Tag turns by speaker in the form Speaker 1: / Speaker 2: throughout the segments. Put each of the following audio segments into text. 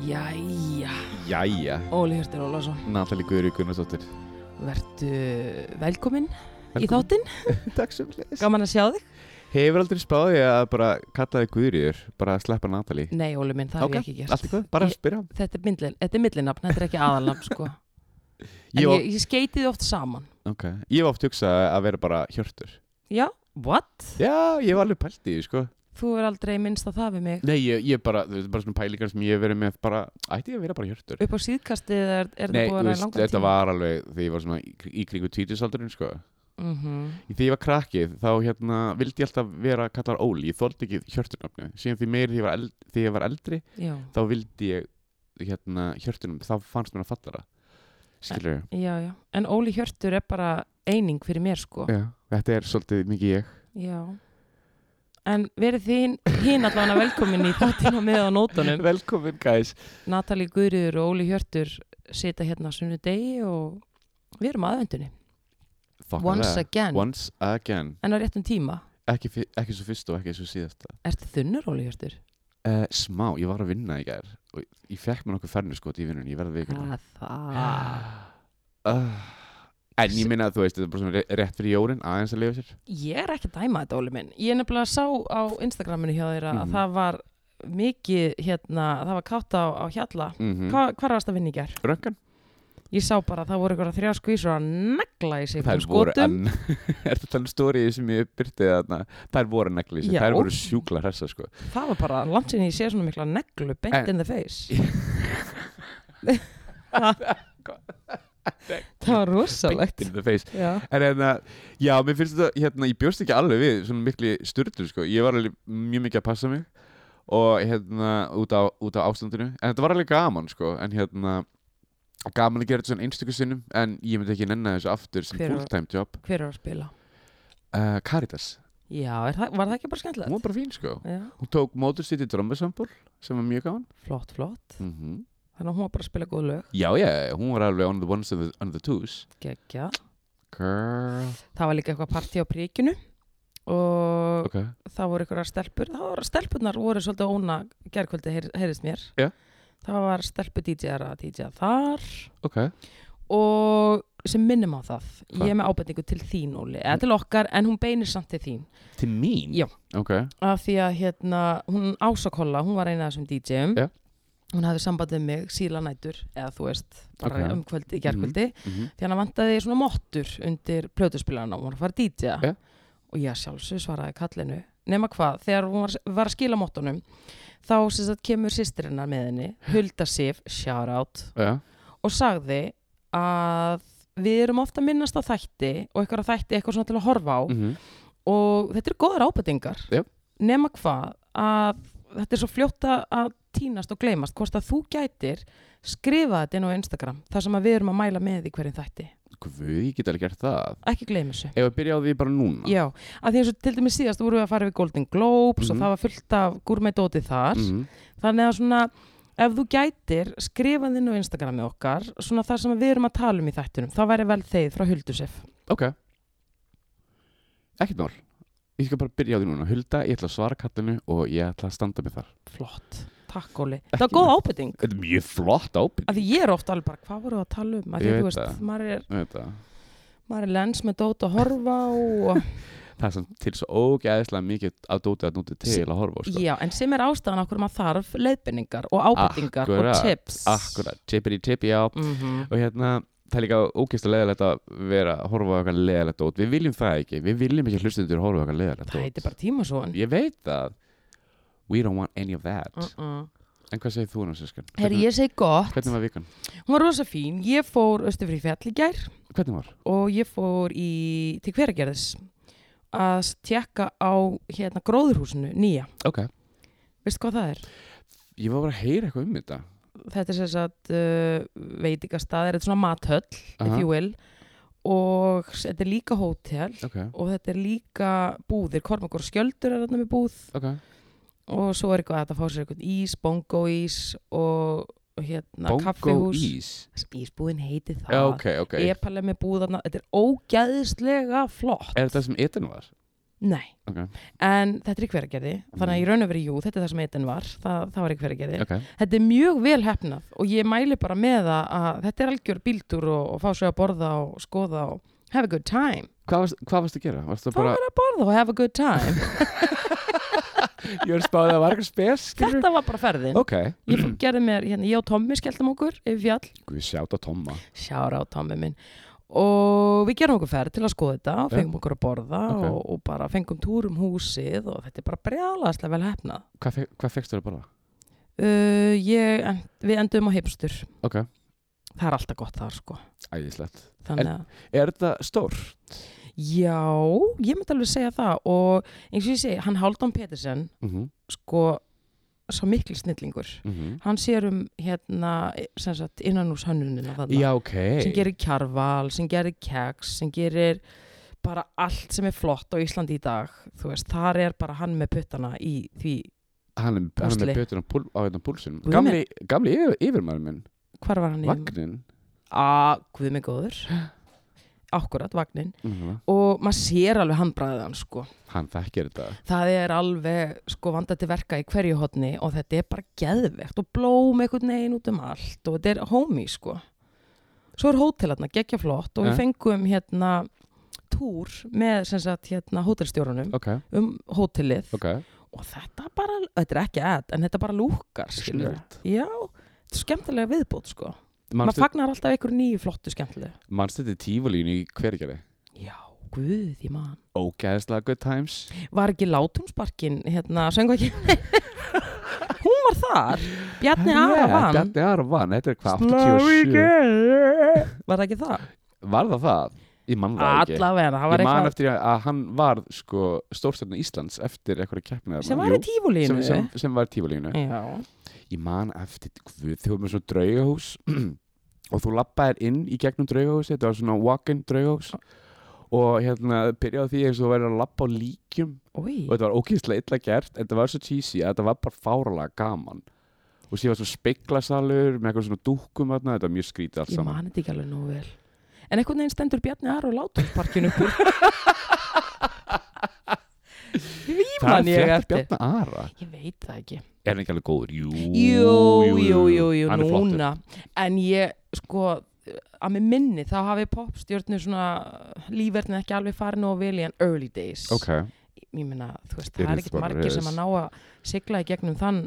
Speaker 1: Jæja,
Speaker 2: Jæja,
Speaker 1: Óli Hjörtur Ólásson,
Speaker 2: Nathalie Guðri Gunnarsdóttir
Speaker 1: verðu velkomin í þáttinn,
Speaker 2: Takk sem leys
Speaker 1: gaman að sjá þig.
Speaker 2: Hefur aldrei spáði að bara kalla þig Guðriður bara að sleppa Nathalie
Speaker 1: Nei, Óli minn, það hef ég ekki
Speaker 2: allt
Speaker 1: gert.
Speaker 2: í hvað, bara
Speaker 1: Ég-
Speaker 2: að spyrja
Speaker 1: Þetta er, myndlin, þetta er millinafn, þetta er ekki aðalnafn, sko. En ég,
Speaker 2: ég, ég...
Speaker 1: ég skeiti þið oft saman.
Speaker 2: Okay. ég var oft hugsað að vera bara hjörtur
Speaker 1: Já, what?
Speaker 2: Já, ég var alveg pælt í því sko
Speaker 1: Þú er aldrei minnst að það við mig.
Speaker 2: Nei, ég, ég bara, þetta er bara svona pælingar sem ég hef verið með bara, ætti ég að vera bara hjörtur
Speaker 1: Upp á síðkastið er, er
Speaker 2: Nei,
Speaker 1: það búin að
Speaker 2: þú veist,
Speaker 1: vera langan tíma.
Speaker 2: þetta var alveg þegar ég var svona í, í kringu tvítisaldurinn sko
Speaker 1: Mhm.
Speaker 2: Þegar ég var krakkið þá hérna vildi ég alltaf vera kallar Óli, ég þóldi ekki hjörturnafni síðan því meir því ég var, eld, því ég var eldri
Speaker 1: Já,
Speaker 2: þá vildi ég hérna hjörtunum, þá fannst mér að fallara skilur ég
Speaker 1: já, já. En Óli Hjörtur er bara eining fyrir mér, sko.
Speaker 2: Já, þetta er svolítið mikið ég
Speaker 1: Já. En verið þín hinn allavega velkomin í þáttinn á með á nótunum.
Speaker 2: Velkomin guys
Speaker 1: Natali Guðriður og Óli Hjörtur sita hérna á sunnudegi og við erum aðvendunni
Speaker 2: Fuck
Speaker 1: once
Speaker 2: that.
Speaker 1: again,
Speaker 2: Once again
Speaker 1: en á réttum tíma
Speaker 2: ekki, fi- ekki svo fyrst og ekki svo síðasta
Speaker 1: Ertu þunnur Óli Hjörtur?
Speaker 2: uh, Smá, ég var að vinna í gær og ég fekk mér nokkuð fernu skot í vinnunni, ég verði vikuna
Speaker 1: það
Speaker 2: uh, En ég minna að þú veist, þetta er bara svona ré- rétt fyrir jólin aðeins að lifa sér
Speaker 1: Ég er ekki að dæma þetta Óli minn Ég nefnilega sá á Instagraminu hjá þeirra
Speaker 2: Mhm.
Speaker 1: að það var mikið hérna, það var kátt á, á hjalla
Speaker 2: mm
Speaker 1: Hva, Hvar varst að vinna í gær?
Speaker 2: Röngan?
Speaker 1: Ég sá bara að það voru eitthvað þrjá skvísur að negla í sig
Speaker 2: Þær
Speaker 1: einhverjum
Speaker 2: voru
Speaker 1: um skotum
Speaker 2: enn Er þetta talað stórið um sem ég byrtið þarna Þær voru neglis,
Speaker 1: Já.
Speaker 2: þær voru sjúkla hressa sko
Speaker 1: Það var bara langt sinni ég sé svona mikla neglu bent
Speaker 2: En-
Speaker 1: in the face Það var rosalegt
Speaker 2: Beint in the face
Speaker 1: Já
Speaker 2: En hérna, já, mér finnst þetta, hérna, ég bjóst ekki alveg við svona mikli styrlu, sko, ég var alveg mjög mikið að passa mig og hérna, út á, út á ástandinu, en þetta var alveg gaman, sko, en hérna, gaman að gera þetta svona einstöku sinnum, en ég myndi ekki nenna þessu aftur sem
Speaker 1: Hver var-
Speaker 2: fulltime job.
Speaker 1: Hver er að spila?
Speaker 2: Uh, Caritas,
Speaker 1: Já, er það, var það ekki bara skemmtilegt?
Speaker 2: hún var bara fín, sko,
Speaker 1: Já,
Speaker 2: hún tók móturstýtti drömmasambúl sem var mjög gaman.
Speaker 1: flott, flott.
Speaker 2: Mm -hmm.
Speaker 1: Þannig að hún var bara að spila góð lög.
Speaker 2: Já, já, hún var alveg on the ones and the, on the twos.
Speaker 1: Gekja.
Speaker 2: Girl.
Speaker 1: Það var líka eitthvað partí á príkinu og
Speaker 2: Ok.
Speaker 1: það voru eitthvað stelpur. Það voru stelpurnar voru svolítið óna gerkvöldi, heyr, heyrist mér.
Speaker 2: Já.
Speaker 1: Það var stelpu DJ-ar að DJ-a þar
Speaker 2: Ok.
Speaker 1: og sem minnum á það.
Speaker 2: Hvað?
Speaker 1: Ég er með ábendingu til þín, Óli, eða til okkar, en hún beinir samt til þín.
Speaker 2: Til mín?
Speaker 1: Já.
Speaker 2: Ok.
Speaker 1: af því að hérna, hún ásakolla, hún var eina af þessum DJ-um
Speaker 2: Já.
Speaker 1: hún hafði sambandið mig síla nætur eða þú veist, bara
Speaker 2: Ok.
Speaker 1: um kvöldi, gerkvöldi
Speaker 2: Mm
Speaker 1: því hann vantaði svona mottur undir plötuspilarna og hún var að fara að DJ-a
Speaker 2: Já.
Speaker 1: og ég sjálfsög svaraði kallinu nema hvað, þegar hún var, var að skila mottunum þá sem sagt, kemur sýstirinnar með henni Hulda Sif, shout out
Speaker 2: Já.
Speaker 1: og sagði að við erum ofta að minnast á þætti og eitthvað á þætti, eitthvað svona til að horfa á
Speaker 2: Mm
Speaker 1: og þetta eru góðar ábendingar
Speaker 2: Já.
Speaker 1: nema hvað að þetta er svo fljótt að- að týnast og gleymast hvort að þú gætir skrifa þetta inn á Instagram þar sem að við erum að mæla með í hverjum þætti
Speaker 2: Guð, ég get alveg gert það
Speaker 1: ekki gleyma þessu
Speaker 2: Ef við byrja á því bara núna
Speaker 1: Já, að því eins og til dæmis síðast vorum við að fara við Golden Globes og
Speaker 2: Mhm.
Speaker 1: það var fullt af gourmetdóti þar
Speaker 2: Mhm.
Speaker 1: þannig að svona ef þú gætir skrifað inn á Instagramið okkar svona þar sem við erum að tala um í þættunum þá væri vel þeir frá Huldusef
Speaker 2: Ok Ekkert mál Ég skal bara byrja á því núna Hulda, ég ætla að svara kallinu og ég ætla að standa með þar
Speaker 1: Flott, takk Óli Það
Speaker 2: Ekki
Speaker 1: var góð ábyrting
Speaker 2: Þetta er mjög flott ábyrg
Speaker 1: að því ég er ofta alveg bara, hvað voru að tala um að því
Speaker 2: Ég
Speaker 1: að þú
Speaker 2: veit
Speaker 1: veist,
Speaker 2: það.
Speaker 1: maður er,
Speaker 2: Þetta.
Speaker 1: maður er lens með dót að horfa og,
Speaker 2: Það er samt til svo ógæðislega mikið að dóti að núti til að horfa á, sko.
Speaker 1: já, en sem er ástæðan okkur maður þarf leiðbendingar og ábendingar og
Speaker 2: Akkurat,
Speaker 1: tips
Speaker 2: Akkurat, tippir í tippi á
Speaker 1: mm -hmm.
Speaker 2: Og hérna, það er líka ógæðislega leðalegt að vera að horfa á eitthvað leðalegt dót Við viljum það ekki, við viljum ekki hlustundur að horfa á eitthvað leðalegt
Speaker 1: það
Speaker 2: dót
Speaker 1: heitir bara tímasón
Speaker 2: Ég veit það We don't want any of that
Speaker 1: uh -uh.
Speaker 2: En hvað segir þú nú, Siskan?
Speaker 1: herri, ég segi gott,
Speaker 2: Hvernig var vikan?
Speaker 1: hún var rosa fín ég fór östu fyrir fjall í gær
Speaker 2: Hvernig var?
Speaker 1: og ég fór í, til hveragerðis að tjekka á hérna gróðurhúsinu, nýja
Speaker 2: Ok
Speaker 1: veistu hvað það er?
Speaker 2: Ég var bara að heyra eitthvað um þetta
Speaker 1: þetta er sem sagt uh, veitingastað, þetta er svona mathöll
Speaker 2: Aha.
Speaker 1: if you will og s- þetta er líka hótel
Speaker 2: Ok,
Speaker 1: og þetta er líka búðir, kormakur skjöldur er þarna með búð
Speaker 2: ok
Speaker 1: og svo er eitthvað að þetta fá sér eitthvað ís, bongo ís og og hérna
Speaker 2: Bongo
Speaker 1: kaffihús
Speaker 2: ís
Speaker 1: Ísbúðin heiti
Speaker 2: Já,
Speaker 1: það
Speaker 2: ok, ok
Speaker 1: Epal er með búðarna, þetta er ógæðislega flott
Speaker 2: Er þetta sem etan var?
Speaker 1: Nei,
Speaker 2: Ok.
Speaker 1: en þetta er í hveragerði þannig
Speaker 2: Mm.
Speaker 1: að í raun og verið, jú, þetta er það sem einn var það, það var í hveragerði
Speaker 2: ok,
Speaker 1: þetta er mjög vel hefnað og ég mæli bara með það að þetta er algjör bíltúr og, og fá sér að borða og skoða og have a good time
Speaker 2: hvað varst, hvað varst að gera? Varst það
Speaker 1: fá
Speaker 2: bara,
Speaker 1: mér að borða og have a good time
Speaker 2: ég er spáðið að varga spes skilurðu?
Speaker 1: þetta var bara ferðin
Speaker 2: ok,
Speaker 1: ég fór- gerði mér, hérna, ég og Tommi skelltum okkur yfir fjall,
Speaker 2: við sjáta Tomma
Speaker 1: sjára á Tommi minn og við gerum okkur ferð til að skoða þetta og
Speaker 2: Já.
Speaker 1: fengum okkur að borða
Speaker 2: Ok.
Speaker 1: og, og bara fengum túr um húsið og þetta er bara brjálaðslega vel hefnað
Speaker 2: hvað, fe hvað fegst þér að borða?
Speaker 1: uh, ég, en, við endum á heipstur
Speaker 2: ok,
Speaker 1: það er alltaf gott þar sko
Speaker 2: ægislegt
Speaker 1: þannig að
Speaker 2: er þetta stór?
Speaker 1: Já, ég myndi alveg segja það og eins og ég segi, hann Haldon Petersen
Speaker 2: Mm -hmm.
Speaker 1: sko, svo mikil snillingur
Speaker 2: mhm.
Speaker 1: hann sér um hérna sem sagt, innan úr sönnunina þarna
Speaker 2: já, ok
Speaker 1: sem gerir kjarval, sem gerir keks sem gerir bara allt sem er flott á Íslandi í dag þú veist, þar er bara hann með puttana í því,
Speaker 2: hann er, hann er
Speaker 1: Púsli.
Speaker 2: með betur á, púl, á hérna púlsinn
Speaker 1: Guð
Speaker 2: gamli, gamli yfir, yfirmaður minn
Speaker 1: hvar var hann í?
Speaker 2: Vagnin
Speaker 1: Að, guð mig góður akkurat, vagnin
Speaker 2: Mhm.
Speaker 1: og maður sér alveg handbræðið hann sko
Speaker 2: hann þekkir þetta
Speaker 1: það er alveg sko vanda til verka í hverju hotni og þetta er bara geðvegt og blóm einhvern veginn út um allt og þetta er homey sko svo er hótelarna geggja flott og
Speaker 2: Ja.
Speaker 1: við fengum hérna túr með sem sagt hérna hótelstjórunum
Speaker 2: ok,
Speaker 1: um hótelið
Speaker 2: ok
Speaker 1: og þetta bara, þetta er ekki add en þetta bara lúkar skilur
Speaker 2: Snillt.
Speaker 1: já, þetta er skemmtilega viðbót sko maður
Speaker 2: manstu
Speaker 1: fagnar alltaf einhverju nýju flottu skemmtilega
Speaker 2: manstu þetta tífulínu í hverjari
Speaker 1: já, guð, ég man
Speaker 2: ógæðslega good times
Speaker 1: var ekki látumsparkin hérna, söngu ekki hún var þar Bjarni Ara
Speaker 2: Yeah,
Speaker 1: vann
Speaker 2: Bjarni Ara vann, þetta er hvað
Speaker 1: Slurry
Speaker 2: 87
Speaker 1: girl. var það ekki það?
Speaker 2: var það það? ég man það ekki
Speaker 1: allavega, það var
Speaker 2: ég man
Speaker 1: eitthvað
Speaker 2: eftir að að hann var sko stórstjörn Íslands eftir eitthvað keppnið
Speaker 1: sem var í tífúlínu
Speaker 2: sem, sem, sem var í tífulínu
Speaker 1: já,
Speaker 2: ég man eftir guð, þú erum með svona draugahús og þú lappaðir inn í gegnum draugahús þetta var svona walk-in draugahús og hérna byrjaði á því eins og þú væri að lappa á líkjum
Speaker 1: oi
Speaker 2: og þetta var ókýrslega illa gert en þetta var svo cheesy að þetta var bara fáralega gaman og síðan var svo speklasalur með eitthvað svona dúkum þarna, þetta var mjög skrítið allt
Speaker 1: ég
Speaker 2: saman
Speaker 1: man þetta ekki alveg nú vel en einhvern veginn stendur Bjarni Ara á látumsparkinu úr því
Speaker 2: það
Speaker 1: man
Speaker 2: er
Speaker 1: ég
Speaker 2: frétt
Speaker 1: eftir
Speaker 2: Bjarni Ara
Speaker 1: ég veit það ekki
Speaker 2: er hann ekki alveg góður? Jú,
Speaker 1: Jú, jú, jú, jú,
Speaker 2: hann er flottur
Speaker 1: núna En ég, sko, að mér minni þá hafi popstjörnur svona lífverðin ekki alveg farin og vel í en early days
Speaker 2: ok,
Speaker 1: Ég meina, þú veist,
Speaker 2: It
Speaker 1: það
Speaker 2: is
Speaker 1: er ekkert
Speaker 2: what it
Speaker 1: margir
Speaker 2: is.
Speaker 1: sem að ná að sigla í gegnum þann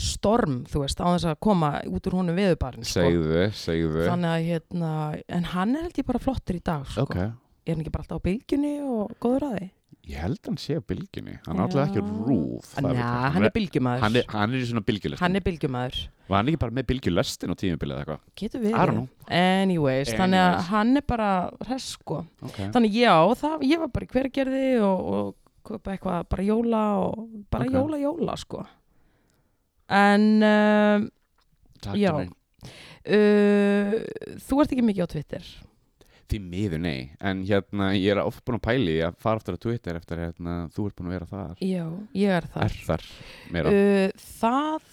Speaker 1: storm, þú veist, á þess að koma út úr honum veðubarn sko.
Speaker 2: segðu, segðu
Speaker 1: Þannig að, hérna, en hann er held ég bara flottur í dag, sko
Speaker 2: ok,
Speaker 1: Er hann ekki bara alltaf á bylgjunni og góður að því?
Speaker 2: ég held hann sé að bylginni hann er alltaf ekki
Speaker 1: Já.
Speaker 2: rúf það
Speaker 1: Næ,
Speaker 2: veit ég.
Speaker 1: hann er bylgjumæður
Speaker 2: hann er, hann er í svona bylgjulestin
Speaker 1: hann er bylgjumæður
Speaker 2: var hann ekki bara með bylgjulestin á tímabilið eða eitthvað
Speaker 1: Getur
Speaker 2: I don't
Speaker 1: verið.
Speaker 2: know.
Speaker 1: Anyways, þannig að
Speaker 2: Anyways.
Speaker 1: hann er bara hress sko.
Speaker 2: okay.
Speaker 1: Þannig já, það, ég var bara í hvergerði og, og kaupa eitthvað bara jóla og bara
Speaker 2: Ok.
Speaker 1: jóla jóla sko. En um,
Speaker 2: Takk
Speaker 1: já.
Speaker 2: fyrir.
Speaker 1: uh, þú ert ekki mikið á Twitter.
Speaker 2: því miður nei en hérna ég er oft búin að pæli að fara aftur að Twitter eftir hérna þú ert búin að vera þar
Speaker 1: Já, ég er þar.
Speaker 2: er þar meira
Speaker 1: Uh, það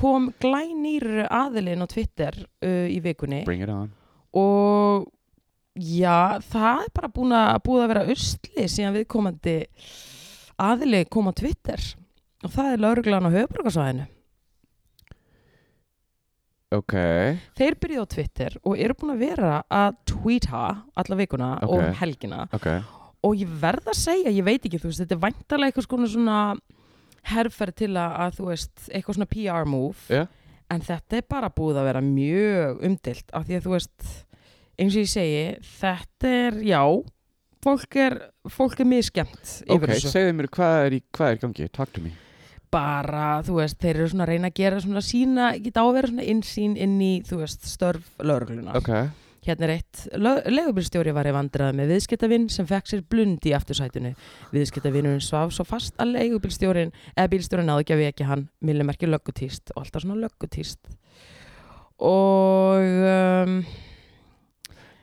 Speaker 1: kom glænýr aðilinn á Twitter uh, í vikunni
Speaker 2: bring it on
Speaker 1: og já, það er bara búin að búið að vera usli síðan viðkomandi aðili kom á Twitter og það er lauruglan á höfbrukarsvæðinu
Speaker 2: ok
Speaker 1: þeir byrjuðu á Twitter og eru búin að vera að tweeta alla vikuna
Speaker 2: Ok.
Speaker 1: og um helgina
Speaker 2: ok
Speaker 1: og ég verð að segja, ég veit ekki, þú veist, þetta er væntalega eitthvað svona svona herferð til að, að þú veist, eitthvað svona PR move
Speaker 2: Já.
Speaker 1: en þetta er bara búið að vera mjög umdilt af því að þú veist, eins og ég segi þetta er, já fólk er, fólk er misskemmt yfir
Speaker 2: ok
Speaker 1: þessu,
Speaker 2: segðu mér hvað er í hvað er í gangi takk til mér
Speaker 1: bara, þú veist, þeir eru svona að reyna að gera svona sína, geta á að vera svona innsýn inn í, þú veist, störf lögregluna.
Speaker 2: ok
Speaker 1: Hérna er eitt, legubilstjóri var í vandrað með viðskiptavinn sem fekk sér blund í aftursætinu. Viðskiptavinnurinn svaf svo fast að legubilstjórin, eða bílstjórin náðu ekki að vekja hann, millimerki löggutíst og alltaf svona löggutíst. Og um,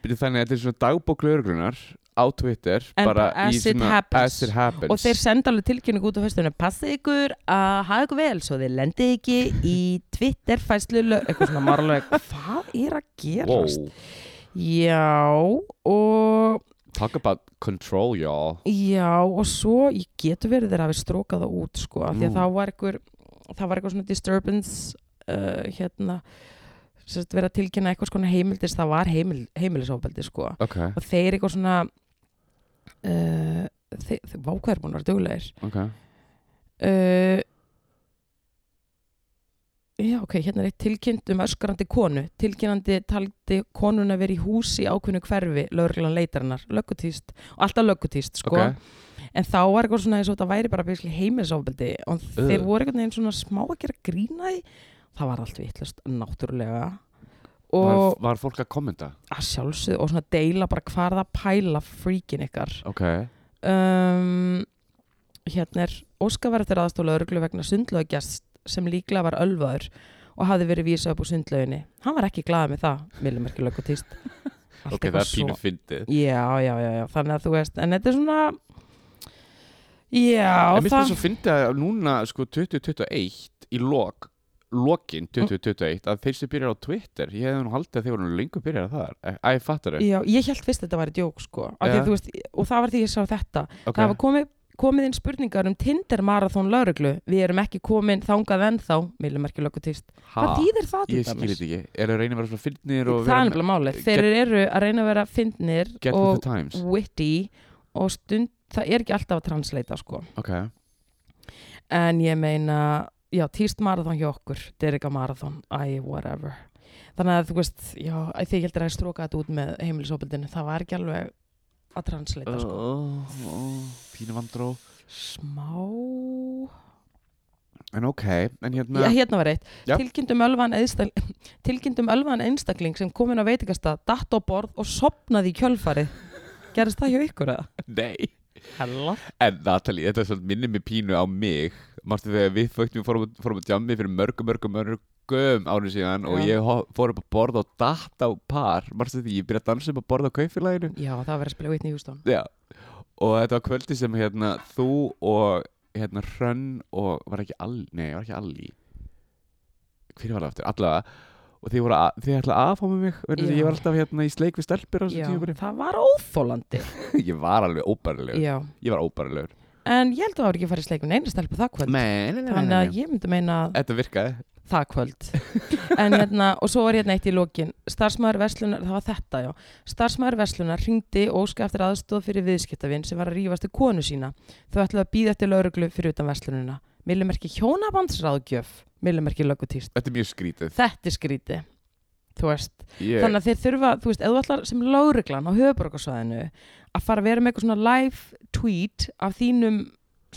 Speaker 2: Byrju, þannig að þetta er svona dagbók lögurgrunar á Twitter
Speaker 1: En
Speaker 2: bara
Speaker 1: bara
Speaker 2: í
Speaker 1: as it
Speaker 2: svona
Speaker 1: happens.
Speaker 2: as it happens
Speaker 1: og þeir senda alveg tilkynningu út á höstunum passið ykkur að hafa ykkur vel svo þið lendi ekki í Twitter fæslu lög, eitthvað svona marlega hvað er að gerast?
Speaker 2: wow
Speaker 1: Já, og
Speaker 2: Talk about control, y'all
Speaker 1: Já, og svo ég getur verið þeirra að við stróka það út sko, af því
Speaker 2: Nú.
Speaker 1: að það var einhver það var eitthvað svona disturbance uh, hérna sem sagt, verið að tilkynna eitthvað svona heimildis það var heimil, heimilisofbeldi sko
Speaker 2: Ok,
Speaker 1: og þeir eitthvað svona uh, þeir, þeir vákvæður búin að vera duglegir
Speaker 2: ok
Speaker 1: uh, Já, ok, hérna er eitt tilkynnt um öskarandi konu. Tilkynnandi taldi konuna verið í húsi í ákveðnu hverfi, lögreglan leitarinnar, löggutíst og alltaf löggutíst, sko.
Speaker 2: Ok.
Speaker 1: En þá var eitthvað svona eins og þetta væri bara basically heimilisofbeldi og þeir voru einhvern veginn svona smá að gera grína því. Það var allt vitlust, náttúrulega.
Speaker 2: var,
Speaker 1: Og
Speaker 2: var fólk að kommenta?
Speaker 1: að sjálfsögðu og svona deila bara hvað er það að pæla fríkin ykkar
Speaker 2: Ok,
Speaker 1: um, hérna er Óskar var eftir aðstóla örglu vegna sundlaugjast sem líklega var ölvaður og hafði verið vísað upp úr sundlauginni hann var ekki glaðið með það, millimerki lögutist
Speaker 2: ok, það er pínu fyndið
Speaker 1: já, já, já, já, þannig að þú veist en þetta er svona já,
Speaker 2: En mér
Speaker 1: það
Speaker 2: finnst svo fyndið að núna sko 2021 í lok lokin
Speaker 1: Mm.
Speaker 2: 2021 að þeir sem byrjar á Twitter ég hefði nú haldið að þeir voru nú lengur byrjar þar Æ, ég fattar þau
Speaker 1: já, ég held fyrst að þetta væri djók sko, af því
Speaker 2: Já.
Speaker 1: að þú veist, og það var því ég sá þetta það
Speaker 2: okay.
Speaker 1: hafa komið komið inn spurningar um Tinder marathón lauruglu við erum ekki komin þangað ennþá millimerki lögutist, hvað þýðir það til
Speaker 2: Ah, Ég skil
Speaker 1: dæmis?
Speaker 2: þetta ekki, eru að reyna að vera svona fyndnir og
Speaker 1: það er nefnilega málið, þeir eru að reyna að vera fyndnir
Speaker 2: get with
Speaker 1: og Mm.
Speaker 2: the times
Speaker 1: witty og stund, það er ekki alltaf að translata sko,
Speaker 2: Ok,
Speaker 1: en ég meina já, týst marathon hjá okkur Derrika marathon, æ, whatever þannig að þú veist, já, æ, þið heldur að ég stróka þetta út með heimilisopildinu það var ekki alveg að translata sko.
Speaker 2: oh, oh, pínu vandró
Speaker 1: smá
Speaker 2: En ok, en hérna
Speaker 1: Já, hérna var eitt.
Speaker 2: Já.
Speaker 1: Tilkynntum ölvan, einstak... Tilkynntum ölvan einstakling sem kom inn á veitingastað, datt á borð og sopnaði í kjölfarið. Gerist það hjá ykkur eða?
Speaker 2: Nei,
Speaker 1: Hella.
Speaker 2: en Natalie, þetta er svolítið minnir mig pínu á mig Marstu þegar við fögtum fórum, fórum að jammi fyrir mörgum, mörgum, mörgum árið síðan og
Speaker 1: Já.
Speaker 2: ég ho- fór upp að borða og datt á par Marstu því, ég byrja að dansa upp að borða á kaupfélaginu
Speaker 1: Já, það var verið að spila vitni í Hjústón.
Speaker 2: Já, og þetta var kvöldi sem hérna þú og hérna Hrönn og var ekki Alli, nei, var ekki Alli Hver var það aftur? Allavega og þið voru að, þið ætlaði að aðfáma mig vegna þess að
Speaker 1: Já.
Speaker 2: ég var alltaf hérna í sleik við stelpur á þessu
Speaker 1: Já,
Speaker 2: tímabili.
Speaker 1: það var óþólandi.
Speaker 2: ég var alveg óbærilegur,
Speaker 1: Já,
Speaker 2: ég var óbærilegur
Speaker 1: en ég held að það var ekki farið sleikun einu stelpu það kvöld.
Speaker 2: nei, nei, nei, nei,
Speaker 1: Þannig
Speaker 2: nei.
Speaker 1: að ég myndi meina að
Speaker 2: Þetta virkaði
Speaker 1: það kvöld. en hérna, og svo var hérna eitt í lokin. Starfsmæður Veslunar, það var þetta, já. Starfsmæður Veslunar ringdi óska eftir aðstóð fyrir viðskiptavinn sem var að rífast við konu sína. Þau ætlaði að býða eftir lauruglu fyrir utan Veslununa. Millimerki hjónabandsráðgjöf, millimerki lögutýrst.
Speaker 2: Þetta er mjög skrítið
Speaker 1: Þetta er skríti, þú veist.
Speaker 2: ég,
Speaker 1: Þannig að þeir þurfa, þú veist, eða allar sem lauruglan á höfuborgarsvæðinu að fara að vera með eitthvað svona live tweet af þínum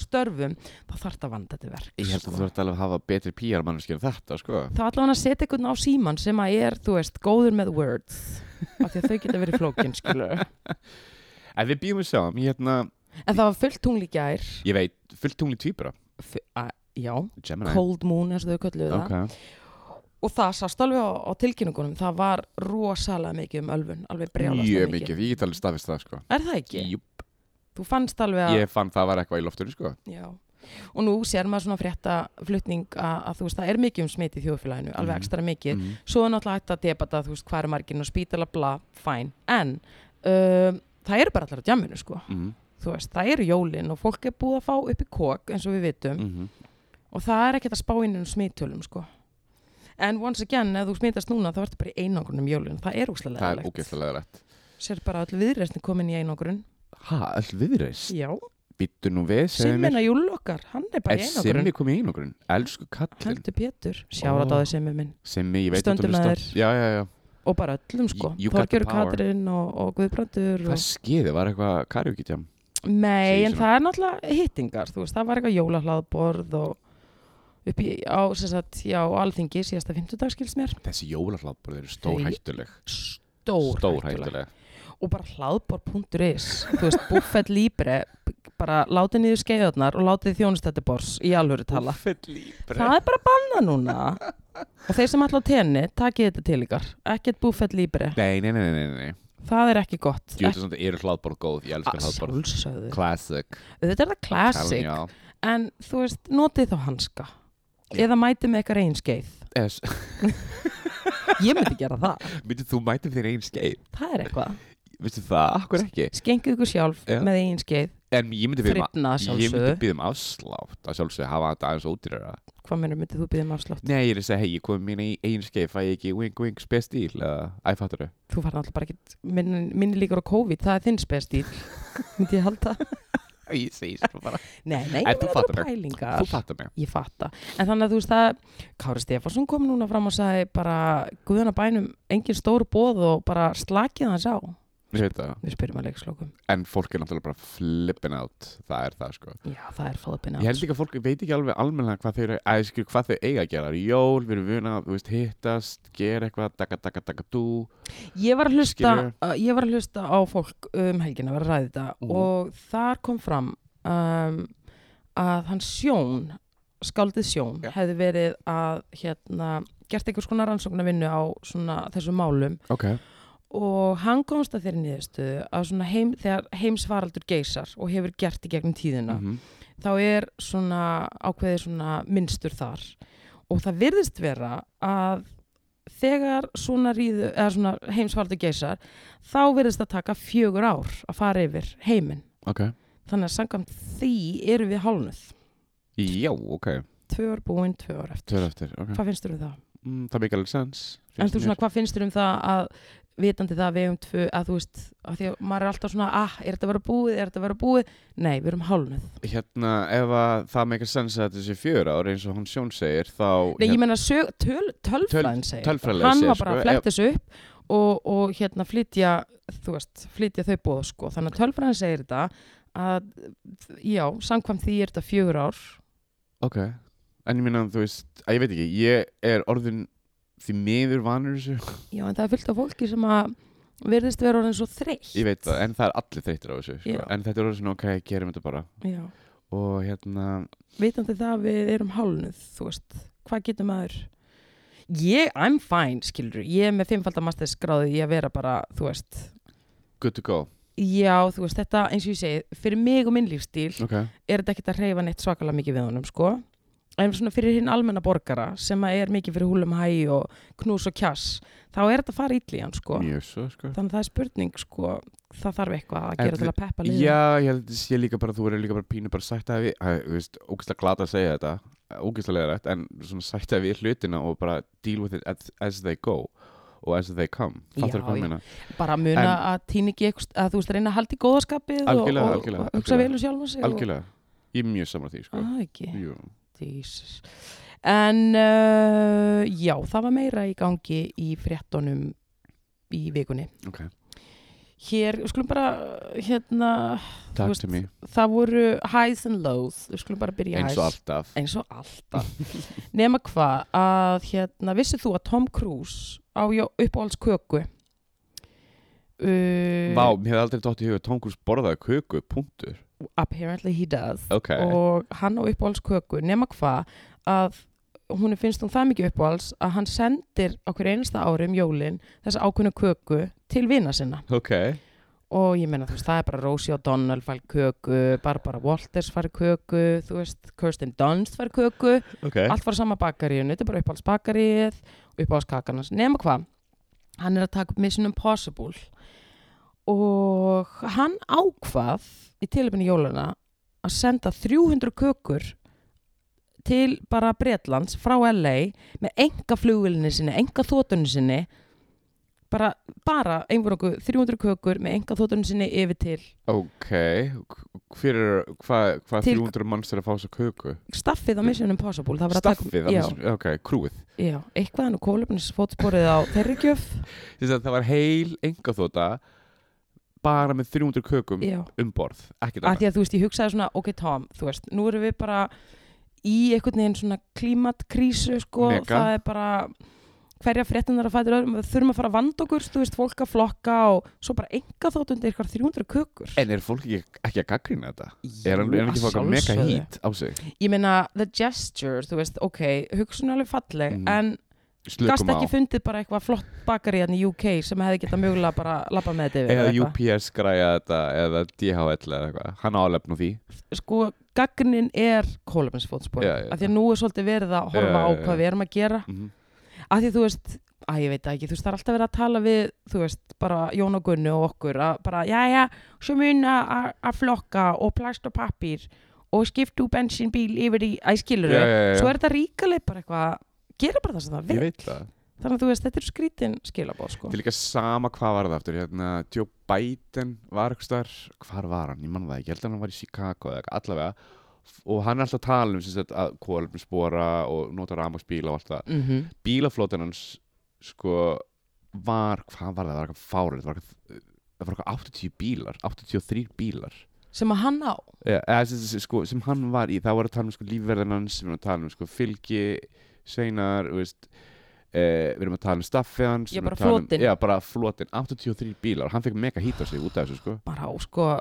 Speaker 1: störfum, þá þarf þetta að vanda þetta verk.
Speaker 2: ég held að
Speaker 1: sko.
Speaker 2: þú ert alveg að hafa betri PR manneskir en þetta sko
Speaker 1: þá allavega að setja einhvern á síman sem að er, þú veist, góður með words af því að þau geta verið flókin, skilur en
Speaker 2: En við býjum við sjáum, ég, hérna,
Speaker 1: það var fullt tungl í gær
Speaker 2: ég veit, fullt tungli týpura
Speaker 1: f- a- já,
Speaker 2: Gemini
Speaker 1: cold moon eins og þau kölluðu það
Speaker 2: Ok.
Speaker 1: og það sást alveg á, á tilkynningunum það var rosalega mikið um ölfun alveg brjálast
Speaker 2: Mjög mikið, ég get alveg staðist það sko
Speaker 1: er það ekki?
Speaker 2: Jú,
Speaker 1: þú fannst alveg að
Speaker 2: Ég fann það var eitthvað í loftinu sko
Speaker 1: já. og nú sér maður svona frétta flutning að, að þú veist, það er mikið um smiti í þjóðfélaginu, alveg
Speaker 2: Mhm.
Speaker 1: ekstra mikið
Speaker 2: mm.
Speaker 1: svo er náttúrulega hægt að debata, þú veist, hvað er margin og spítala, bla, fæn, en um, það eru bara allar á djamminu, sko
Speaker 2: Mm.
Speaker 1: þú veist, það eru jólin og fólk er búið að fá upp í kók eins og við vitum
Speaker 2: Mm.
Speaker 1: og það er ekkert að spá inn um smittölum sko. en once again, ef þú smittast núna þá ertu bara í einangrun um jólin það er úslega
Speaker 2: Það er
Speaker 1: leðilegt
Speaker 2: ógeðslega rætt
Speaker 1: sér bara öll viðreysni komin í einangrun
Speaker 2: Ha, all viðreist?
Speaker 1: já,
Speaker 2: Býttu nú við, segðu mér
Speaker 1: Simmina júl okkar, hann er bara í
Speaker 2: Eh,
Speaker 1: einangrun
Speaker 2: Simmi kom í einogrun, elsku kallinn
Speaker 1: heldur Pétur, sjára
Speaker 2: Ó.
Speaker 1: dáði Simmi minn
Speaker 2: Simmi, ég veit að þú
Speaker 1: Stöndum með
Speaker 2: hlustar. Já, já, já
Speaker 1: og bara öllum sko,
Speaker 2: You- you got the
Speaker 1: Þorgjörg
Speaker 2: power.
Speaker 1: Katrin og, og Guðbrandur
Speaker 2: Það
Speaker 1: og...
Speaker 2: skeiði, var eitthvað karjókitjám
Speaker 1: nei,
Speaker 2: segir
Speaker 1: en
Speaker 2: svona.
Speaker 1: það er náttúrulega hittingar, þú veist, það var eitthvað jólahlaðborð og upp í, á, sem sagt, já, á alþingi síðasta 50 skils mér
Speaker 2: Þessi jólarhlaðbúr, þeir eru stór hættuleg
Speaker 1: stór,
Speaker 2: Stór
Speaker 1: hættuleg.
Speaker 2: hættuleg
Speaker 1: og bara hlaðbor.is þú veist, buffet libre bara látið niður skeiðarnar og látið þjónustættibors í alvöru tala það er bara bannað núna og þeir sem ætla á tenni, takið þetta til ykkar ekkert buffet libre,
Speaker 2: Nei, nei, nei, nei, nei, nei.
Speaker 1: það er ekki gott Ah,
Speaker 2: Ég veit að þetta eru hlaðbár góð, ég elskar hlaðbár
Speaker 1: sjálfsögðu,
Speaker 2: Classic
Speaker 1: þetta er það classic
Speaker 2: Calvin, já.
Speaker 1: en þú veist, notið þá hanska
Speaker 2: Já.
Speaker 1: eða mætið með eitthvað einskeið
Speaker 2: Es,
Speaker 1: ég myndi gera það,
Speaker 2: Myndið þú mætið þér einn skeið
Speaker 1: það er eitthvað
Speaker 2: veistu það, akkur ekki
Speaker 1: Skengu ykkur sjálf
Speaker 2: Já.
Speaker 1: með eigin skeið
Speaker 2: en ég myndi byrja
Speaker 1: Þrifna að
Speaker 2: ég myndi
Speaker 1: sjálfsögðu
Speaker 2: byrja um afslátt að sjálfsögðu hafa þetta aðeins ódýrara
Speaker 1: Hvað mennur myndið þú byggðið um afslátt?
Speaker 2: nei, ég er að segja, hei, ég kom mín í einu skeið fæ ég ekki wink wink spes stíl eða æfattur
Speaker 1: Þú var náttúrulega bara ekkert minni, minni líkur á COVID, það er þinn spestíl Myndi ég halda
Speaker 2: ég segi svo bara
Speaker 1: Nei, nei, ég
Speaker 2: En
Speaker 1: meina
Speaker 2: þú fattar
Speaker 1: bara
Speaker 2: mig.
Speaker 1: pælingar
Speaker 2: þú fattar mig
Speaker 1: Ég fatta. En þannig að þú veist að Kári Stefánsson kom núna fram og sagði bara Guðana bænum, engin stór bóð og bara slakið hans á.
Speaker 2: Ég veit það.
Speaker 1: Við spyrjum að leikslokum.
Speaker 2: en fólk er náttúrulega bara flippin out það er það sko
Speaker 1: Já, það er fóðbina.
Speaker 2: Ég held líka að fólk veit ekki alveg almennilega hvað þau, eru- að, skil, hvað þau eiga að gera. Jól, við erum vunna, þú veist, hittast, gera eitthvað, taka, taka, taka, dú.
Speaker 1: Ég var að hlusta,
Speaker 2: Skilurðu?
Speaker 1: uh, ég var að hlusta á fólk um helgina, var að ræða þetta
Speaker 2: Mhm.
Speaker 1: og þar kom fram um, að hann Sjón, skáldið Sjón,
Speaker 2: Já.
Speaker 1: hefði verið að hérna, gert einhvers konar rannsóknarvinnu á svona, þessum málum
Speaker 2: Ok.
Speaker 1: og hann komst að þeirri niðurstöðu að svona heim, þegar heimsvaraldur geysar og hefur gert í gegnum tíðina
Speaker 2: Mm
Speaker 1: þá er svona ákveðið svona minnstur þar og það virðist vera að þegar svona, ríðu, eða svona heimsvaraldur geysar þá virðist að taka fjögur ár að fara yfir heiminn
Speaker 2: Ok.
Speaker 1: þannig að samkvæmt því eru við hálnuð
Speaker 2: Já, ok.
Speaker 1: tvö ár búinn, tvö ár eftir
Speaker 2: Tvöra eftir, ok.
Speaker 1: hvað finnst þér um það?
Speaker 2: Mm, það mikið alveg sens.
Speaker 1: en
Speaker 2: finnst
Speaker 1: þú
Speaker 2: mér.
Speaker 1: svona, hvað finnst þér um það að vitandi það að við um tvö, að þú veist að því að maður er alltaf svona, ah, er þetta að vera búið er þetta að vera búið, nei, við erum hálnuð nei,
Speaker 2: Hérna, ef að það mikið sens að þetta sé fjöra ár eins og hann sjón segir, þá...
Speaker 1: ég
Speaker 2: hérna,
Speaker 1: meina sög, töl, tölfræðin segir þetta.
Speaker 2: tölfræðilega
Speaker 1: hann
Speaker 2: séð,
Speaker 1: var bara
Speaker 2: sko,
Speaker 1: að fletta þessu upp og, og hérna flytja þú veist, flytja þau bóð sko, þannig að tölfræðin segir þetta að, já, samkvæmt því er þetta fjögur ár
Speaker 2: hérna- Ok. En ég meina, þú veist, að ég veit ekki, ég er orðin því miður vanur þessu.
Speaker 1: já, en það er fullt af fólki sem að verðist vera orðin svo þreytt
Speaker 2: Ég veit það, en það er allir þreyttir á þessu, sko.
Speaker 1: Já.
Speaker 2: En þetta er orðin svona, ok, gerum þetta bara.
Speaker 1: já,
Speaker 2: Og hérna,
Speaker 1: vitandi það að við erum hálnuð, þú veist, hvað getur maður? Ég, I'm fine, skilur, ég er með fimmfaldamastins gráði í að vera bara, þú veist,
Speaker 2: good to go.
Speaker 1: já, þú veist, þetta, eins og ég segi, fyrir mig og minn lífstíl
Speaker 2: Ok.
Speaker 1: er þetta ekkert að hreyfa neitt svakalega mikið við honum, sko. En svona fyrir hinn almenna borgara sem að er mikið fyrir húlum hægi og knús og kjass, þá er þetta að fara ítli í hann, sko.
Speaker 2: Mjög svo, sko.
Speaker 1: Þannig að það er spurning, sko, það þarf eitthvað að
Speaker 2: En
Speaker 1: gera til
Speaker 2: þi-
Speaker 1: að peppa liðið.
Speaker 2: Já, ég held að sé líka bara, þú verður líka bara pínu bara sætt að við, að, þú veist, ógeðslega glata að segja þetta, ógeðslega leðrætt, en svona sætt að við hlutina og bara deal with it as, as they go og as they come, fattur
Speaker 1: Já,
Speaker 2: hvað
Speaker 1: já.
Speaker 2: ég meina?
Speaker 1: bara muna
Speaker 2: En-
Speaker 1: að tíni ekki eitthvað, að þú veist reyna að halda í góðaskapið og-
Speaker 2: Algjörlega,
Speaker 1: og,
Speaker 2: algjörlega,
Speaker 1: og hugsa
Speaker 2: algjörlega.
Speaker 1: vel um sjálfan sig
Speaker 2: Algjörlega, ég er mjög saman því,
Speaker 1: og,
Speaker 2: sko.
Speaker 1: að ekki,
Speaker 2: Jú.
Speaker 1: Jesus en uh, já, það var meira í gangi í fréttonum í vikunni
Speaker 2: Ok.
Speaker 1: hér, við skulum bara hérna,
Speaker 2: Takk
Speaker 1: veist,
Speaker 2: til mig,
Speaker 1: það voru highs and lows, við skulum bara byrja í
Speaker 2: eins og
Speaker 1: highs
Speaker 2: alltaf.
Speaker 1: eins og alltaf nema hvað, að hérna vissið þú að Tom Cruise á uppáhalds köku uh,
Speaker 2: Vá, mér hefði aldrei tótt í huga tóngrús borðaði köku, punktur.
Speaker 1: apparently he does
Speaker 2: Ok,
Speaker 1: og hann á uppáhalds köku nema hvað að hún finnst hún það mikið uppáhalds að hann sendir okkur einasta ári um jólin þessa ákveðnu köku til vina sinna
Speaker 2: ok.
Speaker 1: og ég meina þú veist það er bara Rosie O'Donnell fær köku, Barbara Walters fær köku þú veist Kirsten Dunst fær köku
Speaker 2: Ok.
Speaker 1: allt var sama bakaríun, þetta er bara uppáhalds bakaríð uppáhalds kakarnas, nema hvað hann er að taka upp Mission Impossible og hann ákvað í tilöpunni jólana að senda 300 kökur til bara Bretlands frá LA með enga flugvillinni sinni, enga þótunni sinni bara, bara einhverjum 300 kökur með enga þótunni sinni yfir til
Speaker 2: Ok, hver er, hvað hva
Speaker 1: Til-
Speaker 2: 300 manns er að fá þessa köku?
Speaker 1: staffið á Mission Impossible það var að taka-
Speaker 2: Staffið,
Speaker 1: já,
Speaker 2: annars- ok, krúið.
Speaker 1: já, eitthvað hann og kólöfnis fótsporið á þeirri gjöf
Speaker 2: Þess að það var heil enga þóta bara með 300 kökum
Speaker 1: já
Speaker 2: um borð, ekkert
Speaker 1: að
Speaker 2: annað.
Speaker 1: því að þú veist, ég hugsaði svona, ok Tom, þú veist, nú erum við bara í einhvern veginn svona klímatkrísu, sko,
Speaker 2: Mega.
Speaker 1: það er bara hverja fréttunar að fæta öðrum, við þurfum að fara að vanda okkur, þú veist, fólk að flokka og svo bara enga þótt undir eitthvað 300 kökur.
Speaker 2: En er fólk ekki, ekki að gaggrina þetta? Er hann, er hann ekki fólk að mega
Speaker 1: sjálfsögðu.
Speaker 2: hít á sig?
Speaker 1: Ég meina, the gesture, þú veist, ok, hugsun er alveg falleg,
Speaker 2: Mhm.
Speaker 1: en gast
Speaker 2: Slökum á.
Speaker 1: ekki fundið bara eitthvað flott bakari hérna í UK sem hefði getað mögulega bara lappa með þetta yfir
Speaker 2: Eða
Speaker 1: eða eitthvað.
Speaker 2: UPS græja þetta eða DHL eða eitthvað. Hann álefn á því.
Speaker 1: sko, gagnin er kólefnisfótspor,
Speaker 2: Já, já.
Speaker 1: af því að nú er svolítið verið að horfa
Speaker 2: Já,
Speaker 1: á
Speaker 2: já, já.
Speaker 1: hvað við erum að gera
Speaker 2: Mm
Speaker 1: að því þú veist Æ, ég veit það ekki, þú veist, það er alltaf verið að tala við, þú veist, bara Jón og Gunnu og okkur að bara, já, já, svo mun að að flokka og plast og pappír og skiptu bensínbíl yfir í, æ, skilur
Speaker 2: Já, já, já, já.
Speaker 1: svo er þetta ríkaleg bara eitthvað, gera bara það sem það
Speaker 2: Ég
Speaker 1: vil,
Speaker 2: veit það.
Speaker 1: þannig að þú veist, þetta er skrítin skilabóð, sko.
Speaker 2: Til líka sama hvað var það aftur, hérna, Joe Biden var eitthvað starf, hvar var hann, ég manna það ekki, ég held að hann var í Chicago eða eitthvað, allavega, F- og hann er alltaf að tala um sem sagt, að kólum spora og nota rafmagnsbíla og allt það.
Speaker 1: Mm
Speaker 2: Bílaflótin hans, sko, var, hvað var það, það var eitthvað fárið, það var eitthvað, eh, það var eitthvað 80 bílar, 83 bílar.
Speaker 1: Sem að hann á,
Speaker 2: Já, eða, sem, sem, sko, sem hann var í, það var að tala um sko, lífverðin hans, við erum að tala um sko, fylgi, sveinar, þú veist, e, við erum að tala um staffið hans,
Speaker 1: Já,
Speaker 2: við erum
Speaker 1: bara
Speaker 2: að tala um-
Speaker 1: flotinn.
Speaker 2: Já, bara flotin, 83 bílar, hann fekk mega hít á sig út af þessu, sko.
Speaker 1: bara á, sko,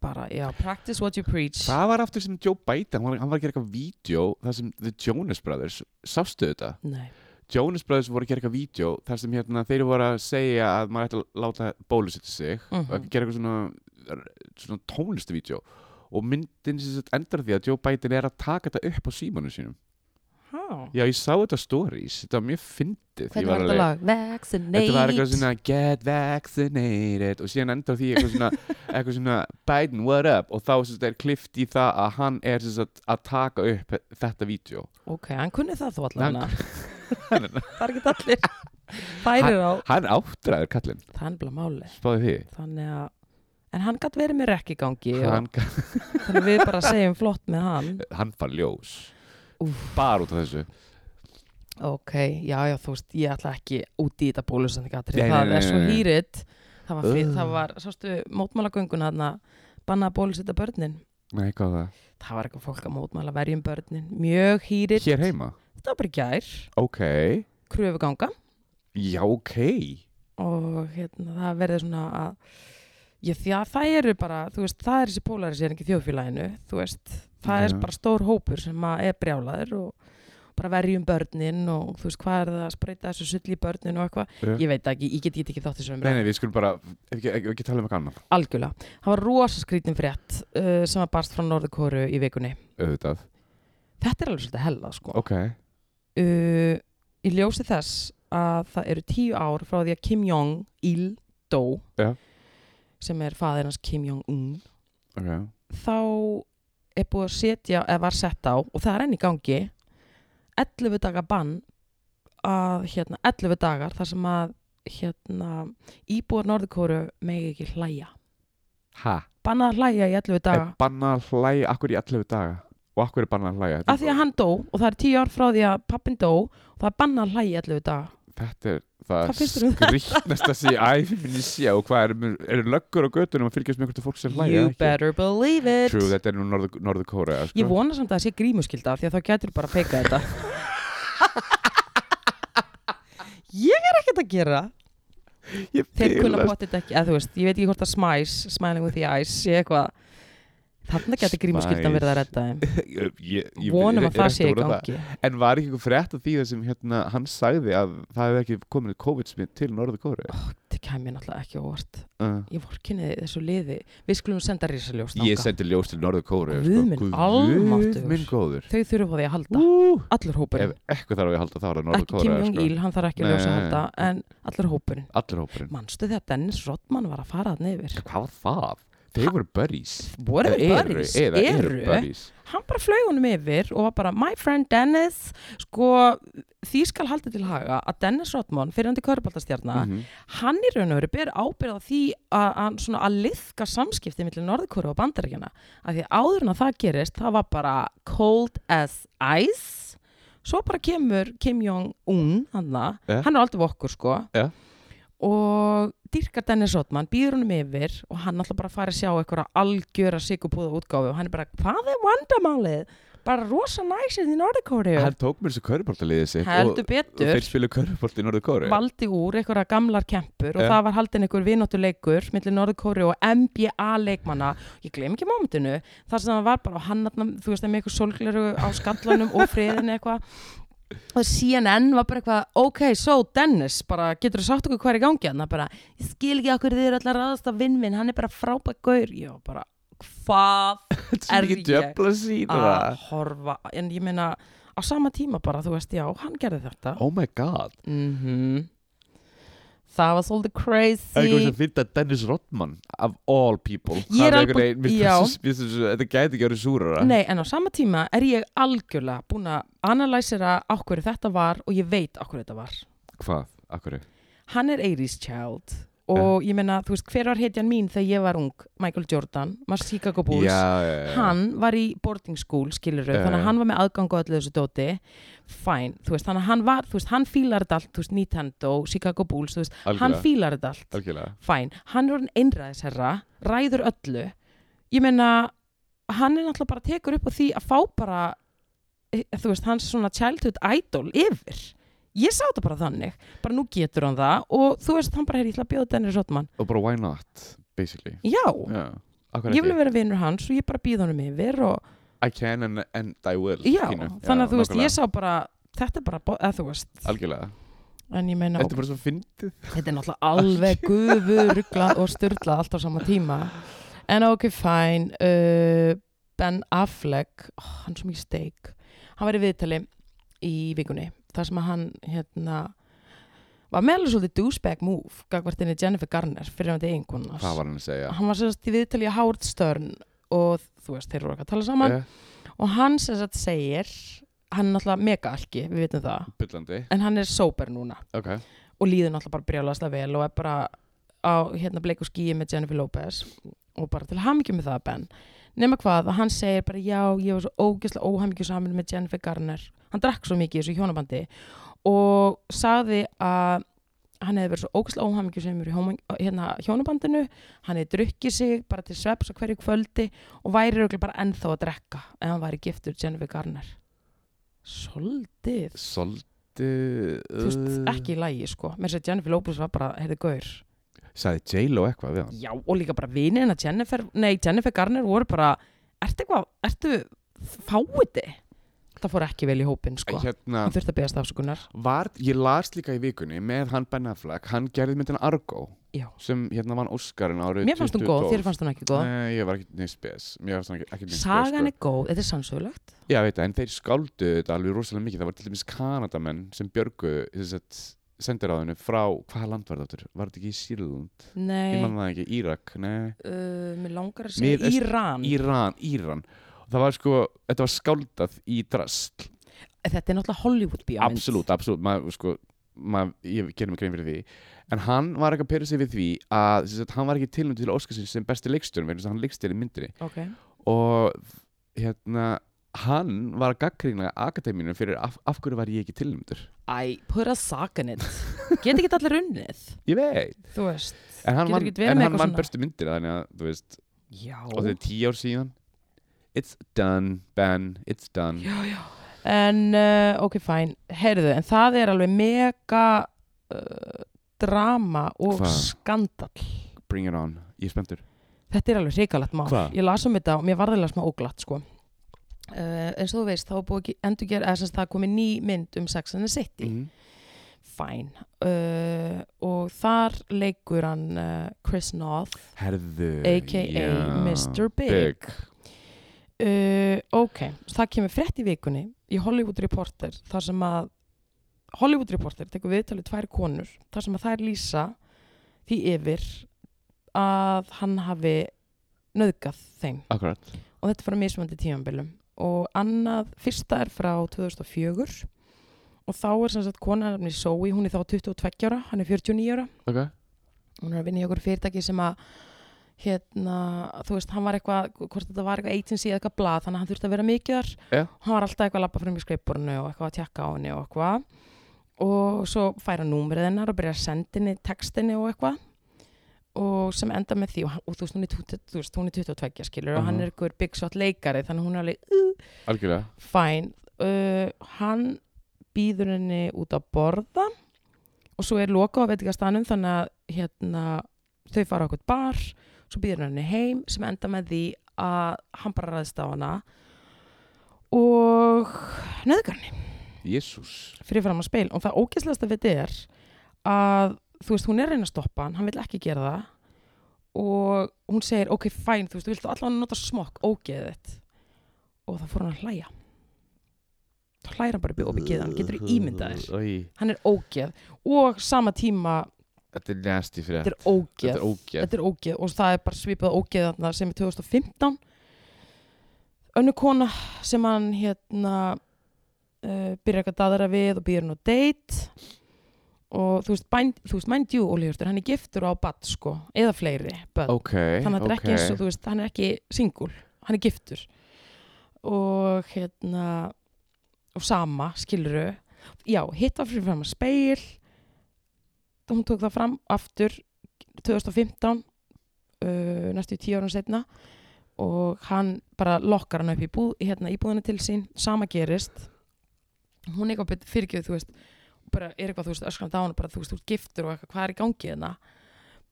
Speaker 1: bara, já, practice what you preach.
Speaker 2: Það var aftur sem Joe Biden, hann var, hann var að gera eitthvað vídeo, þar sem The Jonas Brothers, sástu þetta?
Speaker 1: Nei,
Speaker 2: Jonas Brothers voru að gera eitthvað vídeo, þar sem hérna, þeir voru að segja að maður ætti að láta bólusetja sig,
Speaker 1: Mhm.
Speaker 2: og gera eitthvað svona, svona tónlistavídeó og myndin sem sagt endar á því að Joe Biden er að taka þetta upp á símanu sínum
Speaker 1: há.
Speaker 2: Já, ég sá þetta stories, þetta var mjög fyndið Ég
Speaker 1: Hvernig var þetta
Speaker 2: alveg-
Speaker 1: lag? Vaccinate.
Speaker 2: Þetta var eitthvað svona get vaccinated og síðan endar á því eitthvað svona, eitthvað svona Biden, what up? Og þá sem sagt, er klift í það að hann er sem sagt, að taka upp þetta vídeo
Speaker 1: Ok, hann kunni það þó
Speaker 2: Hann-
Speaker 1: allavega. það er ekki allir. Færir á.
Speaker 2: Hann áttræður kallinn,
Speaker 1: Það er nefnilega máli.
Speaker 2: spáði því
Speaker 1: Þannig að, en hann gætt verið með rekk í gangi og
Speaker 2: hann,
Speaker 1: þannig að við bara segjum flott með hann.
Speaker 2: hann fann ljós
Speaker 1: Úff.
Speaker 2: Bara út af þessu
Speaker 1: Ok, já, já, þú veist, ég ætla ekki út í þetta bólusendingatri.
Speaker 2: Nei, nei,
Speaker 1: Það
Speaker 2: nei,
Speaker 1: er svo
Speaker 2: nei, nei.
Speaker 1: hýrit. Það var, fyrir,
Speaker 2: Ugh.
Speaker 1: það var, sástu, mótmálagönguna þarna, banna að bólusenda börnin.
Speaker 2: Nei, hvað var það?
Speaker 1: Það var eitthvað fólk að mótmála verjum börnin. Mjög hýrit.
Speaker 2: Hér heima?
Speaker 1: Þetta var bara í gær,
Speaker 2: Ok
Speaker 1: kröfuganga.
Speaker 2: Já, ok
Speaker 1: og hérna, það verður svona að já, því að það eru bara þú veist, það er þessi polarisering í þjóðfélaginu þú veist, það
Speaker 2: Já.
Speaker 1: er bara stór hópur sem að er brjálaður og bara verjum börnin og þú veist, hvað er það að spreita þessu sull í börnin og eitthvað
Speaker 2: Já.
Speaker 1: ég veit það ekki, ég get, get ekki þátt þessu
Speaker 2: Nei,
Speaker 1: umræðu
Speaker 2: nei, við skulum bara, ekki, ekki, ekki tala um eitthvað annað
Speaker 1: algjörlega, það var rosa skrítin frétt uh, sem að barst frá Norðukóru í vikunni
Speaker 2: Auðvitað
Speaker 1: þetta er alveg svolítið hella sko
Speaker 2: Ok
Speaker 1: uh, í ljósi þess að það eru tíu ár frá því að Kim Jong-il dó
Speaker 2: Já.
Speaker 1: sem er faðir hans Kim Jong-un
Speaker 2: Ok
Speaker 1: þá er búið að setja eða var sett á og það er enn í gangi 11 daga bann að hérna 11 dagar þar sem að hérna íbúar norðurkóru megi ekki hlæja
Speaker 2: Ha?
Speaker 1: Ah. bannað að hlæja í 11
Speaker 2: Er
Speaker 1: daga
Speaker 2: bannað að hlæja, akkur í 11 daga Og akkur er bannað að hlæja
Speaker 1: af því að hann dó og það er 10 ár frá því að pappin dó og það er bannað að hlæja í 11 daga
Speaker 2: Þetta er það
Speaker 1: Hvað finnst þér um þetta?
Speaker 2: skrýtnasta sem ég æfum minni sé Og hvað eru er löggur á götunum að fylgjast með einhvern fólk sem hlæja
Speaker 1: you
Speaker 2: eða ekki?
Speaker 1: better believe it
Speaker 2: True, þetta er nú norður, norður kóra sko.
Speaker 1: Ég vona samt að það sé grímuskylda af því að þá getur bara að feika þetta Ég er ekkert að gera
Speaker 2: Ég
Speaker 1: Þeir kunna
Speaker 2: bilast.
Speaker 1: potið ekki, eða þú veist, ég veit ekki hvort að smæs smiling with the eyes, sé eitthvað Þarna getur grímuskyldan verið að redda þeim
Speaker 2: Ég- ég- ég-
Speaker 1: Vonum að
Speaker 2: ég- ég-
Speaker 1: það
Speaker 2: rétt
Speaker 1: sé í
Speaker 2: voru það.
Speaker 1: gangi
Speaker 2: En var ekki einhver frétt af því þar sem hérna, hann sagði að það hefði ekki komin COVID-smitt til norður kóra
Speaker 1: Þetta kæmi náttúrulega ekki á óvart
Speaker 2: uh.
Speaker 1: Ég vorkinni þessu liði Við skulum senda risaljóst
Speaker 2: Ég sendi ljós til Norður Kóru
Speaker 1: Guð minn almáttugur.
Speaker 2: Guð minn góður
Speaker 1: Þau þurfa á því að halda,
Speaker 2: Ú,
Speaker 1: allur
Speaker 2: Ef
Speaker 1: hópurinn
Speaker 2: eitthvað þarf ég að halda þá er það Norður sko.
Speaker 1: Ekki Kim
Speaker 2: Kóru
Speaker 1: Jong-il, hann þarf ekki að ljósa að
Speaker 2: Nei.
Speaker 1: halda En allur hópurinn
Speaker 2: Allir hópurinn
Speaker 1: Manstu þegar Dennis Rodman var að fara þarna yfir
Speaker 2: Hvað var það? Þeir voru buddies
Speaker 1: voru
Speaker 2: Eða eru-
Speaker 1: buddies,
Speaker 2: eða eru
Speaker 1: eru.
Speaker 2: buddies
Speaker 1: hann bara flög honum yfir og var bara my friend Dennis sko því skal halda til haga að Dennis Rodman fyrir hann til körubaltastjarna
Speaker 2: Mhm.
Speaker 1: hann í raun og veru ber ábyrð á því að, að, svona, að liðka samskipti millir Norðkóru og Bandaríkjana af því að áður en að það gerist það var bara cold as ice svo bara kemur Kim Jong-un hann,
Speaker 2: Ja.
Speaker 1: hann er aldrei vokkur sko
Speaker 2: Ja.
Speaker 1: og dýrkar Dennis Rodman býður honum yfir og hann alltaf bara að fara að sjá eitthvað algjöra sigupúða útgáfi og hann er bara hvað er vandamálið bara rosa næsið í Norðkóru
Speaker 2: Hann tók mér þessu körfuboltaliðið sitt
Speaker 1: heldur
Speaker 2: og, og
Speaker 1: betur
Speaker 2: þeir spilu körfubolt í Norður Kóru
Speaker 1: valdi úr einhverja gamlar kempur og
Speaker 2: Já.
Speaker 1: það var haldin einhver vinóttuleikur millir Norðkóri og NBA leikmanna ég glem ekki mómentinu þar sem það var bara hann þarna, þú veist, með eitthvað solgleru á skallanum og friðin eitthvað og CNN var bara eitthvað ok, so Dennis, bara getur þú sagt okkur hvað er í gangi hann bara, ég skil ekki okkur þið eru allar aðast að vinn minn, hann er bara frábæk gaur ég var bara, hvað
Speaker 2: Þetta
Speaker 1: Er
Speaker 2: er ekki
Speaker 1: ég
Speaker 2: djöfla sína
Speaker 1: að horfa en ég meina á sama tíma bara, þú veist, já, hann gerði þetta
Speaker 2: Oh my god
Speaker 1: Mhm. það var svolítið
Speaker 2: Það er eitthvað
Speaker 1: crazy
Speaker 2: sem fyrir að Dennis Rodman Of all people
Speaker 1: Ég er
Speaker 2: Hann
Speaker 1: alveg-
Speaker 2: einhvern veginn- mér
Speaker 1: já.
Speaker 2: finnst- mér finnst þessu- Þetta gæti ekki að vera súrara
Speaker 1: Nei, en á sama tíma er ég algjörlega búin að analysera á hverju þetta var og ég veit á hverju þetta var
Speaker 2: Hvað? Akkur
Speaker 1: hann er 80's child og ég meina, þú veist, hver var hetjan mín þegar ég var ung, Michael Jordan, maður Chicago Bulls hann var í boarding school skilur
Speaker 2: Já,
Speaker 1: þannig
Speaker 2: já.
Speaker 1: að hann var með aðgang á öllu þessu dóti fæn, þú veist, þannig að hann var þú veist, hann fílar þetta allt, þú veist, Nintendo, Chicago Bulls þú veist, hann fílar þetta allt
Speaker 2: Algjörlega
Speaker 1: fæn, hann er orðin einræðisherra ræður öllu ég meina, hann er náttúrulega bara tekur upp á því að fá bara eh, þú veist, hans svona childhood idol yfir, ég sá þetta bara þannig bara nú getur hann það og þú veist, hann bara hefði ætla að bjóða Dennis Rodman
Speaker 2: Og bara why not, basically
Speaker 1: já,
Speaker 2: Já Akkur
Speaker 1: ég vil
Speaker 2: ekki
Speaker 1: vera vinur hans og ég bara býð honum yfir og
Speaker 2: I can and, and I will
Speaker 1: Já,
Speaker 2: pínu.
Speaker 1: þannig að þú veist,
Speaker 2: nákvæmlega.
Speaker 1: ég sá bara þetta er bara, bo- eða þú veist
Speaker 2: Algjörlega
Speaker 1: en ég meina,
Speaker 2: Þetta er bara svo fyndið
Speaker 1: þetta er náttúrulega alveg guðuruglað og styrlað allt á sama tíma en ok, fæn uh, Ben Affleck oh, hann er svo mikið steik hann var í viðtali í vikunni þar sem að hann hérna var meðlega svolítið douchebag move gagvartinni Jennifer Garner fyrir hann til einhvernars
Speaker 2: Hvað var hann að segja?
Speaker 1: hann var sérst í viðtali í Howard Stern og þú veist, þeir eru okkar að tala saman
Speaker 2: Eh,
Speaker 1: og hann sérst segir hann er náttúrulega mega alki, við vitum það
Speaker 2: Bullandi
Speaker 1: en hann er sober núna
Speaker 2: Ok
Speaker 1: og líður náttúrulega bara brjálaslega vel og er bara á hérna bleiku skíi með Jennifer Lopez og bara til hamingju með það Ben nema hvað að hann segir bara já ég var svo ógeðslega óhamingju saman með Jennifer Garner hann drakk svo mikið í þessu hjónabandi og sagði að hann hefði verið svo ógeðslega óhamingju sem er í homo- hérna, hjónabandinu hann hefði drukkið sig bara til sveps á hverju kvöldi og væri örugglega bara ennþá að drekka ef hann væri giftur Jennifer Garner Soldið
Speaker 2: Soltið
Speaker 1: þú
Speaker 2: Uh.
Speaker 1: veist, ekki í lægi sko mér sér Jennifer Lopez var bara, heyrðu gaur
Speaker 2: Sæði J-Lo eitthvað við hann
Speaker 1: já, og líka bara vinina Jennifer, nei, Jennifer Garner voru bara ertu eitthvað, ertu fáiði það fór ekki vel í hópin sko
Speaker 2: Hérna
Speaker 1: hann þurfti að beðast afsökunar
Speaker 2: var, Ég las líka í vikunni með hann Ben Affleck Hann gerði myndina Argo
Speaker 1: Já.
Speaker 2: Sem hérna vann Óskarinn árið
Speaker 1: mér fannst hún góð, þér fannst hún ekki góð
Speaker 2: Nei, ég var ekki neitt spes Mér fannst hann ekki, ekki neitt spes sko.
Speaker 1: sagan er góð, þetta er sannsögulegt
Speaker 2: Já, veit það, en þeir skáldu þetta alveg rosalega mikið. Það var til dæmis Kanadamenn sem björgu sendiráðinu frá, hvaða land var þetta aftur? Var þetta ekki í Sýrlund? Ég
Speaker 1: nei, uh,
Speaker 2: manna það ekki, Írak, nei,
Speaker 1: mér langar að segja
Speaker 2: Miðaust-
Speaker 1: Íran,
Speaker 2: Íran, Íran. Og það var sko, þetta var skáldað í drasl.
Speaker 1: þetta er náttúrulega Hollywood bíómynd
Speaker 2: Absolutt, absolutt, maður sko, maður, ég gerir mig grein fyrir því. En hann var ekki að pera sig við því að, sem sagt, hann var ekki tilnum til Óskarsins sem besti leikstjörn, vegna þess að hann leikstjörn í myndinni.
Speaker 1: ok,
Speaker 2: Og hérna, hann var að gaggrina akademíunum fyrir af, af hverju var ég ekki tilnumdur.
Speaker 1: æ, pura sagan it get ekki allir unnið
Speaker 2: Ég veit.
Speaker 1: þú veist,
Speaker 2: En hann
Speaker 1: Getur
Speaker 2: vann,
Speaker 1: ekkert verið
Speaker 2: en
Speaker 1: með
Speaker 2: hann
Speaker 1: eitthvað
Speaker 2: vann
Speaker 1: svona.
Speaker 2: bestu myndir þannig að, þú veist,
Speaker 1: já
Speaker 2: og þetta er tíu ár síðan It's done, Ben, it's done
Speaker 1: já, já. En uh, ok, fæn, heyrðu, en það er alveg mega uh, drama og
Speaker 2: Hvað?
Speaker 1: skandal.
Speaker 2: Bring it on, ég er spenntur
Speaker 1: Þetta er alveg hrikalegt mál.
Speaker 2: Hvað?
Speaker 1: Ég las um þetta og mér varðilega smá óglatt, sko. Uh, eins og þú veist, þá er búið að endur gera, eða sem sagt, það er komið ný mynd um Sex and the City.
Speaker 2: -hmm.
Speaker 1: Fæn. Uh, og þar leikur hann uh, Chris Noth,
Speaker 2: Herðu
Speaker 1: a.k.a.
Speaker 2: já.
Speaker 1: Mr. Big.
Speaker 2: Big
Speaker 1: Uh, ok, það kemur frétt í vikunni í Hollywood Reporter þar sem að Hollywood Reporter tekur viðtalið tvær konur þar sem að þær lýsa því yfir að hann hafi nöðgað þeim
Speaker 2: Akkurat
Speaker 1: og þetta er frá mismandi tímanbylum og annað, fyrsta er frá 2004 og þá er sem sagt kona nefni Zoe, hún er þá 22 ára hann er 49 ára
Speaker 2: Ok
Speaker 1: hún er að vinna í okkur fyrirtæki sem að hérna, þú veist, hann var eitthvað hvort þetta var eitthvað agency eða eitthvað blað þannig að hann þurfti að vera mikið þar
Speaker 2: Já.
Speaker 1: hann var alltaf eitthvað að lappa frum í skreipborinu og eitthvað að tjekka á henni og eitthvað og svo færa númerið hennar og byrja að senda henni textinni og eitthvað og sem enda með því og, hann- og þú veist, hún er, 20, þú veist, hún er 22 skilur og hann
Speaker 2: Mhm.
Speaker 1: er eitthvað big shot leikari þannig að hún er alveg
Speaker 2: Algjörlega
Speaker 1: fæn uh, hann býður henni út að borða og svo er loka á veitingastanum þannig að hérna, þau fara okkur bar svo býður hann henni heim sem enda með því að hann bara ræðist á hana og nöðgar henni
Speaker 2: Jésús
Speaker 1: fyrir fram að spil og það ógæslegasta við þetta er að þú veist hún er að reyna að stoppa hann hann vil ekki gera það og hún segir, ok, fæn, þú veist, þú vilt allavega nota smokk, ógeðið þitt og þá fór hann að hlæja þá hlæra hann bara upp í opið geðan getur ímyndað þér,
Speaker 2: Oj,
Speaker 1: hann er ógeð og sama tíma,
Speaker 2: Þetta er næsti fyrir
Speaker 1: þetta er ógeð
Speaker 2: Þetta er ógeð
Speaker 1: þetta er ógeð og það er bara svipað ógeð þarna sem er 2015 önnu kona sem hann hérna uh, byrjar eitthvað daðra við og býður hann á date og þú veist, bænd, þú veist mind you Ólífjörður, hann er giftur á badd sko, eða fleiri börn,
Speaker 2: Ok,
Speaker 1: þannig að þetta er ekki eins og
Speaker 2: ok
Speaker 1: þú veist, hann er ekki singul, hann er giftur og hérna og sama, skiluru já, hitt var fyrir fram að speil hún tók það fram aftur 2015 uh, næstu tíu árum setna og hann bara lokkar hann upp í búð, hérna, íbúðinu til sín sama gerist hún eitthvað fyrirgjöð, þú veist bara er eitthvað, þú veist, öskrand á hann bara, þú veist, þú ert giftur og eitthvað, hvað er í gangi hérna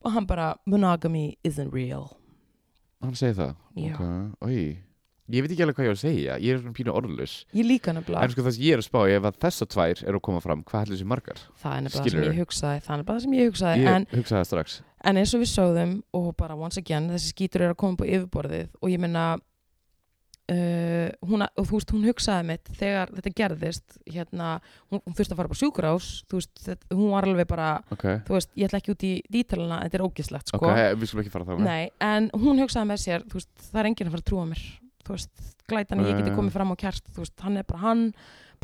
Speaker 1: og hann bara, monogamy isn't real
Speaker 2: Hann segir það
Speaker 1: Já.
Speaker 2: Ok, oj Ég veit ekki alveg hvað ég á að segja Ég er svona pínu orðlus
Speaker 1: ég líka nefnilega,
Speaker 2: En sko það sem ég er að spá Ef að þessar tvær eru að koma fram Hvað heldur þessi margar?
Speaker 1: það er nefnilega það sem
Speaker 2: skilurðu.
Speaker 1: ég hugsaði það er nefnilega það sem ég hugsaði,
Speaker 2: Ég
Speaker 1: en
Speaker 2: hugsaði það strax
Speaker 1: en eins og við sögðum og bara once again þessi skítur eru að koma upp á yfirborðið og ég meina uh, hún, og þú veist, hún hugsaði mitt þegar þetta gerðist hérna, hún, hún þurfti að fara bara sjúkurás þú veist, þetta, hún var alveg bara
Speaker 2: Ok,
Speaker 1: þú veist, ég ætla ekki út í dítalina, þetta er ógislegt sko.
Speaker 2: ok eh, Við skulum ekki fara þá
Speaker 1: Nei, en hún hugsaði með sér þú veist, það er enginn að fara að trúa mér þú veist, glætan að ég geti
Speaker 2: Nei.
Speaker 1: komið fram á kjart þú veist, hann er bara hann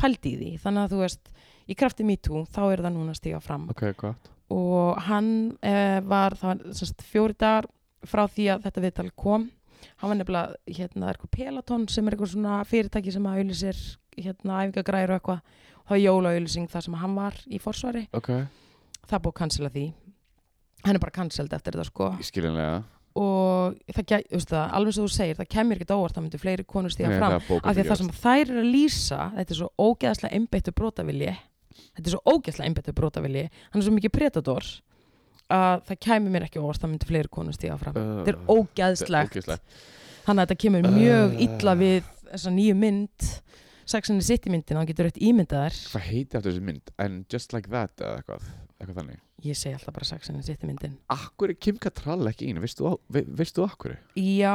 Speaker 1: pældi í því þannig að þú veist, í krafti MeToo þá er það núna að stíga fram
Speaker 2: Ok, gott
Speaker 1: og hann eh, var það var semst, fjóri dagar frá því að þetta viðtal kom hann var nefnilega hérna eitthvað Peloton sem er eitthvað svona fyrirtæki sem að auðlýsir hérna æfingagræður og eitthvað og það var jólaauðlýsing þar sem hann var í forsvari
Speaker 2: Ok,
Speaker 1: það er búið að cancela því hann er bara cancelled eftir þetta sko
Speaker 2: skilinlega
Speaker 1: og það, gæ- þú veist það, alveg eins og þú segir það kemur ekkert á óvart, það myndu fleiri konur stíga fram af því að það sem þær eru að lýsa þetta er svo ógeðslega einbeittu brotavilji þetta er svo ógeðslega einbeittu brotavilji hann er svo mikið predator að það kæmi mér ekki á óvart það myndi fleiri konur stíga fram Uh, þetta
Speaker 2: Eh,
Speaker 1: er ógeðslegt þannig að þetta kemur mjög
Speaker 2: Uh.
Speaker 1: illa við þessa nýju mynd sexinni sitt í myndin, hann getur rétt ímyndaðar
Speaker 2: Hvað heiti eftir þessi mynd? And just like that eða eitthvað Eitthvað þannig
Speaker 1: ég segi alltaf bara sexinni sitt í myndin
Speaker 2: Akkur er Kim Cattrall ekki einu, veistu, á- ve- veistu akkur?
Speaker 1: já,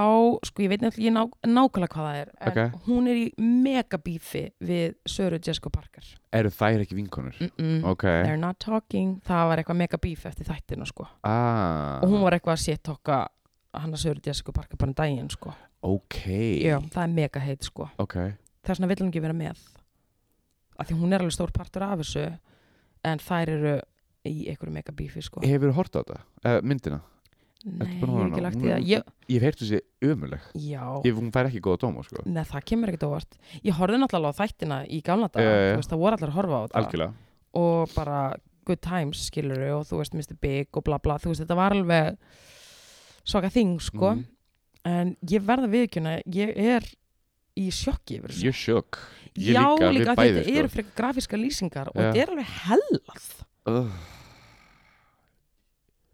Speaker 1: sko ég veit nefnilega ég ná, nákvæmlega hvað það er en
Speaker 2: Ok.
Speaker 1: hún er í mega bífi við Söru Jessica Parker
Speaker 2: Eru þær ekki vinkonur?
Speaker 1: mm -mm.
Speaker 2: Ok,
Speaker 1: they're not talking, það var eitthvað mega bífi eftir þættina sko
Speaker 2: ah,
Speaker 1: og hún var eitthvað að sittoka hann að Söru Jessica Parker bara um daginn sko.
Speaker 2: ok,
Speaker 1: Já, það er mega heit sko.
Speaker 2: ok,
Speaker 1: það er svona vill hún ekki vera með af því hún er alveg stór partur af þessu en þær eru í einhverju mega bífi sko.
Speaker 2: hefur þú hort á þetta, uh, myndina?
Speaker 1: Nei, ég hef
Speaker 2: búin að horfa á
Speaker 1: ekki
Speaker 2: hana?
Speaker 1: lagt í
Speaker 2: Hún er-
Speaker 1: það ég,
Speaker 2: Ég hef heyrt þessi ömuleg,
Speaker 1: Já,
Speaker 2: ef hún fær ekki góða dóma, sko,
Speaker 1: Nei, það kemur ekkert óvart Ég horfði náttúrulega á þættina í gamla dag
Speaker 2: Já, já, já.
Speaker 1: Það voru allir að horfa á þetta
Speaker 2: algjörlega,
Speaker 1: og bara good times skiluru og þú veist Mr. Big og bla bla þú veist þetta var alveg svaka þing sko
Speaker 2: Mhm.
Speaker 1: en ég verða viðkjöna, ég er í sjokki yfir þessu
Speaker 2: ég sjök, ég
Speaker 1: Já
Speaker 2: líka,
Speaker 1: líka,
Speaker 2: við
Speaker 1: af því
Speaker 2: bæði,
Speaker 1: þetta
Speaker 2: sko.
Speaker 1: eru frekar grafíska lýsingar og
Speaker 2: Já.
Speaker 1: þetta er alveg hellað
Speaker 2: uh,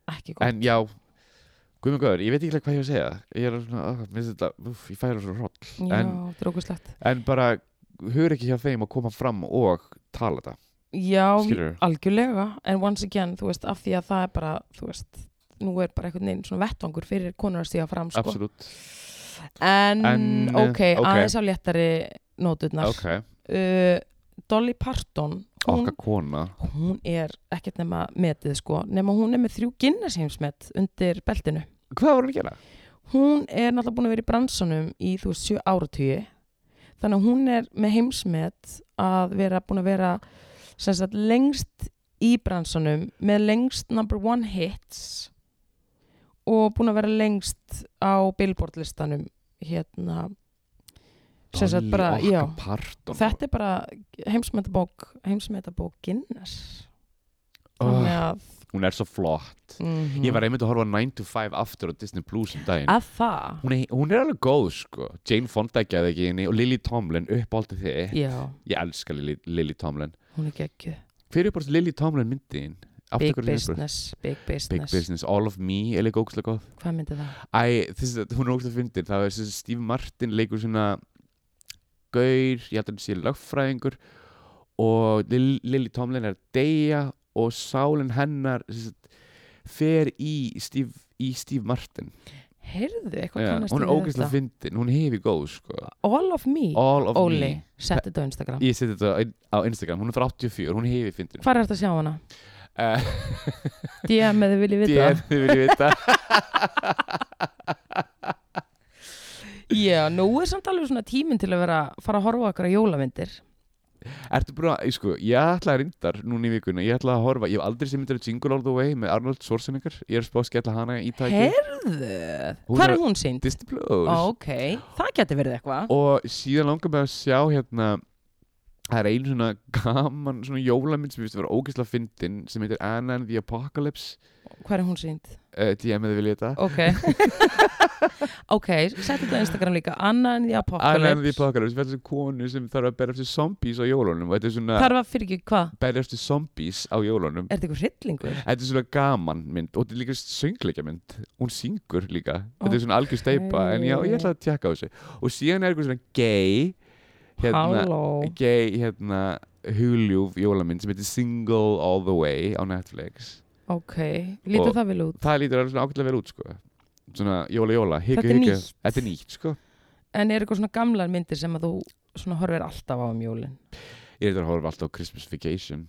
Speaker 1: ekki gott,
Speaker 2: en já, guðmur góður, ég veit ekki alveg hvað ég á að segja, ég er svona, uh, minnst þetta, uff, ég færa svona hrótt,
Speaker 1: já,
Speaker 2: en-
Speaker 1: drókuslegt
Speaker 2: en bara, hugur ekki hjá þeim að koma fram og tala þetta,
Speaker 1: Já,
Speaker 2: skilur
Speaker 1: algjörlega en once again, þú veist, af því að það er bara þú veist, nú er bara einhvern veginn svona vettvangur fyrir konur að stíga fram sko
Speaker 2: absolutt,
Speaker 1: en,
Speaker 2: En, eh,
Speaker 1: ok,
Speaker 2: ok.
Speaker 1: aðeins á léttari nóturnar
Speaker 2: ok,
Speaker 1: uh, Dolly Parton hún,
Speaker 2: okkar kona,
Speaker 1: hún er ekkert nema metið sko nema hún er með þrjú Guinness heimsmet undir beltinu
Speaker 2: hvað voru hann að gera?
Speaker 1: hún er náttúrulega búin að vera í bransanum í þú veist sjö áratugi þannig að hún er með heimsmet að vera búin að vera sem sagt lengst í bransanum með lengst number one hits og búin að vera lengst á billboard listanum hérna sem sagt bara,
Speaker 2: Dolly
Speaker 1: já
Speaker 2: okkar parton,
Speaker 1: Þetta er bara heimsmetabók heimsmetabók Guinness
Speaker 2: Oh.
Speaker 1: þannig að
Speaker 2: hún er svo flott
Speaker 1: mhm.
Speaker 2: ég var einmitt að horfa á 9 to 5 aftur á Disney Plus um daginn
Speaker 1: að það
Speaker 2: hún er, hún er alveg góð sko Jane Fonda gæði ekki henni og Lily Tomlin uppáldi þig
Speaker 1: Já,
Speaker 2: ég elska Lily, Lily Tomlin
Speaker 1: hún er geggju
Speaker 2: hver er bara Lily Tomlin myndin? Aftur
Speaker 1: Big
Speaker 2: hverju er uppáhalds?
Speaker 1: business, big business
Speaker 2: Big Business, All of Me er líka ógustlega góð
Speaker 1: Hvað myndi það?
Speaker 2: Æ, þessi, hún er ógustlega fyndin það er þessi Steve Martin leikur svona gaur, ég held að hann sé lögfræðingur og Lily, Lily Tomlin er að deyja og sálin hennar þessi, fer í Steve í Steve Martin
Speaker 1: heyrðu, eitthvað
Speaker 2: Já,
Speaker 1: kannast
Speaker 2: hún er
Speaker 1: ég við
Speaker 2: ógeðslega
Speaker 1: þetta.
Speaker 2: fyndin, hún hefi góð sko.
Speaker 1: All of me,
Speaker 2: All of
Speaker 1: Óli,
Speaker 2: me
Speaker 1: setti þetta á Instagram
Speaker 2: Ég seti þetta á- á Instagram, hún er frá 84, hún hefi fyndin
Speaker 1: Hvar er þetta að sjá hana?
Speaker 2: Eh,
Speaker 1: DM eða viljið vita
Speaker 2: DM, þið viljið vita
Speaker 1: Já, nú er samt alveg svona tíminn til að vera fara að horfa okkur á jólamyndir
Speaker 2: Ertu búin að, sko, ég ætla að rindar núna í vikuna, ég ætla að horfa, ég hef aldrei sem myndir að Jingle All The Way með Arnold Schwarzenegger, ég er spáð skella hana í tæki
Speaker 1: Herðu,
Speaker 2: Hún
Speaker 1: hvað
Speaker 2: er-
Speaker 1: er hún sínd?
Speaker 2: Disney Plus
Speaker 1: Ok, það geti verið eitthvað
Speaker 2: og síðan langar mig að sjá hérna það er einu svona gaman svona jólamynd sem ég finnst að vera ógeðslega fyndin sem heitir Anna and the Apocalypse
Speaker 1: Hvað er hún sínd?
Speaker 2: uh, DM eða vil ég þetta
Speaker 1: Ok Ok, setti þetta á Instagram líka Anna en því
Speaker 2: Anna and the
Speaker 1: apokalyps
Speaker 2: Apocalypse þetta er þessi konu sem þarf að berjast við zombies á jólunum og þetta er svona
Speaker 1: Þar var fyrir ekki hvað?
Speaker 2: berjast við zombies á jólunum
Speaker 1: Er þetta eitthvað hryllingur?
Speaker 2: þetta er svona gaman mynd og þetta er líka söngleikja mynd hún syngur líka þetta er svona algjör steipa en já, ég ætla að tjekka á þessu og síðan er eitthvað svona gay hérna,
Speaker 1: Halló
Speaker 2: gay hérna huljúf jólamynd sem heitir Single All The Way á Netflix
Speaker 1: Ok, lítur
Speaker 2: Og-
Speaker 1: það vel út
Speaker 2: það lítur alveg svona ágætlega vel út sko svona jóla jóla, higgja
Speaker 1: Þetta er
Speaker 2: higgja
Speaker 1: nýtt.
Speaker 2: þetta er nýtt sko
Speaker 1: En er eitthvað svona gamlar myndir sem að þú svona horfir alltaf á um jólin?
Speaker 2: ég er þetta að horfa alltaf á Christmas Vacation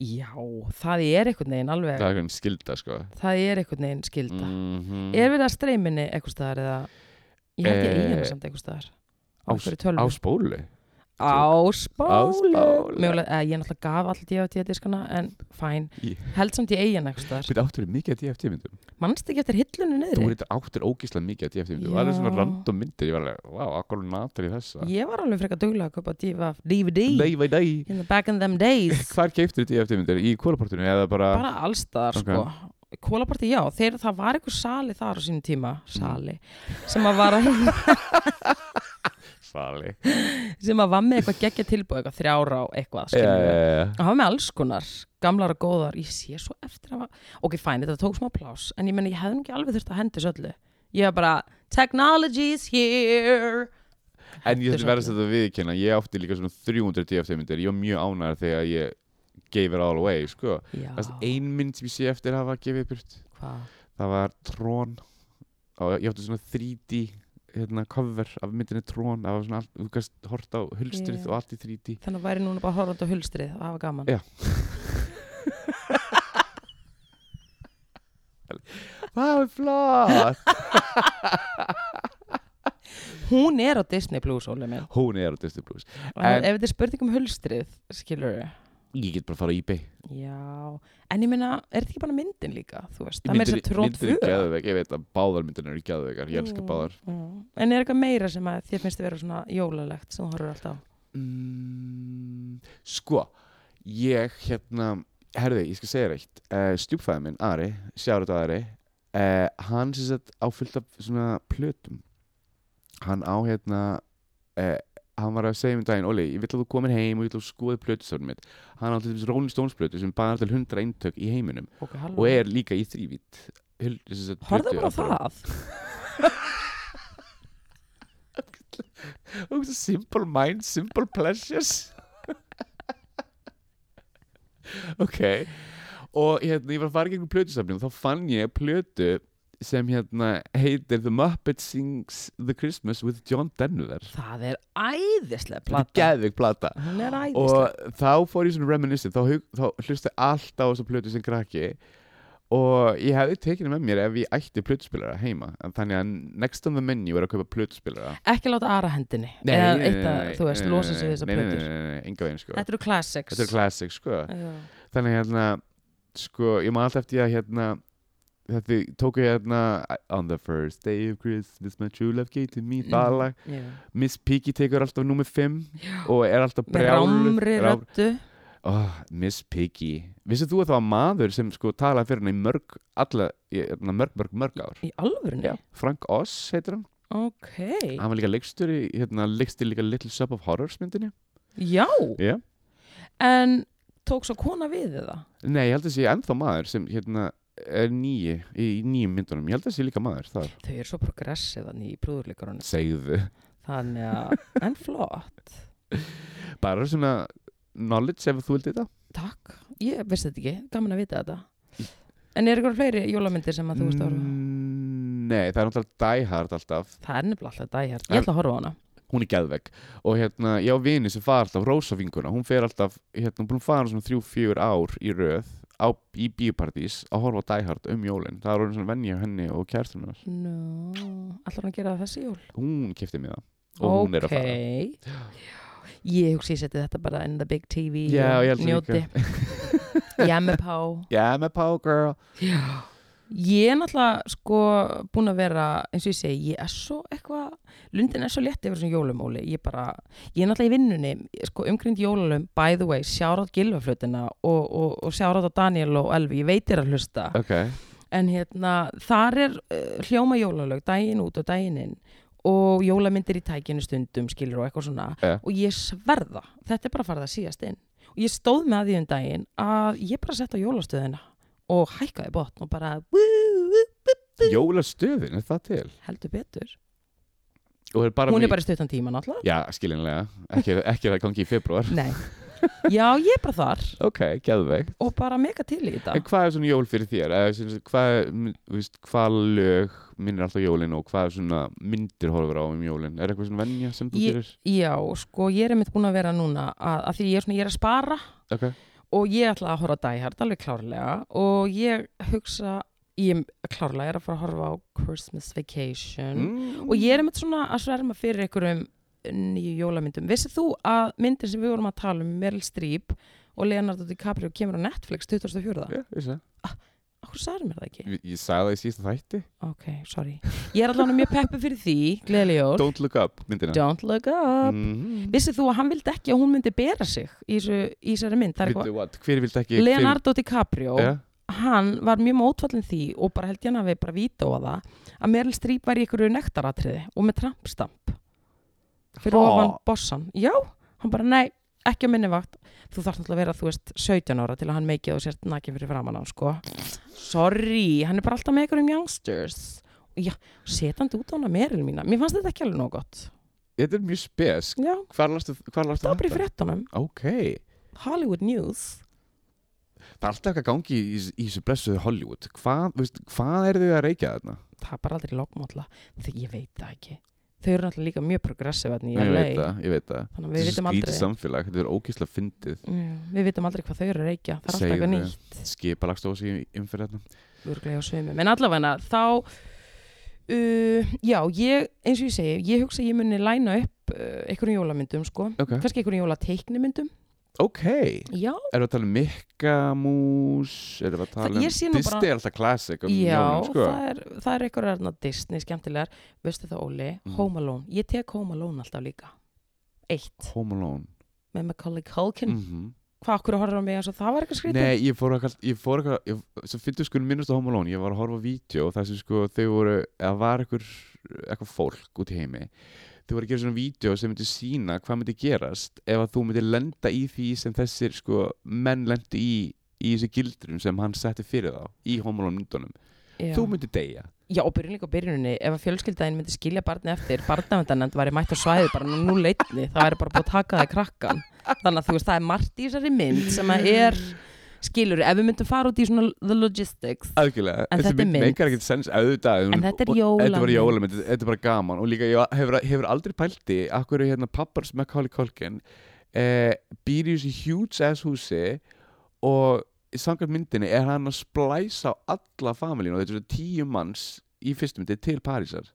Speaker 1: Já, það er einhvern veginn alveg
Speaker 2: það er einhvern skilda sko
Speaker 1: það er einhvern veginn skilda
Speaker 2: Mhm.
Speaker 1: er verið að streyminni eitthvað staðar eða ég held ég
Speaker 2: Eh,
Speaker 1: eigin samt eitthvað staðar á
Speaker 2: á-
Speaker 1: hverju
Speaker 2: á
Speaker 1: tölvu
Speaker 2: spólu Á
Speaker 1: áspálu
Speaker 2: spálu.
Speaker 1: mögulega, eða ég náttúrulega gaf allir DFT diskana en fæn,
Speaker 2: Ég-
Speaker 1: held samt ég eigin eitthvað staðar
Speaker 2: þetta áttur er mikið að DFT myndum
Speaker 1: mannst ekki eftir hillunni
Speaker 2: þú
Speaker 1: niðri
Speaker 2: er þetta áttur ógíslega mikið að DFT myndum
Speaker 1: Já.
Speaker 2: það er svona random myndir ég var alveg, wow, akkur natar í þessa
Speaker 1: ég var alveg frekar duglega að kaupa DFT DVD
Speaker 2: nei, nei, nei
Speaker 1: in the back in them days
Speaker 2: hvar keiptur DFT myndir í kólaportinu eða bara,
Speaker 1: bara allstaðar
Speaker 2: Ok.
Speaker 1: sko Kólaparti, já, þeir, það var eitthvað sali þar á sínum tíma,
Speaker 2: Mm.
Speaker 1: sali, sem að var að
Speaker 2: sali
Speaker 1: sem að var með eitthvað geggja tilbúið eitthvað þrjára á eitthvað
Speaker 2: já,
Speaker 1: skilurðu.
Speaker 2: já, já.
Speaker 1: að hafa með alls konar, gamlar og góðar ég sé svo eftir að hafa, ok fæn þetta tók smá plás, en ég menna ég hefði nú ekki alveg þurft að hendi þessu öllu, ég var bara technology is here
Speaker 2: En ég
Speaker 1: Hentu
Speaker 2: ætlum verðast
Speaker 1: þessu öllu.
Speaker 2: þetta viðkynna, ég átti líka svona 300 DFT myndir, ég var mjög ánægðar þegar ég gave it all away, sko.
Speaker 1: já,
Speaker 2: Það er ein mynd sem ég sé eftir að hafa gefið burt,
Speaker 1: hvað,
Speaker 2: það var Trón, og ég átti svona 3D hérna, cover af myndinni Trón, það var svona allt, þú gæst hort á hulstrið
Speaker 1: Já.
Speaker 2: og allt í 3D.
Speaker 1: þannig væri núna bara horfandi á hulstrið að hafa gaman
Speaker 2: Já. Það var flott!
Speaker 1: hún er á Disney Plus Óli minn,
Speaker 2: Hún er á Disney Plus.
Speaker 1: og en,
Speaker 2: En-
Speaker 1: ef þetta er spurning um hulstrið skilur við
Speaker 2: Ég get bara að fara á eBay.
Speaker 1: Já, en ég meina, er þetta ekki bara myndin líka, þú veist, það meir þess að tróð Mm,
Speaker 2: Myndir er gæðveik, ég veit að báðar myndinir eru gæðveikar, ég elska báðar.
Speaker 1: En er eitthvað meira sem að þér finnst að vera svona jólalegt sem þú horfur alltaf á?
Speaker 2: Mm, sko, ég hérna, herði, ég skal segja reitt uh, stjúpfæði minn, Ari, sjárat á Ari uh, hann sem sagt á fullt af svona plötum hann á hérna uh, hann var að segja um daginn, Óli, ég vill að þú komir heim og ég vill að þú skoði plötusafnum mitt hann á til þess Rolling Stones plötu sem bara til 100 eintök í heiminum
Speaker 1: Ok, halló.
Speaker 2: og er líka í þrývít Horfðu
Speaker 1: Mm. Horfðu bara á það
Speaker 2: Og þessi Simple mind, simple pleasures Ok Og hérna, ég var að fara í gegnum plötusafni og þá fann ég plötu sem hérna heitir The Muppet Sings The Christmas with John Denver
Speaker 1: Það er æðislega
Speaker 2: Þetta er
Speaker 1: plata
Speaker 2: geðvig plata
Speaker 1: Hún er æðislega
Speaker 2: og þá fór ég svona reminiscent þá, hug- þá hlusti alltaf á þessa plötu sem krakki og ég hefði tekinu með mér ef ég ætti plötuspilara heima En þannig að next on the menu er að kaupa plötuspilara
Speaker 1: Ekki láta aðra hendinni Eða eitt að, þú veist, losa sig við þessar
Speaker 2: nei, nei, nei,
Speaker 1: plötur
Speaker 2: nei, nei, nei, enga veginn sko
Speaker 1: Þetta eru classics
Speaker 2: Þetta er classic sko
Speaker 1: Já.
Speaker 2: Þannig hérna, sko, ég maður alltaf eftir að hérna Þetta tóku hérna On the first day of Christmas my true love gave to
Speaker 1: Mm.
Speaker 2: me Það lag
Speaker 1: Já.
Speaker 2: Miss Piggy tekur alltaf númer 5 og er alltaf
Speaker 1: Með
Speaker 2: brjál
Speaker 1: rámri röddu
Speaker 2: oh, Miss Piggy Vissið þú að það var maður sem sko talaði fyrir henni í mörg, alla, í, hérna, mörg, mörg, mörg ár
Speaker 1: Í alvörunni?
Speaker 2: Já, Frank Oz heitir hann
Speaker 1: Ok
Speaker 2: Hann var líka leikstur í, hérna, leikstur líka Little Shop of Horrors myndinni
Speaker 1: Já
Speaker 2: Já.
Speaker 1: En tók svo kona við það
Speaker 2: Nei, ég held að sé ennþá maður sem hérna er nýji, í nýjum myndunum ég held að sé líka maður þar
Speaker 1: Þau eru svo progressið þannig í brúðurleikarunum
Speaker 2: segðu,
Speaker 1: Þannig að En flott
Speaker 2: bara svona knowledge ef þú vildi þetta
Speaker 1: Takk Ég vissi þetta ekki Gaman að vita þetta En er eitthvað fleiri jólamyndir sem að þú veist að horfa á?
Speaker 2: Mm, Nei, það er náttúrulega dæhært alltaf
Speaker 1: Það er nefnilega alltaf dæjar.
Speaker 2: En-
Speaker 1: Ég ætla að horfa á hana.
Speaker 2: Hún er geðvegg Og hérna, ég á vini sem fara alltaf Rósafinguna, hún fer alltaf Hérna, hún er búin að fara svona þrjú, fjör ár í röð á, Í bíopartís að horfa á dæhært um jólin Það er orðin svona venja hjá henni og kærtunum
Speaker 1: Nú, ætlar hún að gera það þessi jól?
Speaker 2: Hún kefti mig það Og hún er að fara
Speaker 1: fara. Ég hugsi ég seti þetta bara in the big TV
Speaker 2: Já,
Speaker 1: og
Speaker 2: ég held það
Speaker 1: njóti. Ég er með pá.
Speaker 2: Yeah, my power girl
Speaker 1: Ég er náttúrulega sko búin að vera, eins og ég segi, ég er svo eitthvað, lundin er svo létt yfir þessum jólumóli, ég bara, ég er náttúrulega í vinnunni, sko umgrind jólulum, by the way, sjárað gilvaflutina og, og, og sjárað á Daniel og Elvi, ég veit þér að hlusta,
Speaker 2: Ok,
Speaker 1: en hérna, þar er uh, hljóma jólalög, daginn út og daginn inn og jólamyndir í tækinu stundum, skilur og eitthvað svona,
Speaker 2: Ja.
Speaker 1: og ég sverða, þetta er bara farið að síðast inn, og ég stóð með að því um daginn að ég bara sett á jólastöðina og hækkaði botn og bara, wú, wú,
Speaker 2: jólastöðin, er það til?
Speaker 1: heldur betur
Speaker 2: Og er bara
Speaker 1: hún
Speaker 2: mjög-
Speaker 1: er bara í stuttan tíma náttúrulega
Speaker 2: Já, skilinlega, ekki, ekki að það gangi í februar
Speaker 1: Nei. já ég er bara þar
Speaker 2: Ok, geðvegt
Speaker 1: og bara mega til í þetta
Speaker 2: En hvað er svona jól fyrir þér? Eða, sem sagt, Hvað, mm, þú veist, hvað lög minnir alltaf jólin og hvað er svona myndir horfur á um jólin? Er eitthvað svona venja sem þú
Speaker 1: Ég-
Speaker 2: gerir?
Speaker 1: já sko ég er einmitt búin að vera núna að, að því ég er, svona, ég er að spara
Speaker 2: Ok,
Speaker 1: og ég ætla að horfa á Die Hard alveg klárlega og ég hugsa ég klárlega er að fara að horfa á Christmas Vacation
Speaker 2: mm.
Speaker 1: og ég er einmitt svona að sverma fyrir einhverjum nýju jólamyndum vissið þú að myndir sem við vorum að tala um Meryl Streep og Leonardo DiCaprio kemur á Netflix 2004
Speaker 2: Já, ég, sagði-
Speaker 1: Akkur sagði mér það ekki?
Speaker 2: ég, ég sagði það í síðasta þætti
Speaker 1: Ok, sorry. Ég er allavega mjög peppu fyrir því, gleðileg jól. Don't,
Speaker 2: Don't look up, myndina
Speaker 1: look up.
Speaker 2: mm.
Speaker 1: Vissið þú að hann vildi ekki að hún myndi bera sig í, þessu, í þessari mynd? Það er
Speaker 2: Vittu
Speaker 1: eitthvað,
Speaker 2: what, hver vildi ekki
Speaker 1: Leonardo DiCaprio,
Speaker 2: hver, ja?
Speaker 1: hann var mjög mótfallin því og bara held ég hann að við bara víta á það að Meryl Streep var í einhverju nektaratriði og með trampstamp fyrir
Speaker 2: Ha?
Speaker 1: ofan bossan. Já, hann bara nei, ekki að minni vakt. Þú þarf náttúrulega að vera, þú veist, 17 ára til að hann meikið og sért nakið fyrir framann á, sko. Sorry, hann er bara alltaf með einhverjum youngsters. Já, setandi út á hana Meryl mína. Mér fannst þetta ekki alveg nóg gott.
Speaker 2: Þetta er mjög spes
Speaker 1: Já,
Speaker 2: Hvar lastu, hvar lastu
Speaker 1: það var bara í fréttunum.
Speaker 2: Ok,
Speaker 1: Hollywood News.
Speaker 2: það er alltaf eitthvað gangi í, í þessu blessuðu Hollywood Hvað, veist, hvað er þau að reykja þarna?
Speaker 1: Það er bara aldrei lokmála. Þegar ég veit það ekki. Þau eru náttúrulega líka mjög progressive þarna í
Speaker 2: Ég
Speaker 1: LA.
Speaker 2: veit það, ég veit það
Speaker 1: Þannig að við
Speaker 2: Þetta er
Speaker 1: vitum
Speaker 2: svo
Speaker 1: aldrei.
Speaker 2: skrítið samfélag, þetta er ógeðslega fyndið
Speaker 1: Já, Við vitum aldrei hvað þau eru að reykja. Það er alltaf
Speaker 2: Segðu
Speaker 1: eitthvað
Speaker 2: þau.
Speaker 1: nýtt.
Speaker 2: skipalagst á sig umfyrir þetta
Speaker 1: örglega hjá sveimum, en allavega þá uh, já, ég, eins og ég segi ég hugsa að ég muni læna upp uh, einhverjum jólamyndum, sko,
Speaker 2: ok,
Speaker 1: kannski einhverjum jólateiknimyndum
Speaker 2: ok,
Speaker 1: já,
Speaker 2: erum við að tala um Mikka Mús erum við
Speaker 1: Það-
Speaker 2: að tala um
Speaker 1: ég sé nú bara-
Speaker 2: Disney er alltaf classic um
Speaker 1: já,
Speaker 2: jólum, sko.
Speaker 1: það er, það er einhverjum erna Disney, skemmtilegar, veistu það Óli
Speaker 2: Mhm.
Speaker 1: Home Alone, ég tek Home Alone alltaf líka eitt,
Speaker 2: Home Alone
Speaker 1: með Macaulay Culkin
Speaker 2: mm
Speaker 1: mm. hvað okkur horfður á mig eins og það var eitthvað skrítið
Speaker 2: Nei, ég fór eitthvað, ég fór eitthvað ég, svo finnst þú sko minnust á Home Alone, ég var að horfa á vídeo þar sem sko þau voru, eða var eitthvað, eitthvað fólk út í heimi þau voru að gera svona vídeo sem myndi sína hvað myndi gerast ef að þú myndi lenda í því sem þessir sko menn lendi í í þessu gildrum sem hann setti fyrir þá í Home Alone myndunum,
Speaker 1: já.
Speaker 2: þú myndi deyja
Speaker 1: já, og byrjun líka á byrjuninni, ef að fjölskyldaðin myndi skilja barni eftir, barnavendanend væri mætt á svæði bara nú- nú leitni, það væri bara búið að taka það í krakkan þannig að þú veist, það er margt í þessari mynd sem að er, skilur ef við myndum fara út í svona the logistics
Speaker 2: Algjörlega,
Speaker 1: En
Speaker 2: þessi
Speaker 1: þetta er
Speaker 2: mynd
Speaker 1: mynd.
Speaker 2: meikar ekkert sens auðvitað
Speaker 1: En þetta er
Speaker 2: og- Þetta var
Speaker 1: jólamynd.
Speaker 2: jólamynd, þetta þetta er bara gaman og líka ég hefur, hefur aldrei pælti af hverju hérna pappars Macaulay Culkin eh, býr í þessu huge ass húsi og í samkvæmt myndinni er hann að splæsa á alla familínu og þetta eru tíu manns í fyrstu myndi til Parísar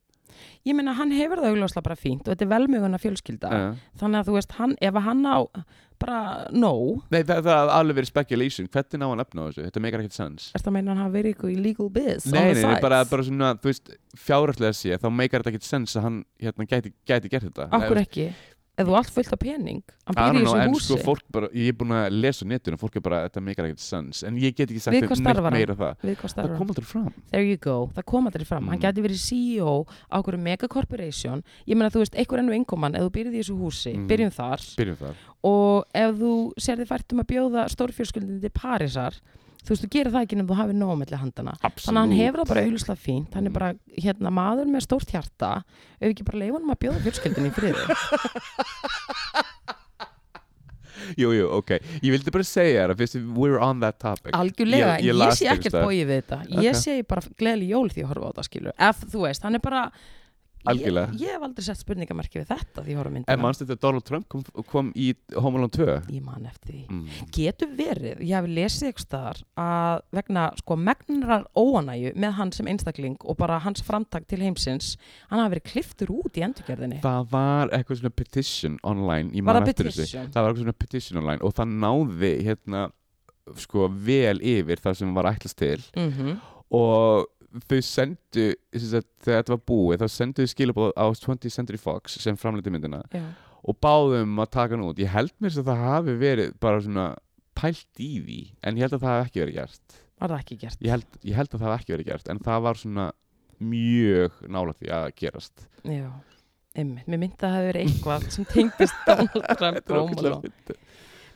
Speaker 1: ég meina, hann hefur það augljóslega bara fínt og þetta er velmöguna fjölskylda
Speaker 2: uh.
Speaker 1: þannig að þú veist, hann, ef að hann á bara nóg,
Speaker 2: Nei, það, það er alveg verið speculation hvernig ná hann efna á þessu, þetta meikar ekkert sens
Speaker 1: er það meina hann hafa verið eitthvað illegal biz
Speaker 2: Nei,
Speaker 1: on
Speaker 2: nei,
Speaker 1: the
Speaker 2: nei
Speaker 1: side?
Speaker 2: bara, bara svona, þú veist, fjárhærslega sé þá meikar þetta ekkert sens að hann hérna, gæti, gæti gert þetta
Speaker 1: af hverju ekki, ef þú allt fullt af pening hann
Speaker 2: I
Speaker 1: býr
Speaker 2: don't
Speaker 1: í
Speaker 2: know,
Speaker 1: þessu
Speaker 2: en
Speaker 1: húsi
Speaker 2: sko fólk bara, ég er búin að lesa á netinu, fólk er bara, þetta meikar ekkert sens en ég get ekki sagt
Speaker 1: Við
Speaker 2: þeim
Speaker 1: hvað
Speaker 2: neitt
Speaker 1: starfar hann?
Speaker 2: meira um það
Speaker 1: við hvað
Speaker 2: það
Speaker 1: starfum
Speaker 2: kom aldrei fram
Speaker 1: there you go, það kom aldrei fram hann
Speaker 2: Mm.
Speaker 1: gæti verið CEO á okkur megakorporation ég meina þú veist, einhver ennu innkoman ef þú byrjið í þessu húsi,
Speaker 2: Mm.
Speaker 1: byrjum þar
Speaker 2: byrjum þar,
Speaker 1: og ef þú sér þið fært um að bjóða stórfjörskjöldin til Parísar þú veist, þú gerir það ekki nefnum þú hafið nóg melli handana
Speaker 2: absolutt
Speaker 1: þannig að hann hefur það bara auðvitað fínt hann
Speaker 2: Mm.
Speaker 1: er bara, hérna, maður með stórt hjarta ef ekki bara leifunum að bjóða fjörskjöldin í friði
Speaker 2: Jú, jú, ok Ég vildi bara segja þér að fyrst we're on that topic
Speaker 1: algjörlega,
Speaker 2: Ég-
Speaker 1: ég,
Speaker 2: ég las
Speaker 1: sé
Speaker 2: þig
Speaker 1: ekkert
Speaker 2: staðar.
Speaker 1: bóið við þetta
Speaker 2: Ok.
Speaker 1: ég sé bara gleðileg jól því að horfa á þetta skilur ef þú veist, hann er bara
Speaker 2: Algjörlega.
Speaker 1: ég, ég hef aldrei sett spurningamarki við þetta því að horfa á
Speaker 2: En
Speaker 1: myndina
Speaker 2: mannstu þetta Donald Trump kom, kom í Home Alone 2
Speaker 1: ég man eftir því
Speaker 2: mm.
Speaker 1: getur verið, ég hef lesið eitthvað staðar að vegna sko megnarar óanæju með hann sem einstakling og bara hans framtak til heimsins hann hafi verið kliftur út í endurgerðinni
Speaker 2: Það var eitthvað svona petition online Ég
Speaker 1: Var
Speaker 2: man
Speaker 1: það
Speaker 2: eftir þessu.
Speaker 1: petition?
Speaker 2: Það var eitthvað svona petition online og það náði hérna sko vel yfir það sem var ætlast til
Speaker 1: mm -hmm.
Speaker 2: og þau sendu sem sagt, þegar þetta var búið þá sendu þau skilabóð á 20th Century Fox sem framleiti myndina og báðum að taka hann út ég held mér þess að það hafi verið bara svona pælt í því en ég held að það hafi ekki verið gert
Speaker 1: var það ekki gert
Speaker 2: ég held, ég held að það hafi ekki verið gert en það var svona mjög nálægt því að gerast
Speaker 1: Já, einmitt, mér myndi að það hafi verið eitthvað sem tengdist Donald Trump
Speaker 2: Þetta er
Speaker 1: og
Speaker 2: ógeðslega
Speaker 1: Ómaló
Speaker 2: fyndið.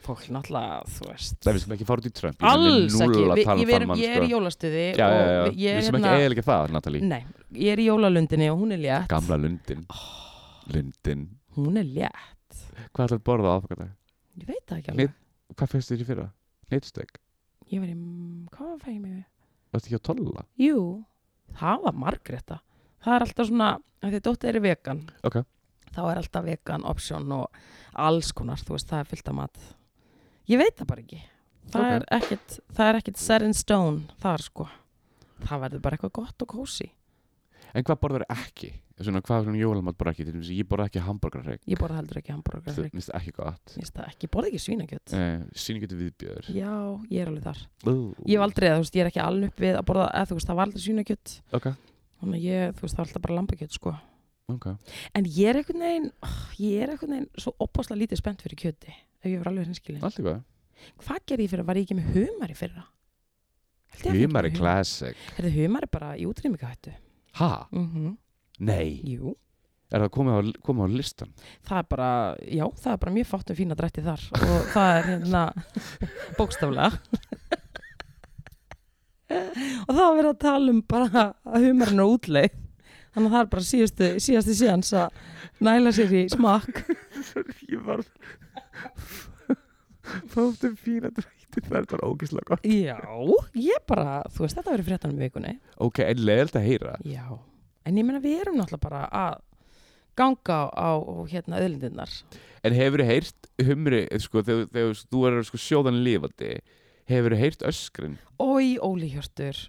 Speaker 1: fólk náttúrulega, þú veist
Speaker 2: Nei, við sem ekki fara út í Trump
Speaker 1: alls ekki, Vi,
Speaker 2: ég,
Speaker 1: ég,
Speaker 2: ég,
Speaker 1: er, ég er í jólastuði
Speaker 2: sko. já, já, já.
Speaker 1: og ég
Speaker 2: við
Speaker 1: er hérna
Speaker 2: sem ekki eðalega það Natalie
Speaker 1: nei, ég er í jólalundinni og hún er létt
Speaker 2: gamla lundin lundin
Speaker 1: hún er létt,
Speaker 2: hvað ætlar að borða á aðfangadag
Speaker 1: ég veit það ekki
Speaker 2: Neitt.
Speaker 1: alveg
Speaker 2: hvað fyrst þér í fyrra neittsteg
Speaker 1: ég var í, mm, hvað fæ ég mig við?
Speaker 2: Þetta ekki á tolla?
Speaker 1: Jú, það var Margreta það er alltaf svona, af því að dóttir er vegan
Speaker 2: Ok.
Speaker 1: þá er alltaf vegan option og alls konar, þú veist, það er fyllt af mat ég veit það bara ekki það
Speaker 2: Ok.
Speaker 1: er ekkit, það er ekkit set in stone þar sko, það verður bara eitthvað gott og kósi,
Speaker 2: En hvað borðar ekki? Svona, hvað svona jólamat borðar ekki? Til dæmis, ég borða ekki hambúrgarrygg.
Speaker 1: ég borða heldur ekki hambúrgar
Speaker 2: Það
Speaker 1: ég
Speaker 2: finnst ekki gott.
Speaker 1: veist það ekki, ég borða ekki svínakjöt
Speaker 2: Uh, Sýningu til viðbjör.
Speaker 1: já, ég er alveg þar
Speaker 2: Uh,
Speaker 1: ég hef aldrei, þú veist, ég er ekki alveg upp við að borða, eða þú veist, það var aldrei svínakjöt
Speaker 2: Ok,
Speaker 1: þannig að ég, þú veist, það var alltaf bara lambakjöt sko
Speaker 2: ok.
Speaker 1: En ég er einhvern veginn, oh, ég er einhvern veginn svo opbáslega lítið spennt fyrir kjöti, ef ég var alveg hinskilin.
Speaker 2: Allt í hvað?
Speaker 1: Hvað gerði ég fyrir, var ég ekki með humar í fyrra? Held ég að ég
Speaker 2: Humar er
Speaker 1: var með humar.
Speaker 2: classic.
Speaker 1: Heyrðu, humar er bara í útrýmingahættu.
Speaker 2: Ha?
Speaker 1: Mm
Speaker 2: Nei.
Speaker 1: Jú,
Speaker 2: Er það komið á, komið á listan?
Speaker 1: það er bara, já, það er bara mjög fátt um fína drætti þar og það er hérna bókstaflega. og það var verið að tala um bara að humarinn er útleið. Þannig að það er bara síðustu, síðasti síðans að næla sér í smakk.
Speaker 2: Ég var... Fáttum fína drætti. Það er bara ógislega gott.
Speaker 1: Já, ég bara, þú veist, þetta verið fréttanum í vikunni.
Speaker 2: Ok, en leiðilt að heyra.
Speaker 1: Já, en ég meina við erum náttúrulega bara að ganga á, á hérna öðlindinnar.
Speaker 2: En hefur þið heyrt humri, sko, þegar, þegar þú er sko, sjóðan lifandi, hefur þið heyrt öskrin?
Speaker 1: Ói, Óli Hjörtur,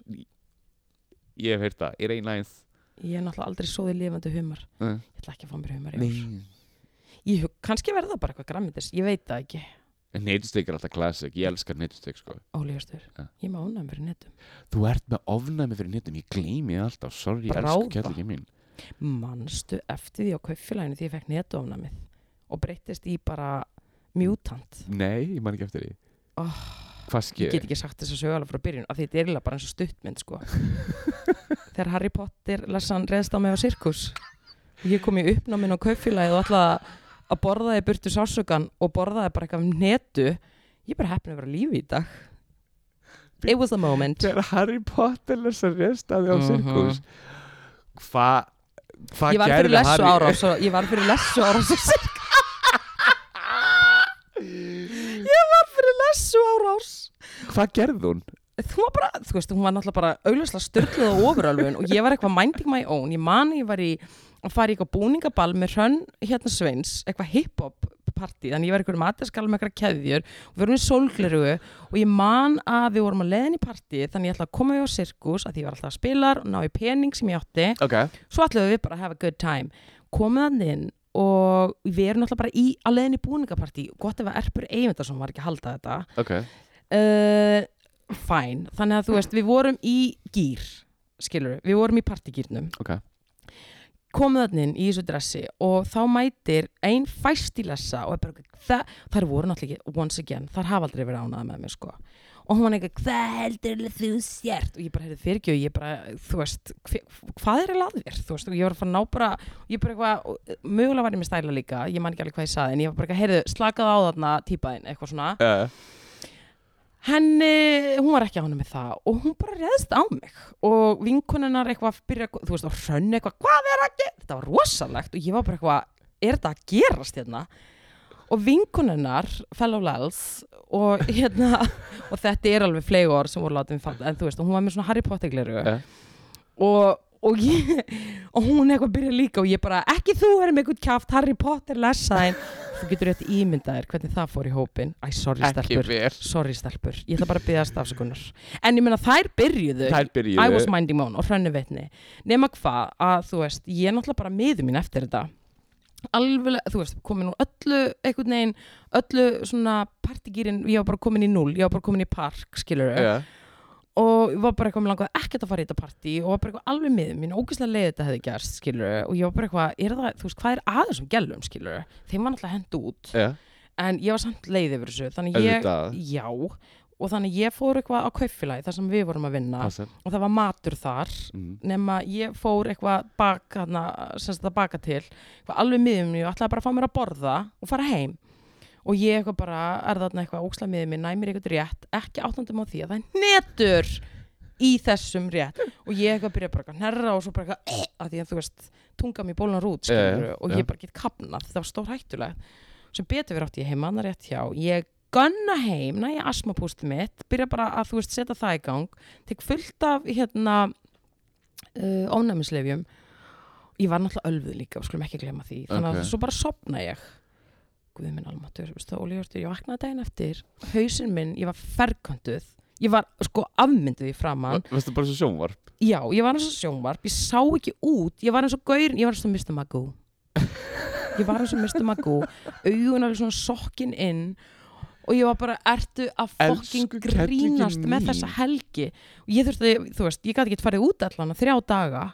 Speaker 2: Ég hef heyrt það. It ain't nice.
Speaker 1: ég er náttúrulega aldrei sóðið lifandi humar.
Speaker 2: Nei.
Speaker 1: Ég ætla ekki að fá mér humar í ár. Ég hug, kannski verða það bara eitthvað grammitis, ég veit það ekki.
Speaker 2: Neytusteg er alltaf classic, ég elskar neytusteg sko.
Speaker 1: Óli Hjörtur,
Speaker 2: Ja.
Speaker 1: ég má unnaðum fyrir netum.
Speaker 2: Þú ert með ofnæmi fyrir neytum, ég gleymi þið alltaf Sorry, ég
Speaker 1: Bráða.
Speaker 2: elsku kærleiki mín
Speaker 1: Manstu eftir því á kaupfélaginu því ég fekk netofnamið og breyttist í bara mjútant.
Speaker 2: Nei, ég man ekki eftir því
Speaker 1: Oh,
Speaker 2: Hvað
Speaker 1: ég get
Speaker 2: sker?
Speaker 1: ekki sagt þess að sögulega frá byrjun af því þetta er eiginlega bara eins og stuttmynd sko. þegar Harry Potter lesan reðst á mig á sirkus ég kom í uppnáminn á kaupfélagið og alltaf að borðaði burtu sásökan og borðaði bara eitthvað af netu ég er bara heppin að vera á lífi í dag it was a moment
Speaker 2: Þegar Harry Potter lesa restaði á
Speaker 1: Mhm.
Speaker 2: sirkus Hvað Hvað
Speaker 1: ég var fyrir
Speaker 2: gerði
Speaker 1: lessu
Speaker 2: Harry?
Speaker 1: árás og- ég var fyrir lessu árás á sirkus ég var fyrir lessu árás
Speaker 2: Hvað gerði hún?
Speaker 1: þú var bara, þú veist, hún var náttúrulega bara augljóslega störtluð og ofuralvun og ég var eitthvað minding my own, ég man ég var í að fara í eitthvað búningaball með hrönn hérna sveins, eitthvað hip-hop partí, þannig ég var eitthvað mataskall með eitthvað keðjur og við vorum í sólglerugu og ég man að við vorum að leiðin í partí þannig ég ætla að koma við á sirkus að því ég var alltaf að spila og ná í pening sem ég átti
Speaker 2: Ok,
Speaker 1: svo ætlum við bara að have a good time komið hann inn og við erum náttúrulega bara í að leiðin í búningapartí gott ef að Erpur Eyvindarsson var ekki að halda þetta
Speaker 2: ok
Speaker 1: uh, fæn, þannig að þú veist við vorum í gýr skilur, við vorum í partigýrnum
Speaker 2: Ok.
Speaker 1: komum þannig inn í þessu dressi og þá mætir ein fæstilessa og er bara, það, þar voru náttúrulega ekki, once again, þar hafa aldrei verið ánað með mig sko og hún var eitthvað, hvað heldur þú sért og ég bara, heyrðu fyrirgjöð, ég bara, þú veist hve- hvað er eiginlega að þér, þú veist og ég var að fara að ná bara, ég bara eitthvað og, eh, mögulega var ég með stæla líka, ég man ekki alveg hvað ég saði en ég var bara eitthvað, heyrðu, slakaðu á þarna típaðin, eitthvað svona
Speaker 2: uh,
Speaker 1: henni, hún var ekki ánum með það og hún bara reðst á mig og vinkonunnar eitthvað byrja, þú veist, og hrönni eitthvað, hvað er að gera? Þetta var rosalegt og ég var bara eitthvað, er þetta að gerast hérna? og vinkunennar fellow lals og hérna og þetta er alveg fleig orð sem voru látið mér fatta en þú veist, og hún var með svona Harry Potter gleru
Speaker 2: Ja.
Speaker 1: og, og, ég, og hún eitthvað byrja líka og ég bara ekki þú erum eitthvað kjáft Harry Potter lesaðin þú getur rétt ímyndaðir hvernig það fór í hópin æ, sorry
Speaker 2: ekki
Speaker 1: stelpur
Speaker 2: vel
Speaker 1: sorry stelpur, ég ætla bara að byggja stafsökunar en ég meina þær byrjuðu
Speaker 2: Þær
Speaker 1: I
Speaker 2: byrjuðu
Speaker 1: was minding my own og hrönnu vitni nema hvað að þú veist ég er náttúrulega bara miður mín eftir þetta alveg, þú veist, komin úr öllu einhvern veginn, öllu svona partigýrin, ég var bara komin í null ég var bara komin í park, skilur
Speaker 2: ja.
Speaker 1: og ég var bara eitthvað, mér langaði ekkert að fara í þetta partí og var bara eitthvað alveg miður mín, ógeðslega leið þetta hefði gerst, skilur og ég var bara eitthvað, er það, þú veist, hvað er aðeins um gælum, skilur þeim var náttúrulega hendu út
Speaker 2: Ja.
Speaker 1: en ég var samt leið yfir þessu, þannig ég
Speaker 2: eh, auðvitað
Speaker 1: já, og þannig ég fór eitthvað á kaupfélagi þar sem við vorum að vinna
Speaker 2: Passar.
Speaker 1: og það var matur þar
Speaker 2: Mm.
Speaker 1: nema ég fór eitthvað bak hana, sem sagt að baka til eitthvað alveg miðum og ætlaði bara að fá mér að borða og fara heim og ég eitthvað bara er þarna eitthvað óksla miðum mér, næ mér eitthvað rétt ekki áttandum á því að það er netur í þessum rétt og ég eitthvað byrja bara eitthvað að hnerra og svo bara eitthvað eh, að því að þú veist, tunga mér bólunar út
Speaker 2: Já, já,
Speaker 1: skilur, og
Speaker 2: já.
Speaker 1: ég bara get kapnað, það var stór hættulegt sem betur verið átt ég heima, annar rétt hjá ég gunna heim, næ ég asmapústu mitt byrja bara að þú veist, setja það í gang tek fullt af hérna uh, ónæmislefjum ég var náttúrulega ölfuð líka, við skulum ekki glema því þannig
Speaker 2: Ok.
Speaker 1: að svo bara sopna ég guð minn almatur, veistu, ólíhjörtur, ég vaknaði daginn eftir hausinn minn, ég var ferkantuð ég var sko afmynduð í framann
Speaker 2: Varstu bara svo sjónvarp?
Speaker 1: Já, ég var eins og sjónvarp, ég sá ekki út, ég var eins og gaur, ég var eins og Mr. Magoo. Ég var eins og Mr. Magoo, augun alveg svona sokkin inn og ég var bara, ertu að fokking
Speaker 2: Elsku kellingin
Speaker 1: grínast
Speaker 2: mín.
Speaker 1: með þessa helgi. Og ég þurfti, þú veist, ég gæti ekki farið út allan að þrjá daga.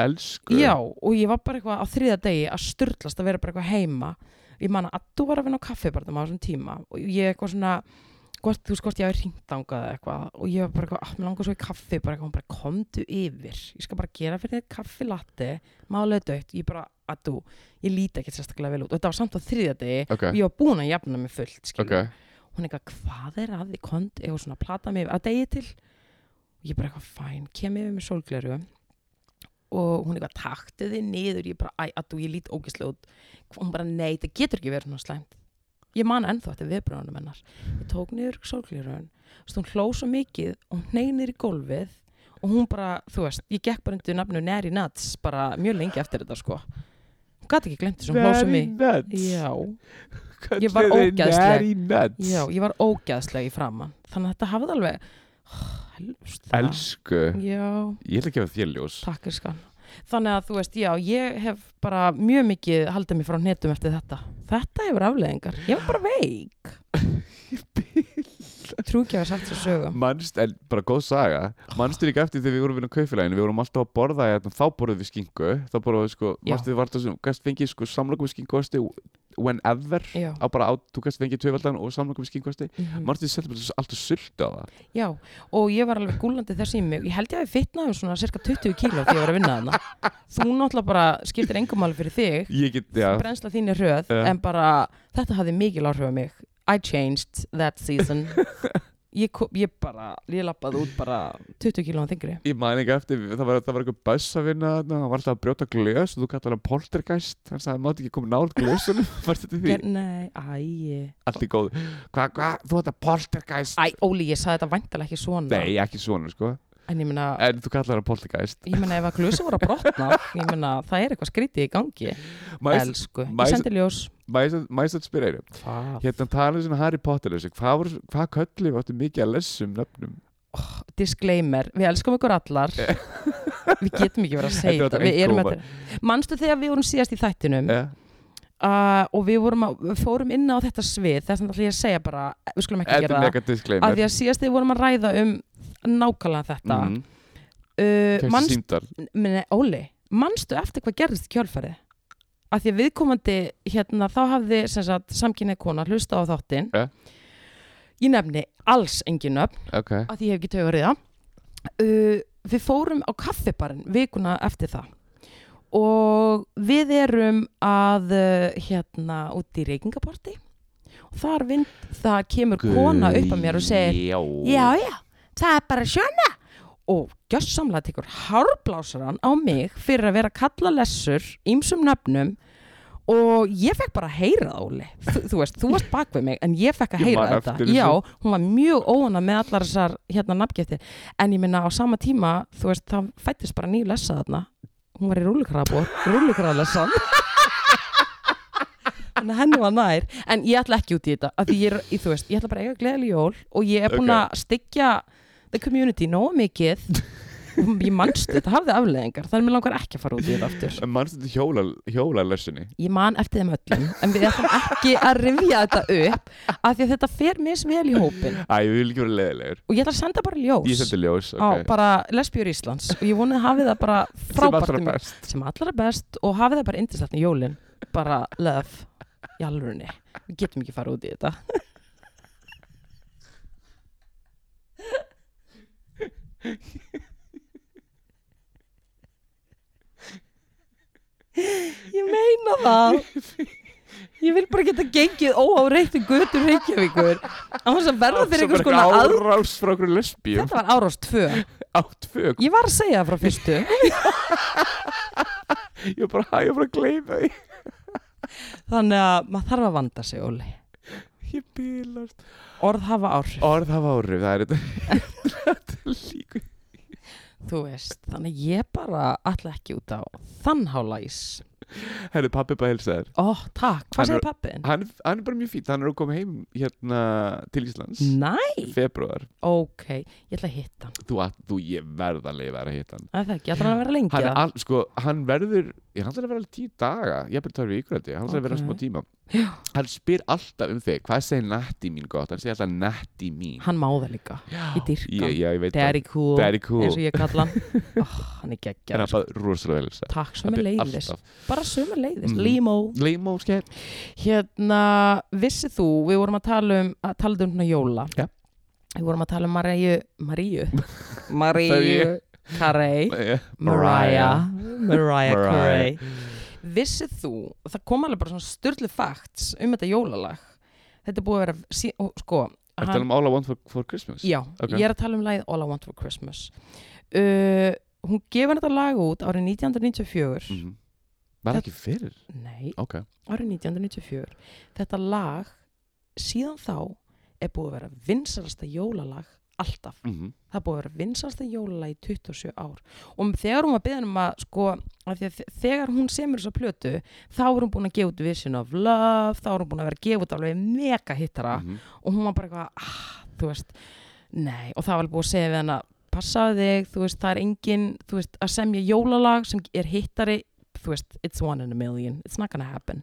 Speaker 2: Elsku
Speaker 1: Já, og ég var bara eitthvað á þriða degi að styrlast að vera bara eitthvað heima ég man að þú var að vinna á kaffibarnum á þessum tíma og ég eitthvað svona hvort, þú veist hvort ég hafi hringt þangað eða eitthvað og ég var bara eitthvað, ah, mér langar svo í kaffi bara eitthvað, hún bara komdu yfir, ég skal bara gera fyrir þér kaffi latte, málega dögt ég bara, að þú, ég líti ekkert sérstaklega vel út og þetta var samt á þriðja degi
Speaker 2: Ok,
Speaker 1: og ég var búin að jafna mig fullt, skilur
Speaker 2: ok
Speaker 1: hún eitthvað, hvað er að þið kond eða svona plata mig að degi til og ég bara eitthvað, fæn, kem yfir með sólgleru og hún eitthvað takti þið niður, ég bara, æ, að ég lít ógislega út, hún bara, nei, það getur ekki verið svona slæmt, ég man ennþá þetta viðbröðunum hennar, ég tók niður sólglerun, þú veist, hún hló svo mikið og hún hneig niður í gólfið og hún bara, þú veist, ég gekk bara undir nafnu Neri Nuts, bara mjög lengi eftir þetta sko, hún gat ekki glemt þessu, hún hló svo mikið
Speaker 2: nuts
Speaker 1: Já,
Speaker 2: Kallið
Speaker 1: Ég var
Speaker 2: þið
Speaker 1: ógeðsleg.
Speaker 2: Very nuts
Speaker 1: Já, ég var ógæðslega í framann Þannig að þetta hafði alveg Helvst
Speaker 2: Elsku
Speaker 1: Já,
Speaker 2: Ég ætla að gefa þér ljós
Speaker 1: takk er skan Þannig að þú veist, já, ég hef bara mjög mikið haldið mig frá hnetum eftir þetta Þetta hefur afleðingar, ég var bara veik Trú ekki að hafa sagt svo sögum
Speaker 2: Manst, en bara góð saga Manstu líka eftir þegar við vorum við á kaufélaginu Við vorum alltaf að borða hérna, Þá borðum við skingu Þá borðum við sko
Speaker 1: Já.
Speaker 2: Manstu þið vart að Gæst fengið sko samlokum við skinguosti Whenever
Speaker 1: Já,
Speaker 2: Á bara á Þú gæst fengið tvöfaldan og samlokum við skinguosti
Speaker 1: mhm.
Speaker 2: Manstu þið setjum alltaf sult á það
Speaker 1: já, og ég var alveg gúlandi þess í mig Ég held ég að við fitnaðum svona cirka 20 kíló því ég var að vinna þarna Þú náttúrulega bara skiptir engum alveg fyrir þig
Speaker 2: Ég get, já
Speaker 1: brennsla þín er hröð
Speaker 2: Já.
Speaker 1: en bara þetta hafði mikil áhrif á mig I changed that season ég, kom, ég bara, ég lappaði út bara 20 kílóna þingri
Speaker 2: Ég man ekki eftir, það var, það var eitthvað buss að vinna þarna, hann var alltaf að brjóta glös og þú kallar hann poltergeist, hann sagði hann mátt ekki koma nált glösunum, fannst þetta því?
Speaker 1: Ger, nei, æ,
Speaker 2: Allt í góð, hvað, hvað, þú ætti að poltergeist?
Speaker 1: æ, Óli, ég saði þetta væntalega ekki svona
Speaker 2: Nei, ekki svona, sko,
Speaker 1: en ég meina,
Speaker 2: en þú kallar hann poltergeist.
Speaker 1: ég meina ef að glösa voru að brotna ég meina, það er eitthvað skrítið í gangi
Speaker 2: Mæst
Speaker 1: elsku,
Speaker 2: mæs-
Speaker 1: ég sendi ljós
Speaker 2: að spyrja einu,
Speaker 1: Hvað?
Speaker 2: hérna talaðu svona Harry Potter þessu, hvað, voru- hvað köllum við áttu mikið að lessum nöfnum?
Speaker 1: disclaimer, við elskum ykkur allar við getum ekki verið að segja
Speaker 2: Þetta
Speaker 1: þetta
Speaker 2: var
Speaker 1: við erum
Speaker 2: eintómar.
Speaker 1: þetta manstu þegar við vorum síðast í þættinum
Speaker 2: Eh,
Speaker 1: uh, og við, vorum að, við fórum inn á þetta svið þess vegna ætla ég að segja bara við skulum ekki
Speaker 2: Þetta
Speaker 1: gera
Speaker 2: er
Speaker 1: það
Speaker 2: mega
Speaker 1: að
Speaker 2: disclaimer.
Speaker 1: því að síðast við vorum að ræða um nákvæmlega þetta mm.
Speaker 2: Mhm,
Speaker 1: uh,
Speaker 2: Kæmstu
Speaker 1: manst,
Speaker 2: símtal.
Speaker 1: minni, Óli, manstu eftir hvað gerðist í kjölfarið að því að viðkomandi hérna þá hafði sem sagt, samkynni kona hlusta á þáttinn
Speaker 2: Ja.
Speaker 1: ég nefni alls engin nöfn
Speaker 2: Ok,
Speaker 1: að því ég hef ekki tögur í það uh, við fórum á kaffibarinn vikuna eftir það og við erum að uh, hérna út í reykingaporti og þar, vind, þar kemur kona upp að mér og segir já já, það er bara sjöna og gjössamlega tekur hárblásaran á mig fyrir að vera að kalla lessur ímsum nöfnum og ég fekk bara að heyra það Óli þú, þú veist, þú varst bak við mig en ég fekk að
Speaker 2: Ég
Speaker 1: heyra
Speaker 2: man
Speaker 1: þetta
Speaker 2: eftir þessu.
Speaker 1: já, hún var mjög óana með allar þessar hérna nafngeftir, en ég minna á sama tíma þú veist, það fættist bara ný lessa þarna hún var í rúlukrabor rúlukralessan en henni var nær en ég ætla ekki út í þetta, af því ég, er- ég, þú veist, ég ætla bara að eiga gleðileg jól og ég er búin
Speaker 2: Ok.
Speaker 1: að styggja the community nóg mikið ég manst þetta, hafði afleðingar þannig mér langar ekki að fara út í þetta aftur
Speaker 2: En mannstu þetta hjóla, hjólalessinni?
Speaker 1: ég man eftir þeim öllum en við ætlum ekki að rifja þetta upp af því að þetta fer misvel í hópin
Speaker 2: Æ, ég vil ekki vera leðilegur.
Speaker 1: og ég ætla að senda bara ljós
Speaker 2: Ég sendi ljós,
Speaker 1: á
Speaker 2: ok.
Speaker 1: bara lesbjör Íslands og ég vonið hafið það bara
Speaker 2: Sem
Speaker 1: frábært
Speaker 2: allra
Speaker 1: um-
Speaker 2: best.
Speaker 1: sem allra best og hafið það bara indislegt í jólin bara love í alvörunni við getum ekki fara út í þetta ég meina það ég vil bara geta gengið óáreitt í götur Reykjavíkur á þess að verða fyrir einhvers konar að
Speaker 2: Árás frá okkur lesbíum.
Speaker 1: þetta var árás tvö
Speaker 2: Átt fög.
Speaker 1: ég var að segja það frá fyrstu
Speaker 2: Ég var bara, hæ, ég var bara að gleyma því.
Speaker 1: þannig að maður þarf að vanda sig Óli
Speaker 2: Ég bílast.
Speaker 1: orð hafa áhrif
Speaker 2: Orð hafa árið, það er þetta. þetta er líku.
Speaker 1: Þú veist, þannig að ég bara ætla ekki út á þann hálæs.
Speaker 2: Herri, pappi bara helsa þér.
Speaker 1: Ó, takk,
Speaker 2: Hann
Speaker 1: hvað segir pappin?
Speaker 2: Hann, hann er bara mjög fínt, hann er að koma heim hérna til Íslands.
Speaker 1: Næ,
Speaker 2: í Februar.
Speaker 1: ok, ég ætla að hitta hann.
Speaker 2: Þú, að- þú, ég verð að leifa að hitta hann.
Speaker 1: Það er það ekki, ætla hann að vera lengi.
Speaker 2: Hann, er
Speaker 1: eða?
Speaker 2: all, sko, hann verður, ég hann ætlar að vera alveg tíu daga, ég er bara tvær vikur held ég, hann ætlar að vera
Speaker 1: Ok.
Speaker 2: smá tíma. Hann spyr alltaf um þig, hvað segir Natti mín gott? Hann segir alltaf Natti mín.
Speaker 1: Hann má það líka, ég dyrka
Speaker 2: Já,
Speaker 1: hann.
Speaker 2: já, ég veit
Speaker 1: Daddy cool,
Speaker 2: Daddy cool.
Speaker 1: eins og ég kalla hann. Ó, hann er
Speaker 2: En
Speaker 1: geggjar.
Speaker 2: hann bara rosalega vel þess
Speaker 1: Takk sem er leiðis, bara sem er leiðis,
Speaker 2: Mhm.
Speaker 1: límó.
Speaker 2: Leimo, skell.
Speaker 1: Hérna, vissið þú, við vorum að tala um, að tala um hérna jóla.
Speaker 2: Já.
Speaker 1: Við vorum að tala um Maríu, Maríu, Maríu, Carey. Mariah Mariah Carey
Speaker 2: Mariah.
Speaker 1: Vissið þú, það kom alveg bara svona styrlu facts um þetta jólalag Þetta er búið að vera, sí, ó, sko
Speaker 2: Er það um All I Want For, for Christmas?
Speaker 1: Já,
Speaker 2: Ok.
Speaker 1: ég er að tala um lagið All I Want For Christmas uh, Hún gefur þetta lag út árið 1994
Speaker 2: Mhm. Var það ekki fyrir?
Speaker 1: Nei,
Speaker 2: Ok.
Speaker 1: árið 1994 Þetta lag, síðan þá er búið að vera vinsalasta jólalag alltaf
Speaker 2: Mm -hmm.
Speaker 1: það er búið að vera vinsalasta jólalag í 27 ár og þegar hún var beðin um að sko, af því að þe- þegar hún semur þessa plötu þá er hún búin að gefa út Vision of Love þá er hún búin að vera að gefa út alveg mega hittara
Speaker 2: Mm. Mhm.
Speaker 1: og hún var bara eitthvað ah, þú veist, nei og það var alveg búið að segja við hann að passaðu þig, þú veist, það er engin þú veist, að semja jólalag sem er hittari þú veist, it's one in a million it's not gonna happen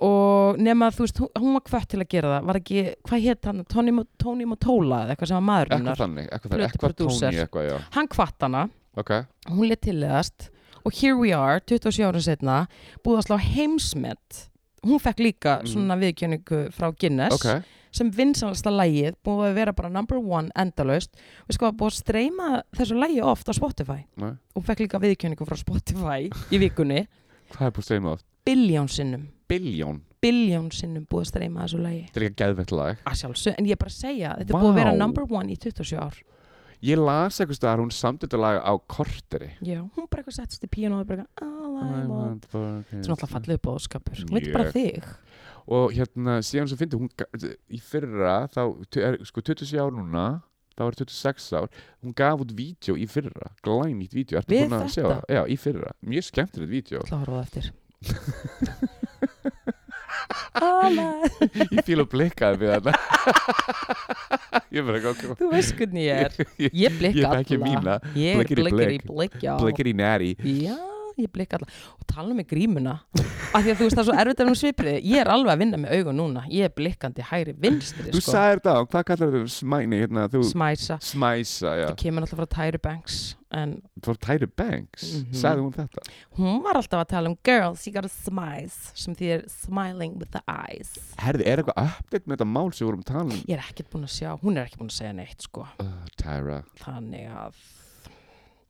Speaker 1: og nema þú veist, hún- hún var hvert til að gera það var ekki, hvað hétt hann, Tony, Mo- Tony Motola eða eitthvað sem var maður hennar
Speaker 2: Eitthvað þannig, eitthvað þannig, eitthvað
Speaker 1: Plötuproducer.
Speaker 2: tóni eitthvað, já.
Speaker 1: hann kvatt hana,
Speaker 2: Ok.
Speaker 1: hún let tilliðast og here we are, 27 ára setna búið að slá heimsmet hún fekk líka
Speaker 2: Mhm.
Speaker 1: svona viðkjöningu frá Guinness
Speaker 2: Ok.
Speaker 1: sem vinsalasta lægið búið að vera bara number one endalaust við sko að búið að streyma þessu lægi oft á Spotify
Speaker 2: Nei.
Speaker 1: hún fekk líka viðkjöningu frá Spotify í vikunni,
Speaker 2: Hvað er búin að segja mig oft?
Speaker 1: biljón sinnum
Speaker 2: Biljón.
Speaker 1: biljón sinnum búið að streyma þessu lægi
Speaker 2: Þetta er líka geðvett lag.
Speaker 1: að sjálfsög, en ég er bara að segja þetta er búið að vera
Speaker 2: Vá.
Speaker 1: number one í 27 ár
Speaker 2: Ég las eitthvað staðar hún samt þetta lag á korteri.
Speaker 1: já, hún bara eitthvað settist í píano og bara eitthvað, all I want sem alltaf
Speaker 2: Og
Speaker 1: fallið upp á skapur hún veit bara
Speaker 2: Mjög.
Speaker 1: þig
Speaker 2: hérna, síðan sem fyndi hún ga- í fyrra, þá, tu- er, sko 27 ár núna, þá var 26 ár, hún gaf út vídeo í fyrra, glænýtt vídeo, ertu
Speaker 1: Við
Speaker 2: búin að
Speaker 1: þetta?
Speaker 2: sjá það? Já, í fyrra, mjög skemmtilegt vídeo,
Speaker 1: ætla að horfa á það eftir Alla,
Speaker 2: ég fíla að blikkaði við þetta. ég er bara ekki okkur,
Speaker 1: þú veist hvernig ég er ég
Speaker 2: Ég
Speaker 1: blikka
Speaker 2: þekki
Speaker 1: alla
Speaker 2: mína.
Speaker 1: ég er
Speaker 2: Blikkir í
Speaker 1: blikkir í
Speaker 2: blikk.
Speaker 1: blikk já.
Speaker 2: blikkir í næri.
Speaker 1: já, ég blikka alla og tala með grímuna af því að þú veist það er svo erfitt að hún svipriði ég er alveg að vinna með augun núna ég er blikkandi hægri vinstri
Speaker 2: Þú
Speaker 1: sko.
Speaker 2: sagðir það, hvað kallar þetta smæni, hérna, þú
Speaker 1: smæsa
Speaker 2: smæsa, já,
Speaker 1: það kemur alltaf frá Tyra Banks en
Speaker 2: þú var Tyra Banks,
Speaker 1: Mhm.
Speaker 2: sagði hún þetta?
Speaker 1: hún var alltaf að tala um girls you gotta smize sem því er smiling with the eyes
Speaker 2: Herði, er eitthvað update með þetta mál sem við vorum um? talin?
Speaker 1: ég er ekkert búin að sjá hún er ekki búin að segja neitt sko
Speaker 2: Uh, Tyra.
Speaker 1: þannig að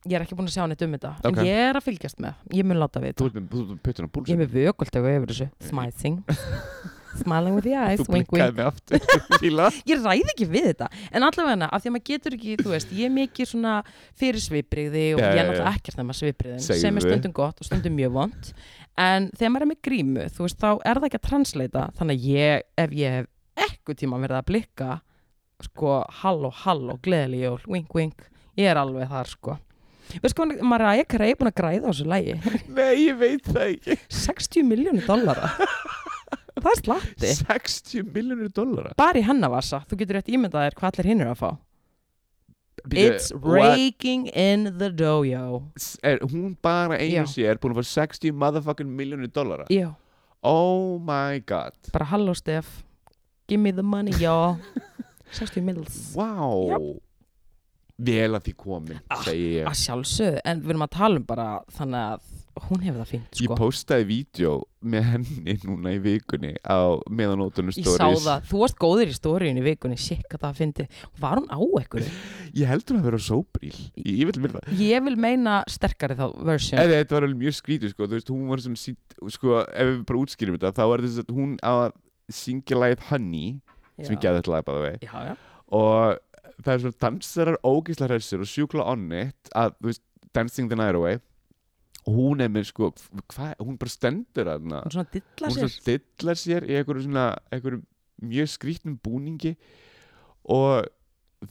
Speaker 1: ég er ekki búin að sjá neitt um þetta
Speaker 2: Ok.
Speaker 1: en ég er að fylgjast með, ég mun láta við
Speaker 2: Þú
Speaker 1: þetta
Speaker 2: ert með, þú ert með puttun
Speaker 1: ég
Speaker 2: á
Speaker 1: er
Speaker 2: búlsum.
Speaker 1: með vökultegu yfir þessu, smæsing smiling with the eyes,
Speaker 2: Þú
Speaker 1: wink wink
Speaker 2: blikkaði mig aftur Fíla
Speaker 1: ég ræði ekki við þetta en allavega af því að maður getur ekki, þú veist, ég er mikið svona fyrir svipriði og ég
Speaker 2: Já, já,
Speaker 1: er
Speaker 2: já.
Speaker 1: náttúrulega ekkert nema svipriðin
Speaker 2: Segðu.
Speaker 1: sem er stundum gott og stundum mjög vond en þegar maður er með grímu, þú veist, þá er það ekki að transleita þannig að ég, ef ég hef ekkur tíma verið að blikka sko, halló, halló, gleðli jól wink, wink, ég er alveg þar, sko Veist sko, Mariah Carey er búin að græða á þessu lægi
Speaker 2: Nei, ég veit það ekki
Speaker 1: 60 miljónu dollara Það er slatti
Speaker 2: 60 miljonir dollara
Speaker 1: Bara í hennavasa, þú getur rétt ímyndað þér hvað allir hinn eru að fá
Speaker 2: Bíddu,
Speaker 1: It's
Speaker 2: what?
Speaker 1: raking in the dojo
Speaker 2: S- er, Hún bara
Speaker 1: Já.
Speaker 2: einu sér búin að fá 60 motherfucking miljonir dollara
Speaker 1: Já,
Speaker 2: Oh my god
Speaker 1: bara halló Stef Give me the money, já 60 mils
Speaker 2: Wow Vel að því komin,
Speaker 1: Ah,
Speaker 2: segi ég
Speaker 1: Að sjálfsögðu, en við erum að tala um bara þannig að hún hefur það fínt
Speaker 2: Ég
Speaker 1: sko
Speaker 2: postaði vídeo með henni núna í vikunni á meðanótunum
Speaker 1: Ég,
Speaker 2: stories
Speaker 1: sá það, þú varst góður í stóriðinu í vikunni Sikk að það fyndi, var hún á ekkur
Speaker 2: Ég heldur að vera sóbríl Ég, ég vil vilja það
Speaker 1: Ég vil meina sterkari þá version
Speaker 2: Eða þetta var alveg mjög skrítið sko Þú veist, hún var svona sínt Sko, ef við bara útskýrum þetta Þá var þess að hún á að syngja lagið Honey Sem ég
Speaker 1: já.
Speaker 2: geði þetta lagið bæða vei
Speaker 1: já, já,
Speaker 2: Og það er svona dansarar ógislega hressir Og sjúkla onnit Að, þú veist, Dancing the Night Away Og hún er með sko hva, Hún bara stendur þarna
Speaker 1: hún svona dilla
Speaker 2: hún
Speaker 1: sér
Speaker 2: svona dillar sér í einhverju svona einhverju mjög skrítnum búningi og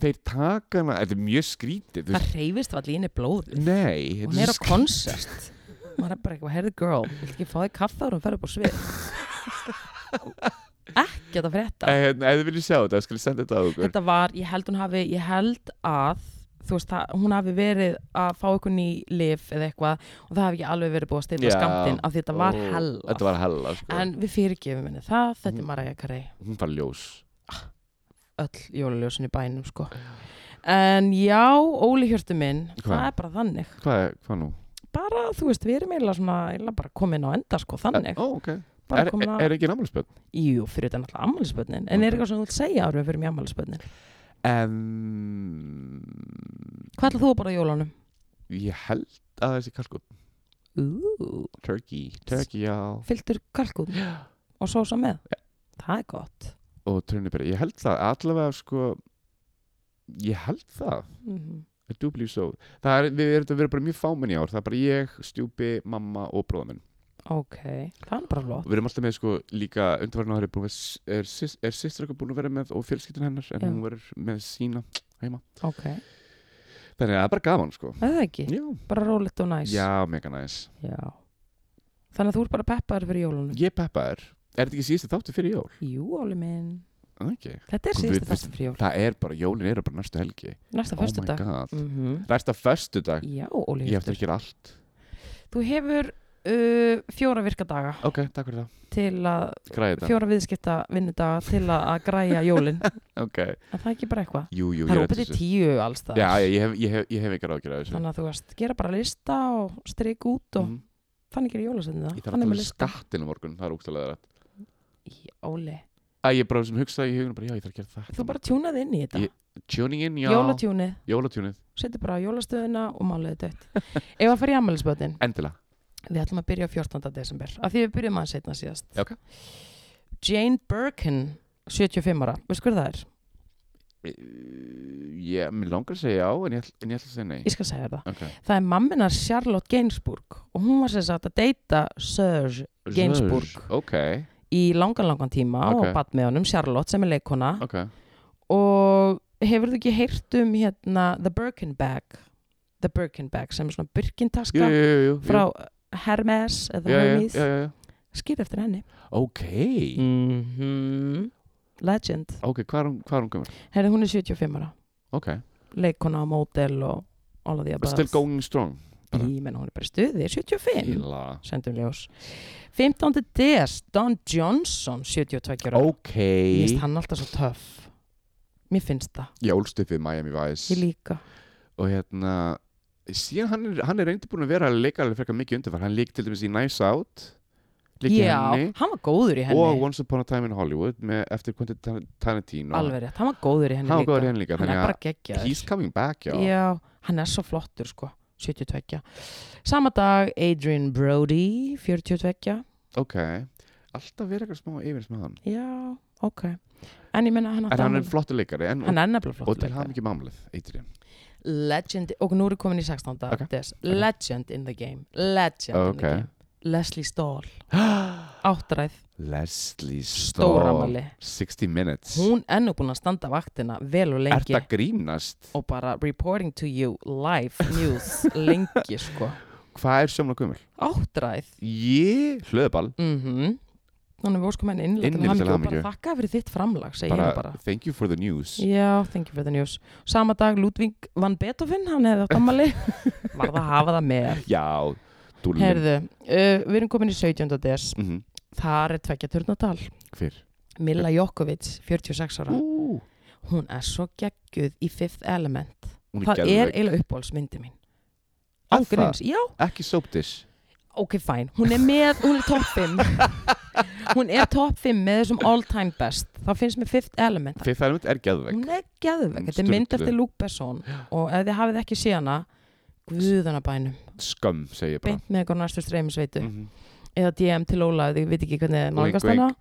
Speaker 2: þeir taka hana þetta er mjög skrítið þú
Speaker 1: Það
Speaker 2: veist,
Speaker 1: reyfist vall í henni blóð
Speaker 2: nei,
Speaker 1: Hún er á
Speaker 2: svo
Speaker 1: konsert maður er bara eitthvað, heyrðu girl, vil ekki fá þig kaffa og hún fer upp á svið ekki að frétta
Speaker 2: Eh, hérna, ef þið viljið sjá þetta, skal ég senda þetta að okkur
Speaker 1: þetta var, ég held hún hafi ég held að, þú veist það, hún hafi verið að fá eitthvað ný lif eða eitthvað og það hafi ekki alveg verið búið að stilla
Speaker 2: Já.
Speaker 1: skamtinn af því þetta var
Speaker 2: Ó,
Speaker 1: hella
Speaker 2: þetta var Mm. hella, sko.
Speaker 1: en við fyrirgefum henni það, þetta er Mariah Carey
Speaker 2: hún var ljós
Speaker 1: öll jólaljósin í bænum sko en já, Óli Hjörtu minn það
Speaker 2: Hvað?
Speaker 1: er bara þannig,
Speaker 2: hvað, hvað nú?
Speaker 1: bara þú veist, við erum eiginlega svona, eiginlega bara komin á enda sko, þannig,
Speaker 2: er, ó, okay.
Speaker 1: bara
Speaker 2: er,
Speaker 1: komin
Speaker 2: er,
Speaker 1: að
Speaker 2: er ekki námálspöld?
Speaker 1: Jú, fyrir þetta náttúrulega ammælisbönnin En er eitthvað sem þú vilt segja árum fyrir mér ammælisbönnin
Speaker 2: Um,
Speaker 1: Hvað ætlar þú að borða á jólunum?
Speaker 2: ég held að það sé kalkun
Speaker 1: Ú,
Speaker 2: turkey, turkey, já
Speaker 1: fylgtur kalkun og sósa með Það er gott
Speaker 2: og törnibæri, ég held það allavega sko ég held það
Speaker 1: Mhm.
Speaker 2: I do believe so. Það er, við erum að vera bara mjög fámenn í ár. Það er bara ég, stjúpi, mamma og bróða minn.
Speaker 1: Ok, það er bara
Speaker 2: Og
Speaker 1: flott
Speaker 2: við erum alltaf með sko líka undarvarna ári búin að s- er, sys- er sýstur okkar búin að vera með og fjölskyldin hennar en
Speaker 1: Já.
Speaker 2: hún verður með sína.
Speaker 1: Ok,
Speaker 2: Þannig að það er bara gaman sko.
Speaker 1: það er ekki,
Speaker 2: Já,
Speaker 1: bara rólegt og næs
Speaker 2: Já mega næs.
Speaker 1: Já. Þannig að þú ert bara peppaður fyrir jólunum
Speaker 2: Ég peppa er, er þetta ekki síðusti þáttu fyrir jól?
Speaker 1: Jú, Óli minn
Speaker 2: Okay.
Speaker 1: Þetta er
Speaker 2: Guð,
Speaker 1: síðustu
Speaker 2: við-
Speaker 1: þáttur fyrir jól
Speaker 2: Það er bara, jólin eru bara næstu helgi.
Speaker 1: Næsta
Speaker 2: Oh my
Speaker 1: föstudag
Speaker 2: god.
Speaker 1: Mhm.
Speaker 2: Næsta föstudag.
Speaker 1: Já, Óli
Speaker 2: Ég
Speaker 1: Hjörtur
Speaker 2: eftir að gera allt.
Speaker 1: Þú hefur uh, fjóra virka daga
Speaker 2: Ok, takk fyrir það.
Speaker 1: til að
Speaker 2: Græði þetta.
Speaker 1: fjóra viðskipta vinnudaga til að að græja jólin
Speaker 2: Ok.
Speaker 1: en það er ekki bara eitthvað
Speaker 2: Jú, jú,
Speaker 1: það er
Speaker 2: ég
Speaker 1: opið til tíu alls það
Speaker 2: Já, ég hef, ég hef, ég hef ekki ráðgjörð þessu.
Speaker 1: þannig að þú veist, gera bara lista og streik út og
Speaker 2: Mhm.
Speaker 1: þannig gerir jólasendina
Speaker 2: Ég þarf að
Speaker 1: þannig
Speaker 2: tala um skattinu morgun, það er úkstæðlega rætt
Speaker 1: Í- Óli,
Speaker 2: Æ, ég bara sem hugsaði í hugunum, bara já, ég þarf að gera þetta
Speaker 1: þú bara tjúnaði inn í þetta
Speaker 2: Ég- Tuning in, já,
Speaker 1: jólatjúnið,
Speaker 2: jólatjúnið,
Speaker 1: setur bara á jólastöðuna og máliði dött ef að fara í ammælisbötin,
Speaker 2: endilega
Speaker 1: við ætlum að byrja á 14. desember af því við byrjum aðeins setna síðast
Speaker 2: Já, ok.
Speaker 1: Jane Birkin 75 ára, veist hver það er?
Speaker 2: E, Ég, mér langar að segja já, en ég, ætl- en ég ætla að segja nei
Speaker 1: Ég skal segja þér það
Speaker 2: okay.
Speaker 1: Það er mamminar Charlotte Gainsbourg og hún var sem sagt að deyta Serge Gainsbourg.
Speaker 2: Zzzz, Ok,
Speaker 1: í langan langan tíma
Speaker 2: Ok.
Speaker 1: og batt með honum Charlotte sem er leikona
Speaker 2: ok
Speaker 1: og hefur þú ekki heyrt um hérna The Birkin Bag The Birkin Bag sem er svona
Speaker 2: Jú,
Speaker 1: Birkintaska
Speaker 2: jú, jú, jú
Speaker 1: frá Hermes eða
Speaker 2: já, já,
Speaker 1: Hermes
Speaker 2: já, já, já.
Speaker 1: skýr eftir henni
Speaker 2: Ok,
Speaker 1: mm
Speaker 2: Mhm.
Speaker 1: Legend
Speaker 2: ok, hvað er hún, hvað er hún gömur?
Speaker 1: Herri, hún er 75 ára
Speaker 2: Ok,
Speaker 1: leikona og mótel og all of the above
Speaker 2: still going strong bara.
Speaker 1: Í, menn hún er bara í stuði, 75
Speaker 2: Íla
Speaker 1: sendum ljós 15. DS, Don Johnson 72 ára,
Speaker 2: Ok,
Speaker 1: mér finnst hann alltaf svo töff mér finnst það,
Speaker 2: ég ólst upp við Miami Vice
Speaker 1: ég líka
Speaker 2: og hérna síðan hann er, hann er reyndi búin að vera að leika alveg frekar mikið undirfær, hann leik til dæmis í Nice Out leik í
Speaker 1: Já,
Speaker 2: henni
Speaker 1: hann var góður í henni
Speaker 2: og Once Upon a Time in Hollywood með, eftir Quentin Tar- Tarantino
Speaker 1: alveg rétt, hann var góður í henni
Speaker 2: hann var
Speaker 1: líka
Speaker 2: góður í henni líka
Speaker 1: hann
Speaker 2: þannig
Speaker 1: er bara
Speaker 2: að
Speaker 1: geggjaður
Speaker 2: he's coming back já,
Speaker 1: hann er svo flottur sko 72 sama dag Adrian Brody 42
Speaker 2: ok alltaf verið eitthvað smá yfirins með hann
Speaker 1: já, ok en ég menna hann
Speaker 2: en
Speaker 1: átti
Speaker 2: hann er
Speaker 1: afmæli-
Speaker 2: flottur leikari en,
Speaker 1: hann er nefnilega
Speaker 2: og, og
Speaker 1: flott
Speaker 2: til hann
Speaker 1: leikari.
Speaker 2: ekki mamlið, Adrian
Speaker 1: legend, og nú er ég komin í 16.
Speaker 2: Ok,
Speaker 1: Des, legend in the game legend in
Speaker 2: Ok.
Speaker 1: the game Leslie Stahl, áttræð
Speaker 2: Leslie Stahl
Speaker 1: stóramali
Speaker 2: 60 Minutes
Speaker 1: hún ennú búin að standa vaktina vel og
Speaker 2: Er
Speaker 1: lengi
Speaker 2: það grínast?
Speaker 1: og bara reporting to you live news lengi sko
Speaker 2: Hvað er sjómla gummul?
Speaker 1: áttræð
Speaker 2: Ég, hlöðball
Speaker 1: mm þannig við óskum henni innlega
Speaker 2: Innilega Mhm. til
Speaker 1: og bara
Speaker 2: hamingju.
Speaker 1: þakka fyrir þitt framlag segi
Speaker 2: bara,
Speaker 1: ég bara
Speaker 2: Thank you for the news
Speaker 1: Já, thank you for the news Sama dag Ludvig van Beethoven, hann hefði átt ammali Var það að hafa það með
Speaker 2: Já, dúllin
Speaker 1: Herðu, uh, við erum komin í 17. des
Speaker 2: mm
Speaker 1: Þar er tvekja turnatal
Speaker 2: Hver?
Speaker 1: Milla Jokovic, 46 ára
Speaker 2: Ú,
Speaker 1: Hún er svo gegguð í Fifth Element
Speaker 2: Hún er
Speaker 1: Það er
Speaker 2: geðveik
Speaker 1: eiginlega uppáhaldsmyndi mín
Speaker 2: Er það?
Speaker 1: Ágríns, já,
Speaker 2: Ekki soapdish
Speaker 1: ok, fæn Hún er með, hún er top 5 Hún er top 5 með þessum all time best Þá finnst mér Fifth Element
Speaker 2: Fifth Element er geðveik
Speaker 1: hún er geðveg,
Speaker 2: Hún
Speaker 1: þetta er mynd
Speaker 2: sturlu.
Speaker 1: eftir Luke Besson og ef þið hafið ekki séð hana guðanabænum,
Speaker 2: Skömm, segi ég bara
Speaker 1: beint með eitthvað næstu streymisveitu
Speaker 2: mm -hmm.
Speaker 1: eða DM til Óla, ef þið veit ekki hvernig þið nálgast
Speaker 2: Wink,
Speaker 1: hana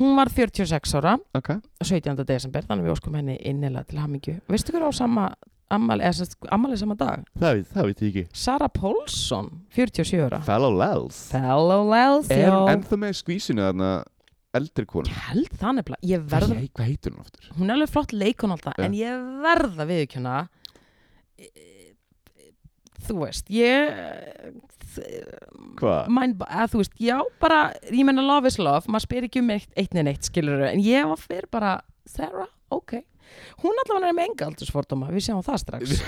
Speaker 1: hún var 46 ára
Speaker 2: Ok
Speaker 1: 17. desember, þannig við óskum henni innilega til hamingju veistu hver á sama ammali, eða sérst, ammali sama dag
Speaker 2: Það veit, það veit ég ekki
Speaker 1: Sara Pólsson, 47 ára
Speaker 2: Fellow Lels
Speaker 1: Fellow Lels,
Speaker 2: Er hún
Speaker 1: já
Speaker 2: ennþá með skvísinu þarna eldri konum?
Speaker 1: held það nefnilega, ég verð
Speaker 2: Hvað hei- Hvað heitir hún aftur?
Speaker 1: hún er alveg flott leikon alltaf
Speaker 2: Já.
Speaker 1: en ég verða viðkjöna e, þú veist ég
Speaker 2: Hvað?
Speaker 1: mind, að, þú veist, já bara ég menna love is love, maður spyr ekki um eitt eitt neinn eitt skilur en ég var fyrir bara Sarah, ok hún allavega er með enga aldursfordóma, við sjáum það strax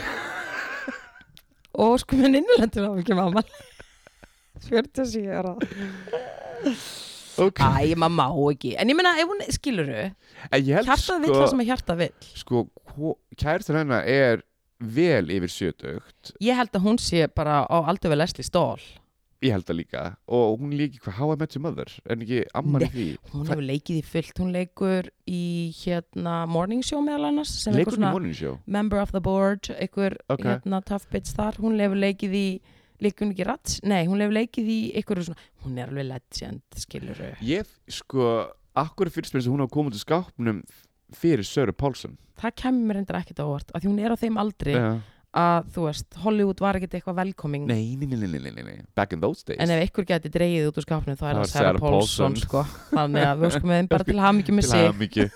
Speaker 1: og sko minn innlendur á ekki mamma 47 ára
Speaker 2: Ok
Speaker 1: Æ, maður má ekki, en ég menna ef hún skilur
Speaker 2: En ég held
Speaker 1: hjartað vill það sem að hjartað vill
Speaker 2: Sko, kærtur hennar er vel yfir sjötugt
Speaker 1: Ég held að hún sé bara á aldur við Leslie Stahl
Speaker 2: Ég held það líka Og hún líki hvað How I Met Your Mother En ekki amman í því
Speaker 1: Hún
Speaker 2: Hva-
Speaker 1: hefur leikið í fullt, hún leikur í hérna Morning Show meðal annars sem
Speaker 2: Leikur
Speaker 1: einhver
Speaker 2: hún í
Speaker 1: svona
Speaker 2: morning show
Speaker 1: member of the board, einhver
Speaker 2: Ok.
Speaker 1: hérna tough bitch þar, hún hefur leikið í leikur hún ekki rats, nei, hún hefur leikið í einhverju svona, hún er alveg legend skilur
Speaker 2: Ég, sko, akkur fyrst með þess að hún hafa komið til skápnum fyrir Söru Pálsson
Speaker 1: það kemur mér endur ekkert á óvart, af því hún er á þeim aldri
Speaker 2: Já.
Speaker 1: að þú veist, Hollywood var ekkert eitthvað velkoming
Speaker 2: Nei, nei, nei, nei, nei, nei, nei Back in those days
Speaker 1: en ef einhver geti dreigið út úr skapnum þá er það
Speaker 2: Það er
Speaker 1: Sarah
Speaker 2: Sarah
Speaker 1: Paulson
Speaker 2: Paulson.
Speaker 1: sko. þannig að við skum með þeim bara til hamingjum með
Speaker 2: Til
Speaker 1: sig
Speaker 2: hamingju.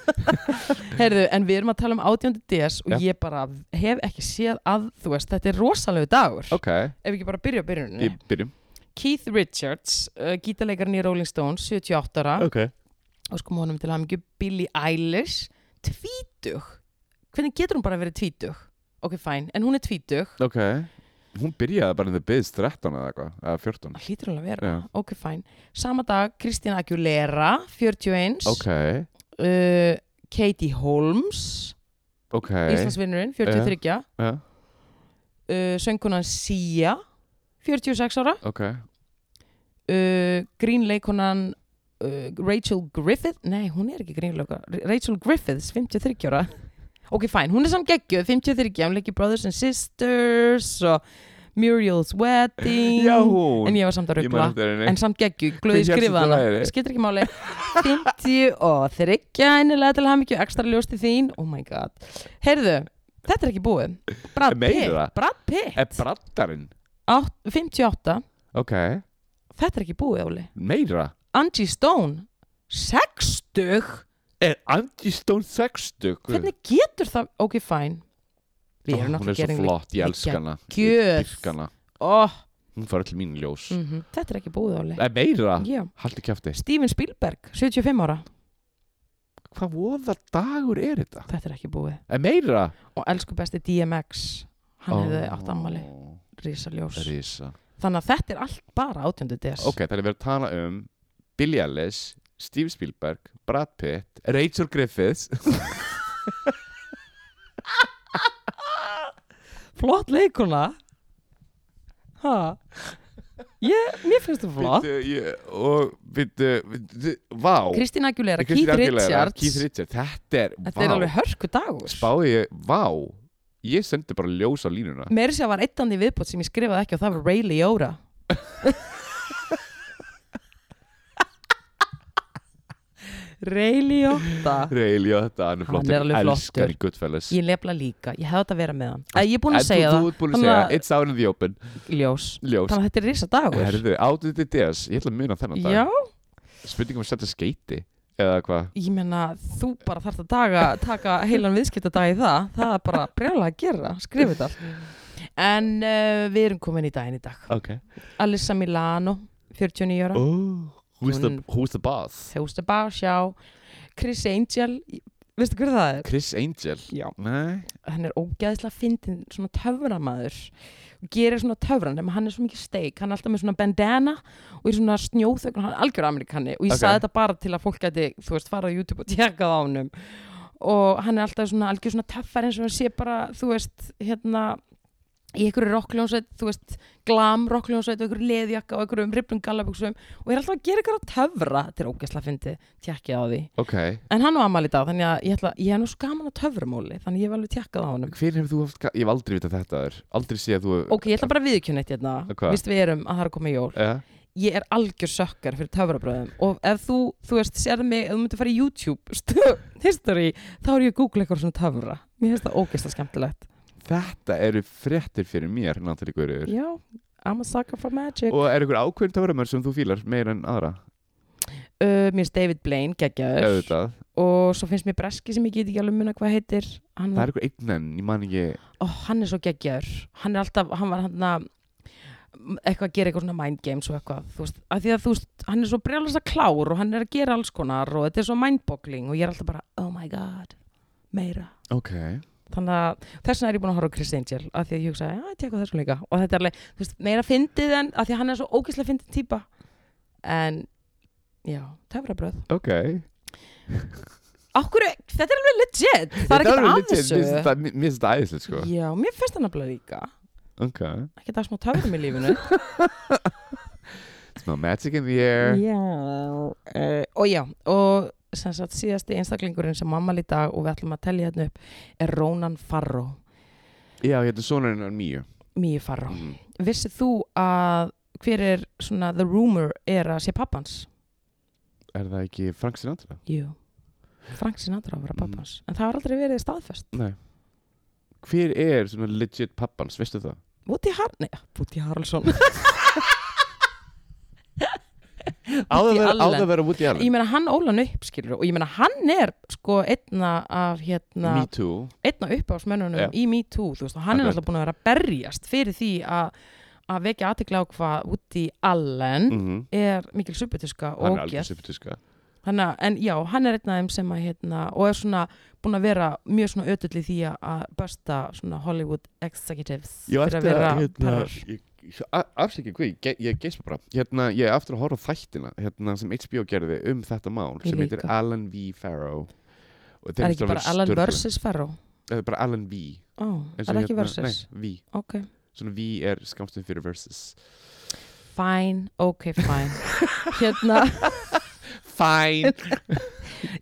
Speaker 1: Herðu, en við erum að tala um 18. DS og
Speaker 2: Já.
Speaker 1: ég bara hef ekki séð að, þú veist, þetta er rosalegu dagur.
Speaker 2: Ok,
Speaker 1: Ef við ekki bara byrja á byrjuninni.
Speaker 2: ég byrjum
Speaker 1: Keith Richards, uh, gítarleikarinn í Rolling Stones, 78 ára,
Speaker 2: Ok
Speaker 1: og sko mónum til hamingju Billie Eilish, tvítug. Hvernig getur hún bara verið tvítug? Ok, fæn, en hún er tvítug.
Speaker 2: Ok Hún byrjaði bara in the biz 13 eða eitthvað Eða 14
Speaker 1: Það hlýtur hún að vera.
Speaker 2: Já.
Speaker 1: Ok, fæn. Sama dag, Kristina Aguilera, 41.
Speaker 2: Ok,
Speaker 1: Uh, Katie Holmes,
Speaker 2: ok
Speaker 1: Íslandsvinnurinn, 43.
Speaker 2: Já,
Speaker 1: uh, söngkonan Sia 46 ára
Speaker 2: Ok
Speaker 1: uh, grínleikonan uh, Rachel Griffith nei, hún er ekki grínleika Rachel Griffiths, 53 ára ok, fæn, hún er samt geggjöð, 53 hún leikir Brothers and Sisters og Muriel's Wedding
Speaker 2: Já, hún
Speaker 1: en ég var samt að
Speaker 2: Ég man
Speaker 1: rugla
Speaker 2: eftir henni.
Speaker 1: en samt geggju, glöði
Speaker 2: Hver hélst þetta
Speaker 1: skrifaðana
Speaker 2: væri?
Speaker 1: skiptir ekki máli 50 og þryggja einilega til hamingju ekstra ljósti þín, oh my god heyrðu, þetta er ekki búið Brad
Speaker 2: Meira?
Speaker 1: Pitt, Brad Pitt
Speaker 2: Er braddarinn
Speaker 1: Átt- 58
Speaker 2: Ok
Speaker 1: Þetta er ekki búið, Óli
Speaker 2: Meira
Speaker 1: Angie Stone 60
Speaker 2: Er Andy Stone 60
Speaker 1: Hvernig getur það? Ok, fæn Við erum
Speaker 2: Hún er
Speaker 1: náttúrulega
Speaker 2: svo
Speaker 1: gerum
Speaker 2: flott, ég elska hana
Speaker 1: Gjöð.
Speaker 2: Ég dyrka hana
Speaker 1: oh,
Speaker 2: Hún fara til mín ljós
Speaker 1: mm Þetta er ekki búið, Óli
Speaker 2: Er meira
Speaker 1: Já.
Speaker 2: Haldi kjafti
Speaker 1: Steven Spielberg, 75 ára
Speaker 2: Hvað voða dagur er þetta?
Speaker 1: Þetta er ekki búið
Speaker 2: Er meira
Speaker 1: Og elsku besti DMX Hann
Speaker 2: Ó,
Speaker 1: hefði átt ammali, risaljós
Speaker 2: Risa
Speaker 1: Þannig að þetta er allt bara 18. des
Speaker 2: Ok, það er verið að tala um Billie Ellis, Steve Spielberg, Brad Pitt, Rachel Griffiths
Speaker 1: Ah, Flott leikuna Ha Ég, mér finnst þú flott
Speaker 2: Bíddu, ég- og bíddu, bíddu, vá
Speaker 1: Kristina Aguilera,
Speaker 2: Kristín
Speaker 1: Keith
Speaker 2: Aguilera,
Speaker 1: Richards
Speaker 2: Keith Richards, þetta er,
Speaker 1: Þetta
Speaker 2: vá
Speaker 1: er alveg hörku dagur
Speaker 2: Spáði ég, vá Ég sendi bara ljós á línuna
Speaker 1: meiri sér var eittandi viðbót sem ég skrifaði ekki og það var Ray Liotta Reiliotta
Speaker 2: Reilja þetta, hann
Speaker 1: Hann
Speaker 2: er
Speaker 1: er
Speaker 2: flottur
Speaker 1: alveg flottur.
Speaker 2: Elskar Goodfellas
Speaker 1: Ég lefla líka, ég hefði þetta að vera með hann Æ, Ég er búin að
Speaker 2: En
Speaker 1: segja
Speaker 2: þú,
Speaker 1: það,
Speaker 2: þú ert búin að
Speaker 1: Þannig
Speaker 2: segja,
Speaker 1: að-
Speaker 2: it's out in the open
Speaker 1: ljós
Speaker 2: Ljós,
Speaker 1: Þannig að þetta er risa dagur
Speaker 2: herðu, out in the days Ég ætla að muna þennan dag
Speaker 1: Já,
Speaker 2: Spurningum að setja skeiti Eða hvað
Speaker 1: ég meina þú bara þarft að daga, taka heilan viðskiptadag í það Það er bara brjálega að gera, skrifa þetta En uh, við erum komin í daginn í dag
Speaker 2: Ok
Speaker 1: Alissa Milano, 49 ára
Speaker 2: oh, who's, the,
Speaker 1: Hún-
Speaker 2: who's the boss?
Speaker 1: Þjósta Básjá Chris Angel, í- veistu hver það er?
Speaker 2: Chris Angel
Speaker 1: Já
Speaker 2: Nei
Speaker 1: Hann er ógæðislega fyndin, svona töframæður og gerir svona töfran nema hann er svo mikið steik, hann er alltaf með svona bandana og er svona snjóþökun, hann er algjör amerikanni og ég
Speaker 2: Ok.
Speaker 1: saði þetta bara til að fólk gæti þú veist, fara á YouTube og tjekka það á honum og hann er alltaf svona algjör svona töffar eins og hann sé bara, þú veist, hérna í einhverju rockljónsveit, þú veist glam rockljónsveit og einhverju leðjakka og einhverju umriplum gallabuxum og er alltaf að gera eitthvað að töfra til ógæsla fyndi, tjekkið á því
Speaker 2: Ok
Speaker 1: En hann var ammali í dag, þannig að ég, ætla, ég er nú svo gaman að töframóli, þannig ég hef alveg tjekkað á honum.
Speaker 2: Hver hefur þú haft ga- Ég hef aldrei vitað þetta þar Aldrei séð að þú
Speaker 1: Ok, ég ætla bara að viðkjöna eitt hérna,
Speaker 2: Hvað? Eh.
Speaker 1: víst við erum að það er að koma jól.
Speaker 2: Já,
Speaker 1: Ég er algjör sökkar fyrir töfrabröðum og ef þú, þú veist, sérðu mig, ef þú myndir fara í YouTube stu- history, þá er ég að googla eitthvað svona töfra. Mér finnst það ógeðslega skemmtilegt.
Speaker 2: Þetta eru fréttir fyrir mér Natalie Guður
Speaker 1: Já, I'm a sucker for magic.
Speaker 2: Og er ykkur ákveðin töframör sem þú fílar meir en aðra?
Speaker 1: Uh, mér finnst David Blaine geggjaður
Speaker 2: Auðvitað
Speaker 1: og svo finnst mér Breski sem ég get ekki alveg muna hvað heitir. Hann,
Speaker 2: Það er ykkur einn enn, ég man ekki
Speaker 1: ó, hann er svo geggjaður hann er alltaf, hann var hann að eitthvað að gera eitthvað svona mind games og eitthvað, þú veist, að því að þú veist hann er svo brjálast að klár og hann er að gera alls konar og þetta er svo mindboggling og ég er alltaf bara oh my god, meira
Speaker 2: Ok
Speaker 1: þannig að þess vegna er ég búin að horfa á Chris Angel að því að ég hugsaði, já, ég tekur þessum líka og þetta er alveg, þú veist, meira fyndið en að því að hann er svo ógeðslega fyndið típa en, já, töfrabröð
Speaker 2: Ok
Speaker 1: okkur, þetta er alveg legit það er
Speaker 2: alveg
Speaker 1: ekkert að
Speaker 2: legit,
Speaker 1: þessu
Speaker 2: Mér finnst það- mér- mér finnst þetta æðislegt sko
Speaker 1: já, mér finnst það nefnilega líka
Speaker 2: Ok
Speaker 1: ekki það smá töfrum í lífinu
Speaker 2: Smell magic in the air
Speaker 1: Já, uh, og já, og sem sagt síðasti einstaklingurinn sem mamma í dag og við ætlum að tellja hérna upp er Rónan Farró,
Speaker 2: Já, hérna sonurinn er mjög
Speaker 1: Míu Farró. Vissið þú að hver er svona the rumor er að sé pappans?
Speaker 2: Er það ekki Frank Sinatra?
Speaker 1: Jú. Frank Sinatra á að vera
Speaker 2: Mm.
Speaker 1: pappans, en það har aldrei verið staðfest.
Speaker 2: Nei Hver er svona legit pappans, veistu það?
Speaker 1: Woody Har... Nei, Woody Harrelson.
Speaker 2: Á það
Speaker 1: Woody
Speaker 2: vera- á
Speaker 1: Allen.
Speaker 2: það vera Woody
Speaker 1: Ég
Speaker 2: Allen
Speaker 1: meina hann ólan upp, skilur, og ég meina hann er sko einna af hérna...
Speaker 2: Me too
Speaker 1: einn á uppáhalsmönnunum
Speaker 2: Já.
Speaker 1: í MeToo þú veist, og hann er
Speaker 2: Akkurat.
Speaker 1: alltaf búin að vera að berjast fyrir því að að vekja aðtekla á hvað út í allen
Speaker 2: Mhm.
Speaker 1: er mikil subutiska
Speaker 2: Hann
Speaker 1: Mm. og
Speaker 2: er alveg
Speaker 1: ógeð
Speaker 2: subtiska
Speaker 1: Þannig að- en já, hann er einn af þeim sem að hérna, og er svona búin að vera mjög svona ötull í því að- að börsta svona Hollywood executives
Speaker 2: Ég
Speaker 1: fyrir að vera
Speaker 2: hérna,
Speaker 1: perrur.
Speaker 2: Afsækja hvað, ég, ge- ég geispa bara Hérna, ég er aftur að horfa á þættina hérna, sem HBO gerði um þetta mál
Speaker 1: Ég
Speaker 2: sem heitir
Speaker 1: líka.
Speaker 2: Alan V. Farrow Og þeir
Speaker 1: er
Speaker 2: finnst
Speaker 1: ekki
Speaker 2: alveg
Speaker 1: bara Alan
Speaker 2: sturlun.
Speaker 1: versus Farrow
Speaker 2: Það er bara Alan V
Speaker 1: Ó,
Speaker 2: eins
Speaker 1: er
Speaker 2: og
Speaker 1: ekki
Speaker 2: hérna-
Speaker 1: versus
Speaker 2: Nei, V
Speaker 1: ok,
Speaker 2: Svona V er skamstum fyrir versus
Speaker 1: fine, ok, fine hérna
Speaker 2: Fine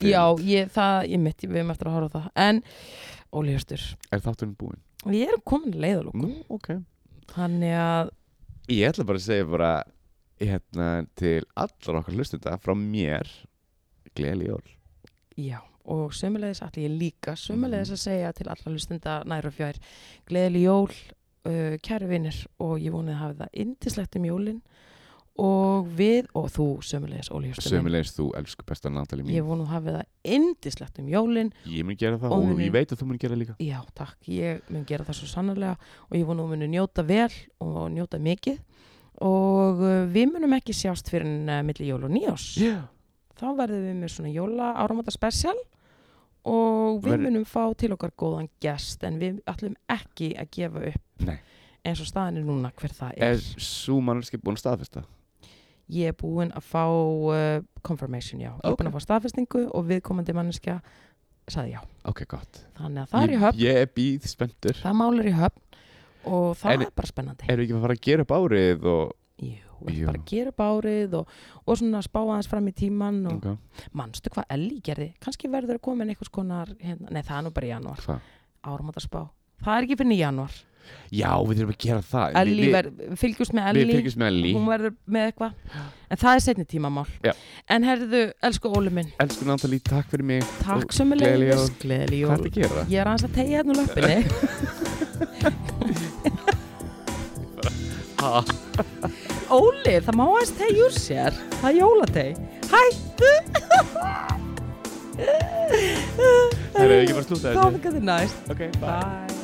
Speaker 1: Já, ég, það, ég mitt, við erum eftir að horfa á það En, Óli Hjörstur
Speaker 2: Er þátturinn búinn?
Speaker 1: Við erum komin að leiðalóku
Speaker 2: Nú, ok
Speaker 1: Þannig að,
Speaker 2: Ég ætla bara að segja bara hérna, til allar okkar hlustenda frá mér gleðileg jól
Speaker 1: já Og sömulegis ætla ég líka Sömulegis að segja til allra hlustenda nær og fjær Gleðileg jól, uh, kæru vinnir Og ég vonið að hafa það indislegt um jólin Og við, og þú sömulegis Óli Hjörstur minn,
Speaker 2: Sömulegis þú, elsku besta Natalie mín
Speaker 1: Ég vonið að hafa það indislegt um jólin
Speaker 2: Ég mun gera það
Speaker 1: Og
Speaker 2: og,
Speaker 1: við-
Speaker 2: ég veit að þú mun gera það líka
Speaker 1: Já, takk, ég mun gera það svo sannarlega og ég vonum að munu njóta vel og njóta mikið og uh, við munum ekki sjást fyrir en uh, milli jól og nýjás.
Speaker 2: yeah.
Speaker 1: Þá verðum við með svona jóla áramata spesial og við
Speaker 2: Verð-
Speaker 1: munum fá til okkar góðan gest en við ætlum ekki að gefa upp
Speaker 2: Nei.
Speaker 1: eins og staðan er núna hver það
Speaker 2: Er
Speaker 1: er.
Speaker 2: svo mannarski búin að staðfesta?
Speaker 1: Ég er búin að fá uh, confirmation, já. Ég er
Speaker 2: Ok.
Speaker 1: búin að fá staðfestingu og viðkomandi manneskja sagði já.
Speaker 2: Ok, gott
Speaker 1: Þannig að það er í höfn,
Speaker 2: Ég er býð spenntur
Speaker 1: það mál er í höfn og það
Speaker 2: En-
Speaker 1: er bara spennandi.
Speaker 2: Erum við ekki að fara að gera upp árið og...
Speaker 1: Jú, við
Speaker 2: Jú.
Speaker 1: bara að gera upp árið og, og svona spá aðeins fram í tíman og
Speaker 2: okay.
Speaker 1: manstu hvað Ellie gerði kannski verður að koma inn einhvers konar hérna, nei það er nú bara í janúar,
Speaker 2: Hvað?
Speaker 1: áramóta spá það er ekki fyrir í janúar
Speaker 2: já, við þurfum að gera það
Speaker 1: Ellie,
Speaker 2: Við-
Speaker 1: ver, fylgjumst með
Speaker 2: Við
Speaker 1: Ellie
Speaker 2: fylgjumst
Speaker 1: hún
Speaker 2: með Ellie
Speaker 1: verður með eitthvað en það er setni tímamál
Speaker 2: Já.
Speaker 1: en herðu, elsku Óli minn
Speaker 2: Elsku Natalie, takk fyrir mig Og
Speaker 1: takk sem er
Speaker 2: gleðileg
Speaker 1: leiðis
Speaker 2: jól.
Speaker 1: gleðli
Speaker 2: Hvað
Speaker 1: jól
Speaker 2: ertu að gera?
Speaker 1: ég er aðeins að tegja hérna úr löppinni
Speaker 2: Ha?
Speaker 1: Óli, það má aðeins tegja úr sér það er jólateg hættu
Speaker 2: Það er ekki bara að slúta
Speaker 1: þá
Speaker 2: þessu
Speaker 1: fyrir næst
Speaker 2: Ok, bye
Speaker 1: bye